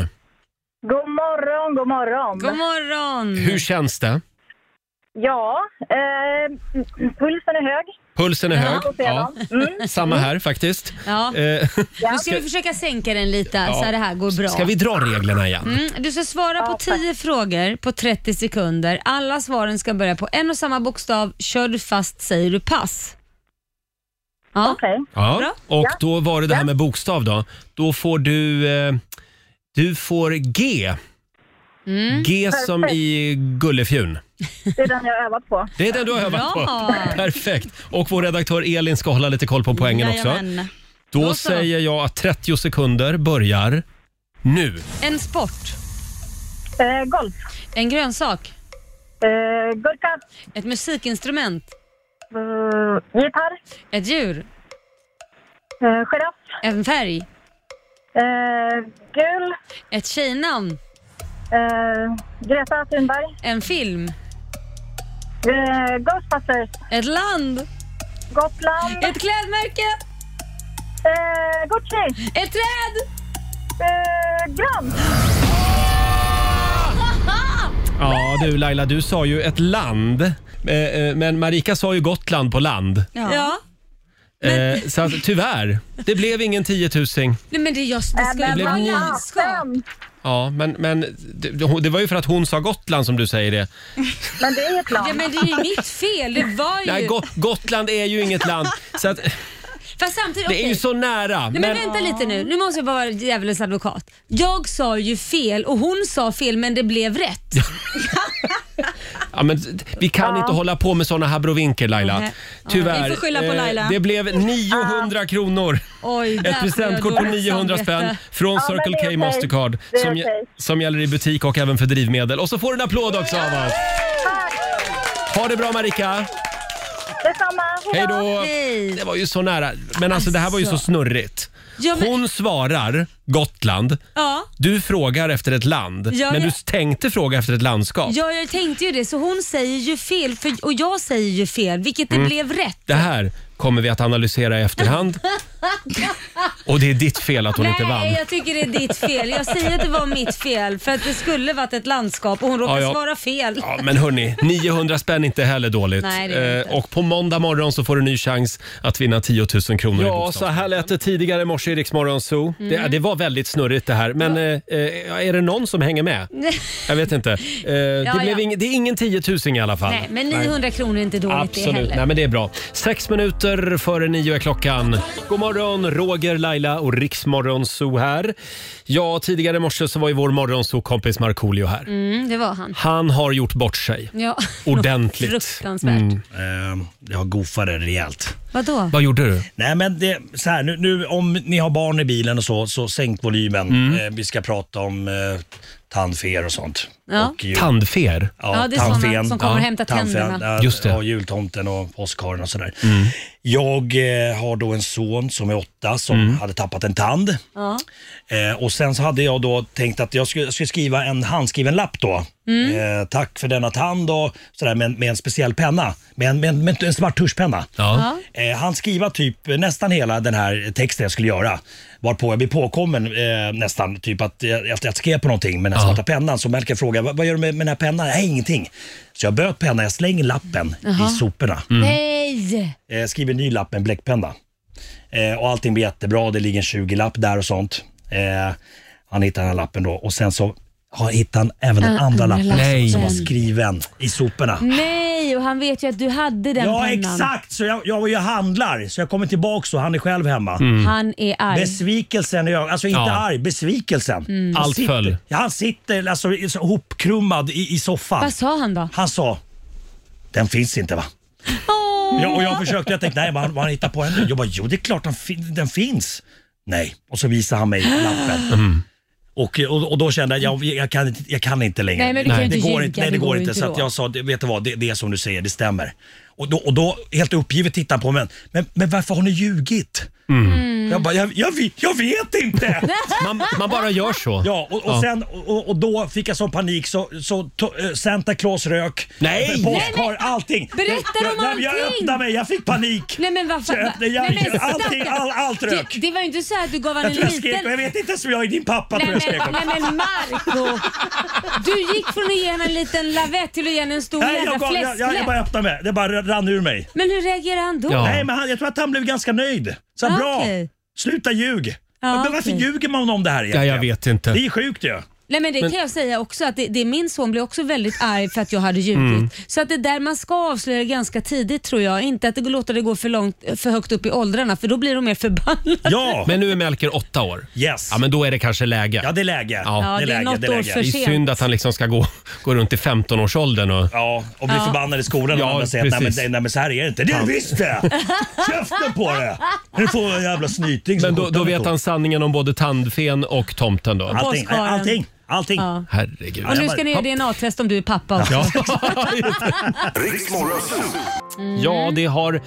Speaker 14: God morgon, god morgon.
Speaker 2: God morgon.
Speaker 1: Hur känns det?
Speaker 14: Ja, eh, pulsen är hög.
Speaker 1: Pulsen är
Speaker 14: Ja,
Speaker 1: hög.
Speaker 14: så ser jag. Mm.
Speaker 1: Samma här faktiskt.
Speaker 2: Ja.
Speaker 1: Eh,
Speaker 2: Nu ska vi försöka sänka den lite så här, det här går bra.
Speaker 1: Ska vi dra reglerna igen?
Speaker 2: Mm, du ska svara på 10 frågor på 30 sekunder. Alla svaren ska börja på en och samma bokstav. Kör du fast säger du pass. Ja. Okej.
Speaker 1: Ja. Och då var det det här med bokstav då. Då får du... Eh, du får G. G som i Gullefjun.
Speaker 14: Mm. Det är den jag har övat på.
Speaker 1: Det är den du har övat på. Perfekt. Och vår redaktör Elin ska hålla lite koll på poängen också. Då
Speaker 2: Då så.
Speaker 1: säger jag att 30 sekunder börjar nu.
Speaker 2: En sport.
Speaker 6: Eh,
Speaker 2: golf. En grönsak. gurka. Ett musikinstrument.
Speaker 6: Eh,
Speaker 2: gitarr. Ett djur. Uh, giraff. En färg.
Speaker 6: Eh,
Speaker 2: gul. Ett tjejnamn.
Speaker 6: Eh,
Speaker 2: Greta Thunberg. En film.
Speaker 6: Eh,
Speaker 2: Ghostbusters. Ett land. Gotland. Ett klädmärke.
Speaker 6: Eh,
Speaker 2: Gucci. Ett träd. gran.
Speaker 1: Ja du Laila, du sa ju ett land. Eh, eh, Men Marika sa ju Gotland på land.
Speaker 2: Ja.
Speaker 1: Eh, Så att, tyvärr, det blev ingen 10 000.
Speaker 2: Nej, Äh, men det, jag, det
Speaker 1: men
Speaker 2: skulle ju vara
Speaker 1: vad
Speaker 2: nyskönt.
Speaker 1: Ja, men, men det, det var ju för att hon sa Gotland som du säger det.
Speaker 2: Men det är ju Ja, men det är ju mitt fel. Det var ju...
Speaker 1: Nej, Go- Gotland är ju inget land. Så att,
Speaker 2: Fast samtidigt,
Speaker 1: det är
Speaker 2: okej.
Speaker 1: ju så nära.
Speaker 2: Nej, men, vänta lite nu. Nu måste jag bara vara djävulens advokat. Jag sa ju fel och hon sa fel men det blev rätt.
Speaker 1: Ja, men vi kan
Speaker 2: Ja.
Speaker 1: inte hålla på med såna abrovinker Laila.
Speaker 2: Nej. Ja,
Speaker 1: Tyvärr.
Speaker 2: vi får skylla på
Speaker 1: Eh,
Speaker 2: Laila.
Speaker 1: Det blev 900 kronor.
Speaker 2: Oj, där får
Speaker 1: Ett
Speaker 2: jag
Speaker 1: presentkort på
Speaker 2: dåligt
Speaker 1: 900 spänn
Speaker 2: samvete.
Speaker 1: från
Speaker 2: Ja, men
Speaker 1: Circle
Speaker 2: det är
Speaker 1: K
Speaker 2: okej.
Speaker 1: Mastercard
Speaker 2: Det är
Speaker 1: som,
Speaker 2: okej.
Speaker 1: som gäller i butik och även för drivmedel. Och så får du en applåd också av oss. Ha det bra Marika!
Speaker 6: Detsamma.
Speaker 1: Hej då! Det var ju så nära. Men alltså det här var ju så
Speaker 7: Alltså.
Speaker 1: snurrigt.
Speaker 7: Ja, men-
Speaker 1: Hon svarar Gotland.
Speaker 7: Ja.
Speaker 1: Du frågar efter ett land,
Speaker 7: Ja,
Speaker 1: men
Speaker 7: ja.
Speaker 1: du tänkte fråga efter ett landskap.
Speaker 7: Ja, jag tänkte ju det. Så hon säger ju fel för, och jag säger ju fel, vilket det
Speaker 1: Mm.
Speaker 7: blev rätt.
Speaker 1: Det här kommer vi att analysera i efterhand och det är ditt fel att hon
Speaker 7: Nej,
Speaker 1: inte vann.
Speaker 7: jag tycker det är ditt fel. Jag säger att det var mitt fel för att det skulle varit ett landskap och hon råkade
Speaker 1: Ja, ja.
Speaker 7: svara fel.
Speaker 1: Ja, men hörni, 900 spänn är inte heller dåligt.
Speaker 7: Nej, det är det
Speaker 1: Eh, Och på måndag morgon så får du ny chans att vinna 10 000 kronor i
Speaker 2: Ja,
Speaker 1: bostad.
Speaker 2: så här
Speaker 1: lät det tidigare i morse i Rix Morgon Zoo.
Speaker 2: Mm.
Speaker 1: Det, det var väldigt snurrigt det här, men eh, eh, är det någon som hänger med? Jag vet inte. Eh, det, blev
Speaker 7: ja.
Speaker 1: ing, det är ingen 10 000 i alla fall.
Speaker 7: Nej, men 900 kronor är inte dåligt det
Speaker 1: Absolut,
Speaker 7: heller.
Speaker 1: nej men det är bra. Sex minuter före nio är klockan. God morgon, Roger, Laila och Riksmorgonzoo här. Ja, tidigare i morse så var ju vår morgonzoo-kompis Markoolio här.
Speaker 7: Mm, det var han.
Speaker 1: Han har gjort bort sig.
Speaker 7: Ja.
Speaker 1: Ordentligt.
Speaker 7: Fruktansvärt.
Speaker 1: Mm.
Speaker 8: Eh, jag goofade rejält.
Speaker 7: Vadå?
Speaker 1: Vad gjorde du?
Speaker 8: Nej, men det, så här, nu, nu, om ni har barn i bilen och så, så sänk volymen.
Speaker 1: Mm.
Speaker 8: Eh, vi ska prata om eh, tandfer och sånt.
Speaker 7: Ja.
Speaker 8: Och ju-
Speaker 1: Tandfer?
Speaker 7: Ja, det är sådana som kommer och hämtar
Speaker 8: tandfen,
Speaker 7: tänderna.
Speaker 8: ja,
Speaker 1: Just det. Mm.
Speaker 8: Ja, jultomten och påskharen och sådär. Jag eh, har då en son som är åtta som
Speaker 1: Mm.
Speaker 8: hade tappat en tand.
Speaker 2: Ja.
Speaker 8: Eh, och sen så hade jag då tänkt att jag skulle, jag skulle skriva en handskriven lapp då.
Speaker 2: Mm.
Speaker 8: Eh, tack för denna tand och sådär med, med en speciell penna. Med en, med en, med en svart tuschpenna.
Speaker 2: Ja.
Speaker 8: Eh, han skriva typ nästan hela den här texten jag skulle göra. Varpå jag blir påkommen eh, nästan, typ att jag, att jag skrev på någonting med den här svarta pennan. Så Melker frågar, vad, vad gör du med, med den här pennan? Nej, ingenting. Så jag böt pennan, jag slänger lappen
Speaker 7: Jaha.
Speaker 8: i soporna.
Speaker 7: Nej!
Speaker 8: Eh, skriver en ny lapp med en bläckpenna. Eh, och allting blir jättebra, det ligger en 20-lapp där och sånt. Eh, han hittar den här lappen då och sen så har hittar han även den
Speaker 7: Den
Speaker 8: andra
Speaker 7: andra
Speaker 8: lappen
Speaker 7: lappen.
Speaker 8: som var skriven i
Speaker 2: Mm.
Speaker 8: soporna.
Speaker 7: Nej, och han vet ju att du hade den
Speaker 8: Ja
Speaker 7: pennan.
Speaker 8: exakt, så jag, jag var ju och handlar så jag kommer tillbaks och han är själv hemma.
Speaker 7: Han är arg.
Speaker 8: Mm. Besvikelsen, i ögonen. alltså inte
Speaker 2: Ja.
Speaker 8: arg, besvikelsen.
Speaker 7: Mm.
Speaker 8: Han
Speaker 1: Allt
Speaker 8: sitter,
Speaker 1: föll.
Speaker 8: Ja, han sitter alltså i- så hopkrummad i, i soffan.
Speaker 7: Vad sa han då?
Speaker 8: Han sa, den finns inte va? Ja, och jag försökte, jag tänkte nej vad han- vad han hittar på henne. Jag bara, jo det är klart den, fin- den finns. Nej, och så visar han mig lappen. Och, och, och då kände jag, jag, jag, kan, inte- jag kan inte längre.
Speaker 2: Nej, men du kan ju
Speaker 8: det
Speaker 2: inte
Speaker 8: går
Speaker 2: ljuga,
Speaker 8: inte. Nej, det går, inte. Så att
Speaker 2: då.
Speaker 8: jag sa, det- vet du vad, det, det är som du säger, det stämmer. Och då, och då helt uppgivet tittar han på mig, men, men varför har ni ljugit?
Speaker 2: Mm.
Speaker 8: Jag bara, jag, jag, vet- jag vet inte!
Speaker 1: man, bara gör så.
Speaker 8: Ja, och, och,
Speaker 2: Ja.
Speaker 8: Sen, och, och då fick jag sån panik så, så to, eh, Santa Claus rök,
Speaker 2: Nej!
Speaker 8: påskkar,
Speaker 2: Nej, men-
Speaker 8: allting.
Speaker 2: Berätta
Speaker 8: jag,
Speaker 2: om
Speaker 8: jag, jag
Speaker 2: allting!
Speaker 8: öppnade mig, jag fick panik.
Speaker 7: Nej men vad
Speaker 8: Så
Speaker 7: fan.
Speaker 8: jag öppnade- jag-
Speaker 7: Nej, men
Speaker 8: allting,
Speaker 7: stackarn.
Speaker 8: all, allt rök.
Speaker 7: Det, det var ju inte så att du gav han en
Speaker 8: Jag tror jag skrek,
Speaker 7: liten...
Speaker 8: jag vet inte som jag är din pappa tror
Speaker 7: Nej
Speaker 8: jag
Speaker 7: men,
Speaker 8: skrek åt.
Speaker 7: nej men Marco Du gick från att ge henne en liten lavett till att ge henne en stor
Speaker 8: Nej, jag,
Speaker 7: jävla
Speaker 8: gav, jag, jag, jag bara
Speaker 7: fläskläpp.
Speaker 8: öppnade mig. Det bara rann ur mig.
Speaker 7: Men hur reagerar han då?
Speaker 8: Nej, men han, jag tror att han blev ganska nöjd. Så
Speaker 7: Ja,
Speaker 8: bra!
Speaker 7: Ah, okej.
Speaker 8: Sluta ljug! men varför
Speaker 7: okej.
Speaker 8: ljuger man om det
Speaker 1: Ja,
Speaker 8: här egentligen?
Speaker 1: jag vet inte.
Speaker 8: Det är sjukt ju.
Speaker 7: Nej men det
Speaker 1: Men-
Speaker 7: kan jag säga också att det, det, min son blev också väldigt arg för att jag hade ljugit.
Speaker 1: Mm.
Speaker 7: Så att det där man ska avslöja ganska tidigt tror jag. Inte att det går- låter det gå för långt, för högt upp i åldrarna för då blir de mer förbannade.
Speaker 8: Ja.
Speaker 1: Men nu är Melker åtta år.
Speaker 8: Yes.
Speaker 1: Ja, men då är det kanske läge.
Speaker 8: Ja, det är läge.
Speaker 7: Ja, det är något år för
Speaker 1: Det är
Speaker 7: sent.
Speaker 1: synd att han liksom ska gå, gå runt i 15-årsåldern och...
Speaker 8: Ja, och blir
Speaker 7: Ja.
Speaker 8: förbannad i skolan
Speaker 1: Ja,
Speaker 8: och andra säger att nej, men,
Speaker 1: precis.
Speaker 8: nej, nej men så här är det inte. Det är
Speaker 1: Fan.
Speaker 8: det visst det! Käften på det! Nu får jag en jävla snyting som
Speaker 1: Men då,
Speaker 8: sjutton
Speaker 1: då vet
Speaker 8: år.
Speaker 1: han sanningen om både tandfen och tomten då.
Speaker 8: Allting,
Speaker 7: Påskharen.
Speaker 8: allting, allting.
Speaker 7: Ja.
Speaker 1: Herregud.
Speaker 7: Och nu ska ni göra DNA-test om du är pappa också.
Speaker 1: Ja.
Speaker 3: Riksmorgon.
Speaker 1: Ja, det har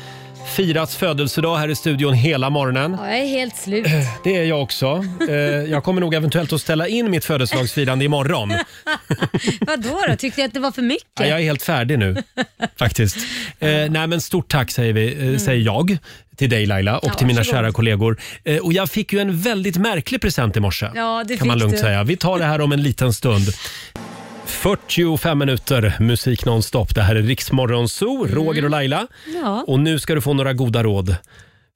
Speaker 1: firats födelsedag här i studion hela morgonen.
Speaker 7: Ja, jag är helt slut.
Speaker 1: Det är jag också. Eh, Jag kommer nog eventuellt att ställa in mitt födelsedagsfirande imorgon.
Speaker 7: Vadå då? Tyckte jag att det var för mycket?
Speaker 1: Ja, jag är helt färdig nu faktiskt. Eh, nej, men stort tack säger, vi, eh, säger jag till dig Laila och
Speaker 7: Mm. Ja,
Speaker 1: till mina
Speaker 7: varsågod.
Speaker 1: kära kollegor. Eh, och jag fick ju en väldigt märklig present i morse.
Speaker 7: Ja, det
Speaker 1: kan man
Speaker 7: fick
Speaker 1: lugnt
Speaker 7: du.
Speaker 1: säga. Vi tar det här om en liten stund. 45 minuter musik nonstop. Det här är Riksmorgon Zoo, Roger och Laila.
Speaker 7: Mm. Ja.
Speaker 1: Och nu ska du få några goda råd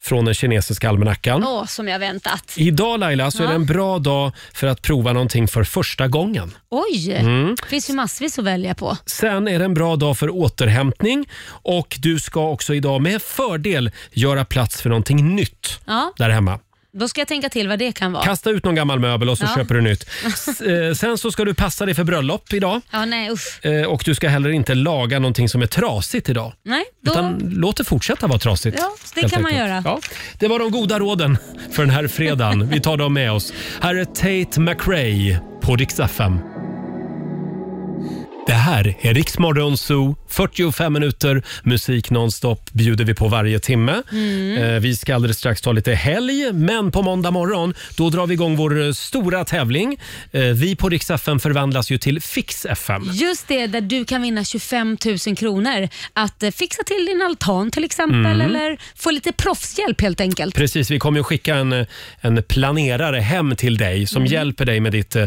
Speaker 1: från den kinesiska almanackan.
Speaker 7: Åh, som jag väntat.
Speaker 1: Idag Laila så är
Speaker 7: Ja.
Speaker 1: det en bra dag för att prova någonting för första gången.
Speaker 7: Oj!
Speaker 1: Mm.
Speaker 7: finns ju massvis att välja på.
Speaker 1: Sen är det en bra dag för återhämtning och du ska också idag med fördel göra plats för någonting nytt
Speaker 7: Ja,
Speaker 1: där hemma.
Speaker 7: då ska jag tänka till vad det kan vara.
Speaker 1: Kasta ut någon gammal möbel och så
Speaker 7: Ja.
Speaker 1: köper du nytt. S- eh, Sen så ska du passa dig för bröllop idag
Speaker 7: Ja, nej usch.
Speaker 1: Eh, och du ska heller inte laga någonting som är trasigt idag.
Speaker 7: Nej, då...
Speaker 1: Utan låt det fortsätta vara trasigt.
Speaker 7: Ja, det
Speaker 1: helt
Speaker 7: kan man göra.
Speaker 1: Ja, det var de goda råden för den här fredagen. Vi tar dem med oss. Här är Tate McRae på Dix FM. Det här är Riksmorgon Zoo 45 minuter musik nonstop bjuder vi på varje timme.
Speaker 17: Mm.
Speaker 1: Eh, Vi ska alldeles strax ta lite helg, men på måndag morgon då drar vi igång vår eh, stora tävling. Eh, Vi på Rix FM förvandlas ju till Fix FM.
Speaker 7: Just det, där du kan vinna 25 000 kronor. Att eh, fixa till din altan till
Speaker 1: Mm.
Speaker 7: exempel eller få lite proffshjälp helt enkelt.
Speaker 1: Precis, vi kommer ju skicka en, en planerare hem till dig som
Speaker 7: Mm.
Speaker 1: hjälper dig med ditt eh,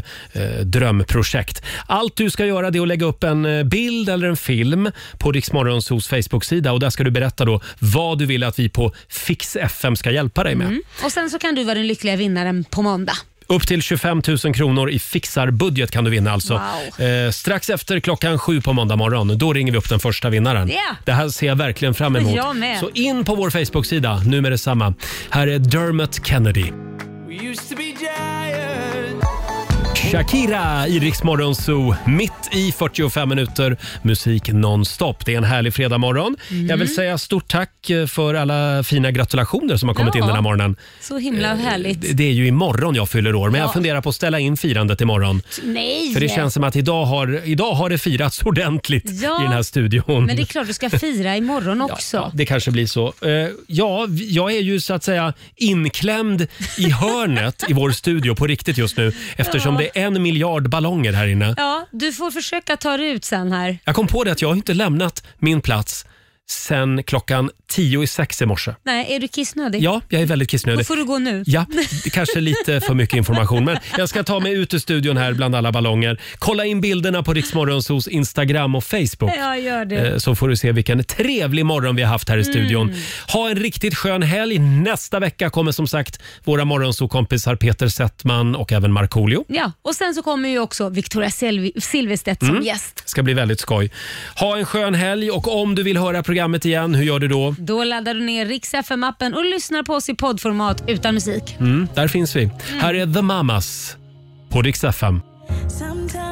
Speaker 1: drömprojekt. Allt du ska göra det är att lägga upp en eh, bild eller en film på Riksmorgonsos Facebook-sida och där ska du berätta då vad du vill att vi på Fix FM ska hjälpa dig med.
Speaker 7: Och Sen så kan du vara den lyckliga vinnaren på måndag.
Speaker 1: Upp till 25 000 kronor i fixarbudget kan du vinna alltså. Eh, strax efter klockan sju på måndag morgon, då ringer vi upp den första vinnaren.
Speaker 17: Ja.
Speaker 1: Det här ser jag verkligen fram emot.
Speaker 17: Jag med.
Speaker 1: Så in på vår Facebook-sida, nu med detsamma. Här är Dermot Kennedy. Shakira i Rix Morgon Zoo, mitt i 45 minuter musik nonstop. Det är en härlig fredagmorgon. Jag
Speaker 17: Mm.
Speaker 1: vill säga stort tack eh, för alla fina gratulationer som har kommit
Speaker 7: Ja.
Speaker 1: in den här morgonen.
Speaker 7: Så himla härligt.
Speaker 1: Eh, Det det är ju imorgon jag fyller år, men
Speaker 7: Ja.
Speaker 1: jag funderar på att ställa in firandet imorgon.
Speaker 7: Nej!
Speaker 1: För det känns som att idag har, idag har det firats ordentligt i den här studion.
Speaker 7: Men det är klart du ska fira imorgon också.
Speaker 1: Det kanske blir så. Eh, ja, vi- jag är ju så att säga inklämd i hörnet i vår studio på riktigt just nu eftersom
Speaker 7: Ja.
Speaker 1: det är en miljard ballonger här inne.
Speaker 7: Ja, du får försöka ta dig ut sen här.
Speaker 1: Jag kom på det att jag har inte lämnat min plats sen klockan tio i sex i morse.
Speaker 7: Nej, är du kissnödig?
Speaker 1: Ja, jag är väldigt
Speaker 7: Då
Speaker 1: kissnödig.
Speaker 7: får du gå nu.
Speaker 1: Ja, det kanske är lite för mycket information. Men jag ska ta mig ut ur studion här bland alla ballonger. Kolla in bilderna på Riksmorgonsos Instagram och Facebook.
Speaker 7: Ja, gör det.
Speaker 1: Eh, Så får du se vilken trevlig morgon vi har haft här i studion.
Speaker 7: Mm.
Speaker 1: Ha en riktigt skön helg. Nästa vecka kommer som sagt våra morgonsokompisar Peter Settman och även Markoolio.
Speaker 7: Ja, och sen så kommer ju också Victoria Silvi- Silvstedt som
Speaker 1: Mm.
Speaker 7: gäst.
Speaker 1: ska bli väldigt skoj. Ha en skön helg och om du vill höra programmet igen, hur gör du då?
Speaker 7: Då laddar du ner Rix FM-appen och lyssnar på oss i poddformat utan musik.
Speaker 1: Mm, där finns vi. Här är The Mamas på Rix FM.
Speaker 17: Sometimes